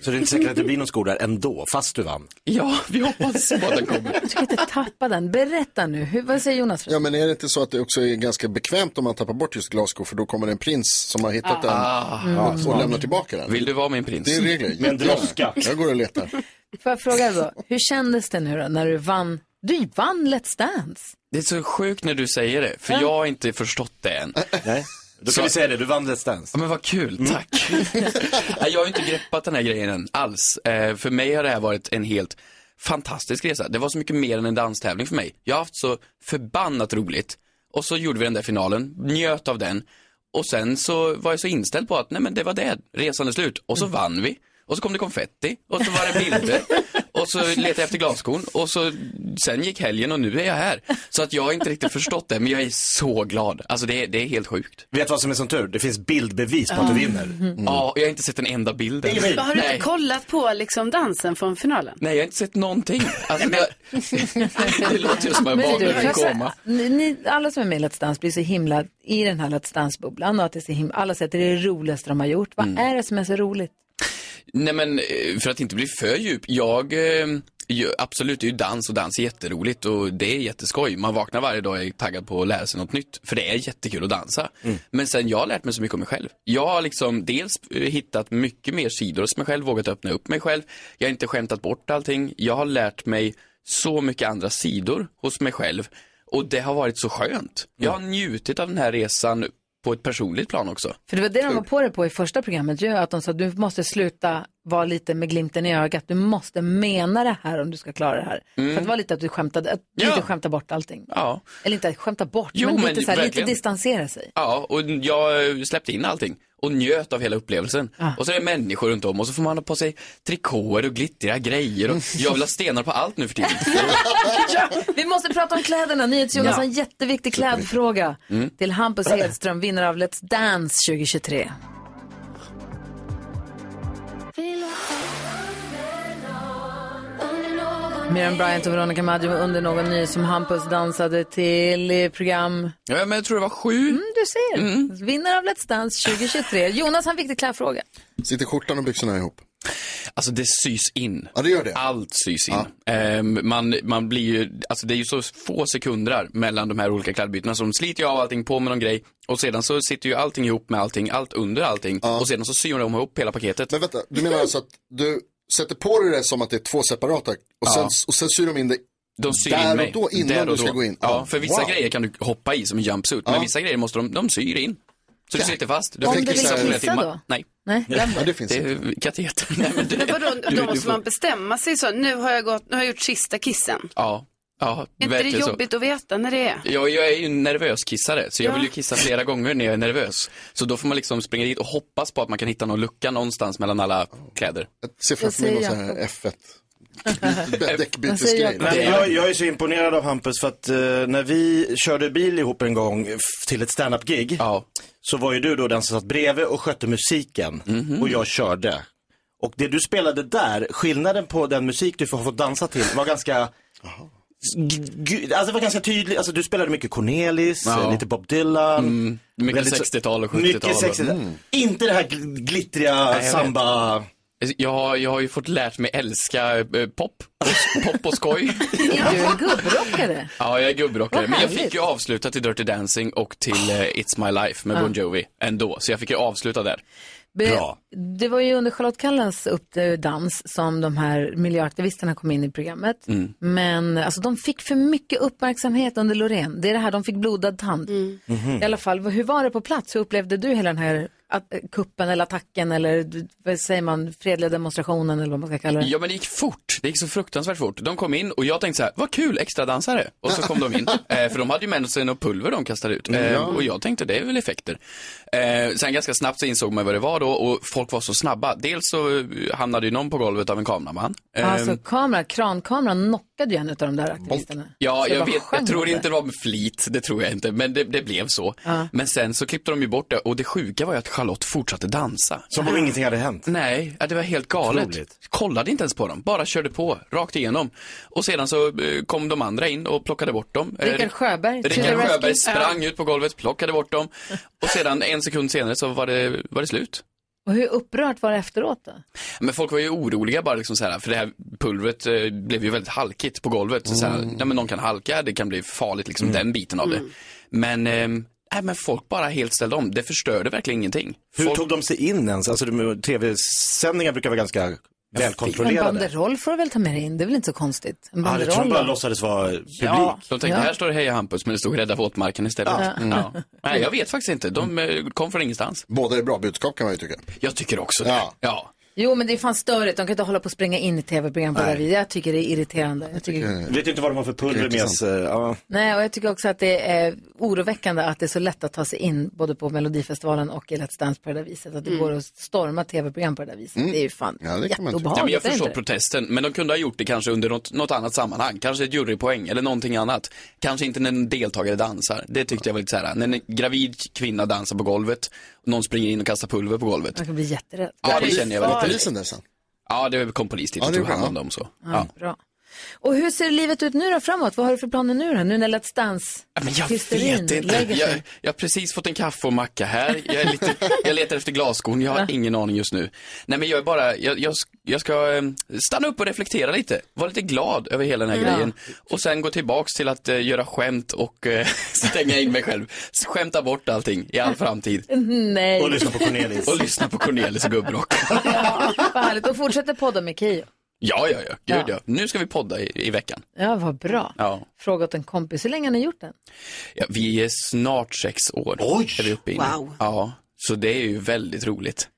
[SPEAKER 2] Så det är inte säkert att det blir någon skor där ändå, fast du vann.
[SPEAKER 10] Ja, vi hoppas på att den kommer.
[SPEAKER 1] Du ska inte tappa den. Berätta nu. Hur, vad säger Jonas?
[SPEAKER 3] Ja, men är det inte så att det också är ganska bekvämt om man tappar bort just glasskor för då kommer det en prins som har hittat den
[SPEAKER 10] Ah.
[SPEAKER 3] ja,
[SPEAKER 10] Mm.
[SPEAKER 3] och lämnar tillbaka den.
[SPEAKER 10] Vill du vara min prins?
[SPEAKER 3] Det är regler.
[SPEAKER 10] Med en droska.
[SPEAKER 3] Jag går och letar.
[SPEAKER 1] Får jag fråga då, hur kändes det nu då när du vann? Du vann Let's Dance.
[SPEAKER 10] Det är så sjukt när du säger det, för jag har inte förstått det än.
[SPEAKER 2] Nej. Då kan vi säga det, du vann Let's Dance.
[SPEAKER 10] Ja, men vad kul, tack. <laughs> Nej, jag har inte greppat den här grejen än alls. Eh, för mig har det här varit en helt fantastisk resa. Det var så mycket mer än en danstävling för mig. Jag har haft så förbannat roligt. Och så gjorde vi den där finalen, njöt av den. Och sen så var jag så inställd på att, nej men det var det, resan är slut. Och så vann vi. Och så kom det konfetti. Och så var det bilder. Och så letade jag efter glaskorn. Och så, sen gick helgen och nu är jag här. Så att jag har inte riktigt förstått det, men jag är så glad. Alltså det är, det är helt sjukt.
[SPEAKER 2] Vet vad som är som tur? Det finns bildbevis på att du
[SPEAKER 10] Ja.
[SPEAKER 2] vinner.
[SPEAKER 10] Ja, och jag har inte sett en enda bild än.
[SPEAKER 5] Har du inte
[SPEAKER 10] Nej.
[SPEAKER 5] kollat på liksom dansen från
[SPEAKER 10] <laughs>
[SPEAKER 5] finalen?
[SPEAKER 10] Nej, jag har inte sett någonting. Alltså, det, det låter ju som en
[SPEAKER 1] Men du, får
[SPEAKER 10] vanlig
[SPEAKER 1] jag säga,
[SPEAKER 10] komma.
[SPEAKER 1] ni, ni, alla som är med i Let's Dance blir så himla i den här Let's Dance-bubblan och att det är så himla, alla säger att det är det roligaste de har gjort. Vad
[SPEAKER 10] Mm.
[SPEAKER 1] är det som är så roligt?
[SPEAKER 10] Nej, men eh, för att inte bli för djup. Jag, eh, ju- absolut, det är ju dans och dans är jätteroligt och det är jätteskoj. Man vaknar varje dag och är taggad på att lära sig något nytt. För det är jättekul att dansa. Men sen, jag har lärt mig så mycket om mig själv. Jag har liksom dels eh, hittat mycket mer sidor hos mig själv, vågat öppna upp mig själv. Jag har inte skämtat bort allting. Jag har lärt mig så mycket andra sidor hos mig själv. Och det har varit så skönt. Jag har njutit av den här resan på ett personligt plan också.
[SPEAKER 1] För det var det de var på det på i första programmet ju, att de sa att du måste sluta vara lite med glimten i ögat, du måste mena det här om du ska klara det här.
[SPEAKER 10] Mm.
[SPEAKER 1] För att det var lite att du skämtade, att du lite skämtade bort allting.
[SPEAKER 10] Ja.
[SPEAKER 1] Eller inte skämta bort,
[SPEAKER 10] Jo,
[SPEAKER 1] men,
[SPEAKER 10] men
[SPEAKER 1] lite, så här, lite
[SPEAKER 10] verkligen.
[SPEAKER 1] distansera sig.
[SPEAKER 10] Ja, och jag eh, släppte in allting och njöt av hela upplevelsen. Och så är det människor runt om och så får man ha på sig trikåer och glittriga grejer och jag vill ha stenar på allt nu för tiden.
[SPEAKER 1] Vi måste prata om kläderna. NyhetsJonas
[SPEAKER 10] Ja.
[SPEAKER 1] har en jätteviktig klädfråga
[SPEAKER 10] Mm.
[SPEAKER 1] till Hampus Hedström, vinnare av Let's Dance 2023. Miriam Bryant och Veronica Maggio var under någon ny som Hampus dansade till i program.
[SPEAKER 10] Ja, men jag tror det var sju.
[SPEAKER 1] Mm, du ser. Vinnare av Let's Dance 2023. Jonas har en viktig klädfråga.
[SPEAKER 3] Sitter skjortan och byxorna ihop?
[SPEAKER 10] Alltså det sys in.
[SPEAKER 3] Ja, det gör det.
[SPEAKER 10] Allt sys in. Ehm, man, man blir ju, alltså det är ju så få sekunder mellan de här olika klädbytena så de sliter ju av allting på med någon grej och sedan så sitter ju allting ihop med allting, allt under allting och sedan så syr de ihop hela paketet.
[SPEAKER 3] Men vänta, Du menar alltså att du sätter på dig det som att det är två separata och, sen,
[SPEAKER 10] Ja.
[SPEAKER 3] och sen syr de in det
[SPEAKER 10] De syr
[SPEAKER 3] där
[SPEAKER 10] in
[SPEAKER 3] och
[SPEAKER 10] mig.
[SPEAKER 3] då innan
[SPEAKER 10] Där och
[SPEAKER 3] du ska
[SPEAKER 10] då.
[SPEAKER 3] gå in?
[SPEAKER 10] Ja, för vissa
[SPEAKER 3] Wow. <laughs>
[SPEAKER 10] grejer kan du hoppa i som en jumpsuit,
[SPEAKER 3] Ja.
[SPEAKER 10] men vissa grejer måste de, de syr in. Så du
[SPEAKER 3] Ja.
[SPEAKER 10] sitter fast. Du
[SPEAKER 3] Om
[SPEAKER 10] får
[SPEAKER 3] du vill
[SPEAKER 10] kissa flera
[SPEAKER 3] kissa
[SPEAKER 10] timmar.
[SPEAKER 1] då?
[SPEAKER 10] Nej.
[SPEAKER 1] Nej, glöm
[SPEAKER 3] det finns
[SPEAKER 10] det är kateter. Nej, men det,
[SPEAKER 5] Men vadå,
[SPEAKER 10] du-
[SPEAKER 5] då
[SPEAKER 10] du
[SPEAKER 5] måste
[SPEAKER 10] får-
[SPEAKER 5] man bestämma sig så. Nu har jag, gått, nu har jag gjort sista kissen.
[SPEAKER 10] Ja, ja
[SPEAKER 5] Är inte det
[SPEAKER 10] verkligen så.
[SPEAKER 5] jobbigt att veta när det är?
[SPEAKER 10] Jag, jag är ju en nervös kissare, så jag
[SPEAKER 5] Ja.
[SPEAKER 10] vill ju kissa flera gånger när jag är nervös. Så då får man liksom springa dit och hoppas på att man kan hitta någon lucka någonstans mellan alla kläder.
[SPEAKER 3] Ser framför mig någon sån här F1. Däckbytesgrej.
[SPEAKER 2] Nej, men jag, jag är så imponerad av Hampus för att eh, när vi körde bil ihop en gång eh, f- till ett standup-gig så var ju du då den som satt bredvid och skötte musiken
[SPEAKER 10] Mhm.
[SPEAKER 2] och jag körde. Och det du spelade där, skillnaden på den musik du får få dansa till var ganska g- g- Alltså det var ganska tydligt, alltså du spelade mycket Cornelis,
[SPEAKER 10] Ja.
[SPEAKER 2] eh, lite Bob Dylan.
[SPEAKER 10] Mm, mycket
[SPEAKER 2] Väldigt så-
[SPEAKER 10] 60-tal och 70-tal.
[SPEAKER 2] Mycket 60-tal.
[SPEAKER 10] Mm.
[SPEAKER 2] Inte det här gl- glittriga
[SPEAKER 10] Nej, jag Alltså,
[SPEAKER 2] samba...
[SPEAKER 10] Jag, har- jag har ju fått lärt mig älska eh, pop, och- pop och skoj.
[SPEAKER 1] Är du en gubbrockare?
[SPEAKER 10] Ja, jag är gubbrockare.
[SPEAKER 1] Vad
[SPEAKER 10] Men jag
[SPEAKER 1] härligt.
[SPEAKER 10] fick ju avsluta till Dirty Dancing och till eh, It's My Life med
[SPEAKER 1] Ja.
[SPEAKER 10] Bon Jovi ändå. Så jag fick ju avsluta där.
[SPEAKER 1] Be- Det var ju under Charlotte Kallens uppdans som de här miljöaktivisterna kom in i programmet.
[SPEAKER 10] Mm.
[SPEAKER 1] Men alltså, de fick för mycket uppmärksamhet under Loreen. Det är det här, de fick blodad tand.
[SPEAKER 10] Mm.
[SPEAKER 1] I alla fall, hur var det på plats? Hur upplevde du hela den här att- eh, kuppen eller attacken eller vad säger man, fredliga demonstrationen eller vad man ska kalla det?
[SPEAKER 10] Ja, men det gick fort. Det gick så fruktansvärt fort. De kom in och jag tänkte så här, vad kul, extra dansare. Och så kom de in. Eh, för de hade ju med sig något pulver de kastade ut. Eh,
[SPEAKER 13] Ja.
[SPEAKER 10] Och jag tänkte, det är väl effekter. Eh, sen ganska snabbt så insåg man vad det var då och folk var så snabba. Dels så eh, hamnade ju någon på golvet av en kameraman. Eh,
[SPEAKER 1] Alltså kamera, krankameran knockade ju en av de där aktivisterna.
[SPEAKER 10] Ja,
[SPEAKER 1] Så det
[SPEAKER 10] jag,
[SPEAKER 1] bara
[SPEAKER 10] vet,
[SPEAKER 1] sjöng
[SPEAKER 10] jag tror
[SPEAKER 1] det.
[SPEAKER 10] inte det var med flit, det tror jag inte, men det, det blev så.
[SPEAKER 1] Ja.
[SPEAKER 10] Men sen så klippte de ju bort det och det sjuka var ju att Charlotte fortsatte dansa.
[SPEAKER 2] Som om ingenting hade hänt.
[SPEAKER 10] Nej, ja, det var helt galet.
[SPEAKER 2] Otroligt.
[SPEAKER 10] Kollade inte ens på dem, bara körde på, rakt igenom. Och sedan så eh, kom de andra in och plockade bort dem. Eh,
[SPEAKER 1] Rickard Sjöberg, to the
[SPEAKER 10] Rickard
[SPEAKER 1] rescue.
[SPEAKER 10] Sjöberg sprang ut på golvet, plockade bort dem. Och sedan en sekund senare så var det, var det slut.
[SPEAKER 1] Och hur upprört var det efteråt då?
[SPEAKER 10] Men folk var ju oroliga bara liksom så här, för det här pulvret eh, blev ju väldigt halkigt på golvet. Så här, nej, men någon kan halka, det kan bli farligt liksom den biten av det.
[SPEAKER 5] Mm.
[SPEAKER 10] Men, ehm, nej, men folk bara helt ställde om, det förstörde verkligen ingenting.
[SPEAKER 2] Hur tog de sig in ens? Alltså, de- tv-sändningar brukar vara ganska
[SPEAKER 1] En
[SPEAKER 2] välkontrollerade.
[SPEAKER 1] banderoll får du väl ta med dig in, det är väl inte så konstigt? En
[SPEAKER 2] Ja, det tror
[SPEAKER 1] banderoll
[SPEAKER 2] de bara
[SPEAKER 1] då?
[SPEAKER 2] låtsades vara publik.
[SPEAKER 10] Ja, de tänkte
[SPEAKER 1] Ja.
[SPEAKER 10] här står det Heja Hampus men det stod Rädda våtmarken istället.
[SPEAKER 1] Ja.
[SPEAKER 10] Ja. Nej, jag vet faktiskt inte, de eh, kom från ingenstans.
[SPEAKER 3] Båda är bra budskap kan man ju tycka.
[SPEAKER 10] Jag tycker också det. Ja. ja.
[SPEAKER 1] Jo, men det är fan störigt. De kan inte hålla på och springa in i tv-program på det här viset. Jag tycker det är irriterande. Jag tycker...
[SPEAKER 2] Mm. Vet ju inte vad de har för pulver med sig. Ja.
[SPEAKER 1] Nej, och jag tycker också att det är oroväckande att det är så lätt att ta sig in både på Melodifestivalen och i Let's Dance på det där viset. Att det går att storma tv-program på det där viset.
[SPEAKER 10] Mm.
[SPEAKER 1] Det är ju fan jätteobehagligt.
[SPEAKER 10] Ja, men jag
[SPEAKER 1] är det
[SPEAKER 10] förstår
[SPEAKER 1] inte det?
[SPEAKER 10] protesten, men de kunde ha gjort det kanske under något, något annat sammanhang. Kanske ett jurypoäng eller någonting annat. Kanske inte när en deltagare dansar. Det tyckte jag var lite så här, när en gravid kvinna dansar på golvet, och någon springer in och kastar pulver på golvet.
[SPEAKER 1] Jag kan bli jätterädd.
[SPEAKER 10] Ja, det känner jag väl.
[SPEAKER 3] polisen där sen?
[SPEAKER 10] Ja, det kom polis dit
[SPEAKER 1] Ja,
[SPEAKER 10] och
[SPEAKER 1] det är
[SPEAKER 10] tog hand
[SPEAKER 1] bra.
[SPEAKER 10] om dem så.
[SPEAKER 1] Ja, bra. Och hur ser livet ut nu då framåt? Vad har du för planer nu då? Nu när Let's Dance-hysterin lägger
[SPEAKER 10] Jag,
[SPEAKER 1] sig?
[SPEAKER 10] jag har precis fått en kaffe och macka här. Jag, är lite, jag letar efter glasskon, jag har ingen aning just nu. Nej men jag är bara, jag, jag, sk- jag ska eh, stanna upp och reflektera lite. Vara lite glad över hela den här
[SPEAKER 12] Ja.
[SPEAKER 10] grejen. Och sen gå tillbaks till att eh, göra skämt och eh, <laughs> stänga in mig själv. Skämta bort allting i all framtid.
[SPEAKER 1] <laughs> Nej.
[SPEAKER 10] Och lyssna på Cornelis och Gubbrock.
[SPEAKER 1] <laughs> Vad härligt. Och fortsätter podda med Keyyo.
[SPEAKER 10] Ja, ja, ja. Gud, ja. Nu ska vi podda i, i veckan.
[SPEAKER 1] Ja, vad bra.
[SPEAKER 10] Ja.
[SPEAKER 1] Fråga åt en kompis. Hur länge har ni gjort den?
[SPEAKER 10] Ja, vi är snart sex år. Oj! Är vi uppe i nu.
[SPEAKER 1] Wow.
[SPEAKER 10] Ja, så det är ju väldigt roligt.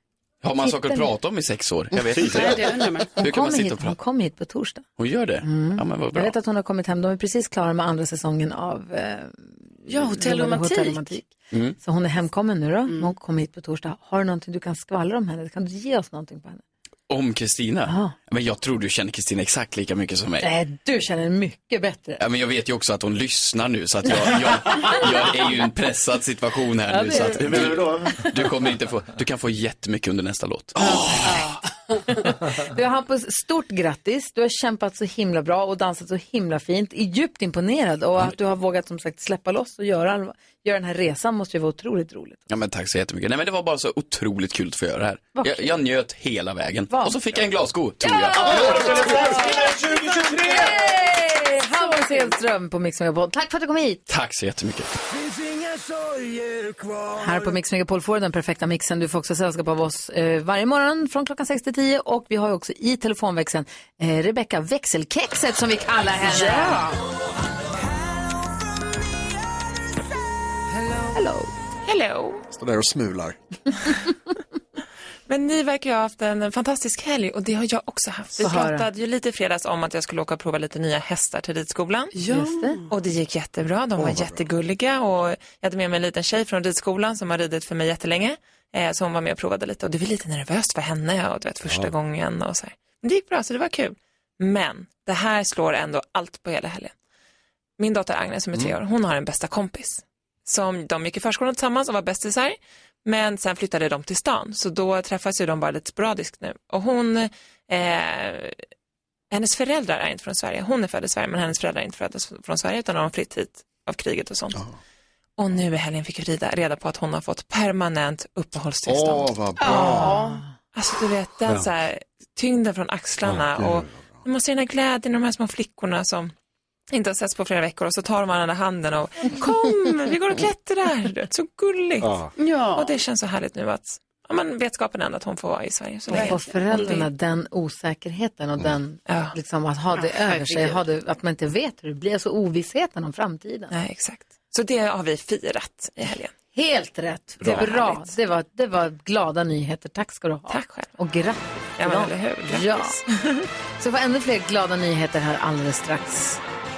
[SPEAKER 10] Har man saker att
[SPEAKER 1] Titta nu.
[SPEAKER 10] prata om i sex år? Jag vet inte.
[SPEAKER 1] Nej, det undrar
[SPEAKER 5] man.
[SPEAKER 10] Hur
[SPEAKER 1] Hon
[SPEAKER 10] kan man
[SPEAKER 1] kommer
[SPEAKER 10] sitta
[SPEAKER 1] hit,
[SPEAKER 10] och
[SPEAKER 1] hon
[SPEAKER 10] prata?
[SPEAKER 1] kom hit på torsdag.
[SPEAKER 10] Hon gör det? Ja, men vad
[SPEAKER 1] Jag
[SPEAKER 10] bra.
[SPEAKER 1] vet att hon har kommit hem. De är precis klara med andra säsongen av eh,
[SPEAKER 5] Ja, Hotell Romantik.
[SPEAKER 1] Romantik.
[SPEAKER 10] Mm.
[SPEAKER 1] Så hon är hemkommen nu då. Hon kommer hit på torsdag. Har du någonting du kan skvallra om henne? Kan du ge oss någonting på henne?
[SPEAKER 10] Om Kristina? Men jag tror du känner Kristina exakt lika mycket som mig.
[SPEAKER 1] Nej, du känner henne mycket
[SPEAKER 10] <laughs>
[SPEAKER 1] bättre.
[SPEAKER 10] Ja, men jag vet ju också att hon lyssnar nu så att jag, jag, jag är ju i en pressad situation här
[SPEAKER 1] Ja,
[SPEAKER 10] nu.
[SPEAKER 1] det
[SPEAKER 10] Så
[SPEAKER 1] är
[SPEAKER 10] att
[SPEAKER 1] det. Hur menar du
[SPEAKER 2] då?
[SPEAKER 10] Du, kommer inte få, du kan få jättemycket under nästa låt.
[SPEAKER 1] Du Hampus, stort grattis. Du har kämpat så himla bra och dansat så himla fint. Är djupt imponerad och
[SPEAKER 10] Mm.
[SPEAKER 1] att du har vågat som sagt släppa loss och göra, göra den här resan måste ju vara otroligt roligt.
[SPEAKER 10] Ja, men tack så jättemycket. Nej, men det var bara så otroligt kul att få göra det här. Jag, jag njöt hela vägen. Och så fick jag en glassko, tror jag.
[SPEAKER 1] Yay! Hampus Hedström på Mix Megapol. Tack för att du kom hit.
[SPEAKER 10] Tack så jättemycket.
[SPEAKER 1] Här på Mix Megapol får du den perfekta mixen. Du får också sällskap av oss eh, varje morgon från klockan 6 till 10 och vi har ju också i telefonväxeln eh, Rebecka Växelkexet som vi kallar henne.
[SPEAKER 5] Ja.
[SPEAKER 1] Hello.
[SPEAKER 18] Hello.
[SPEAKER 3] Står där och smular.
[SPEAKER 18] Men ni verkar ju ha haft en fantastisk helg och det har jag också haft. Vi
[SPEAKER 3] Få höra.
[SPEAKER 18] pratade ju lite i fredags om att jag skulle åka och prova lite nya hästar till ridskolan.
[SPEAKER 1] Ja. Just det.
[SPEAKER 18] Och det gick jättebra. De
[SPEAKER 1] Åh,
[SPEAKER 18] var
[SPEAKER 1] vad bra.
[SPEAKER 18] jättegulliga och jag hade med mig en liten tjej från ridskolan som har ridit för mig jättelänge. Eh, så hon var med och provade lite och det var lite nervöst för henne och du vet första
[SPEAKER 1] Ja.
[SPEAKER 18] gången och så här. Men det gick bra så det var kul. Men det här slår ändå allt på hela helgen. Min dotter Agnes som är tre år, hon har en bästa kompis. Som de gick i förskolan tillsammans och var bästisar. Men sen flyttade de till stan, så då träffas ju de bara lite sporadiskt nu. Och hon, eh, hennes föräldrar är inte från Sverige. Hon är född i Sverige, men hennes föräldrar är inte födda s- från Sverige, utan de har flytt hit av kriget och sånt. Och nu i helgen fick vi rida, reda på att hon har fått permanent uppehållstillstånd.
[SPEAKER 3] Åh, vad bra.
[SPEAKER 18] Ja. Alltså du vet, den
[SPEAKER 3] Skönt.
[SPEAKER 18] så här, tyngden från axlarna
[SPEAKER 3] Ja,
[SPEAKER 18] och man ser den här glädjen i de här små flickorna som inte har setts på flera veckor och så tar de varandra i handen och kom, vi går och klättrar. Det är Så gulligt.
[SPEAKER 1] Ja.
[SPEAKER 18] Och det känns så härligt nu att ja, men vetskapen ändå att hon får vara i Sverige så länge.
[SPEAKER 1] Och föräldrarna, den osäkerheten och den, liksom att ha det
[SPEAKER 18] Ja,
[SPEAKER 1] över sig, ha det, att man inte vet hur det blir, alltså ovissheten om framtiden.
[SPEAKER 18] Nej, exakt. Så det har vi firat i helgen.
[SPEAKER 1] Helt rätt,
[SPEAKER 18] Bra.
[SPEAKER 1] det är bra. Det var, det var glada nyheter, tack ska du ha. Tack
[SPEAKER 18] själv.
[SPEAKER 1] Och grattis
[SPEAKER 18] Ja,
[SPEAKER 1] till
[SPEAKER 18] men
[SPEAKER 1] dem.
[SPEAKER 18] eller hur? Grattis.
[SPEAKER 1] Ja. <laughs> Så får ännu fler glada nyheter här alldeles strax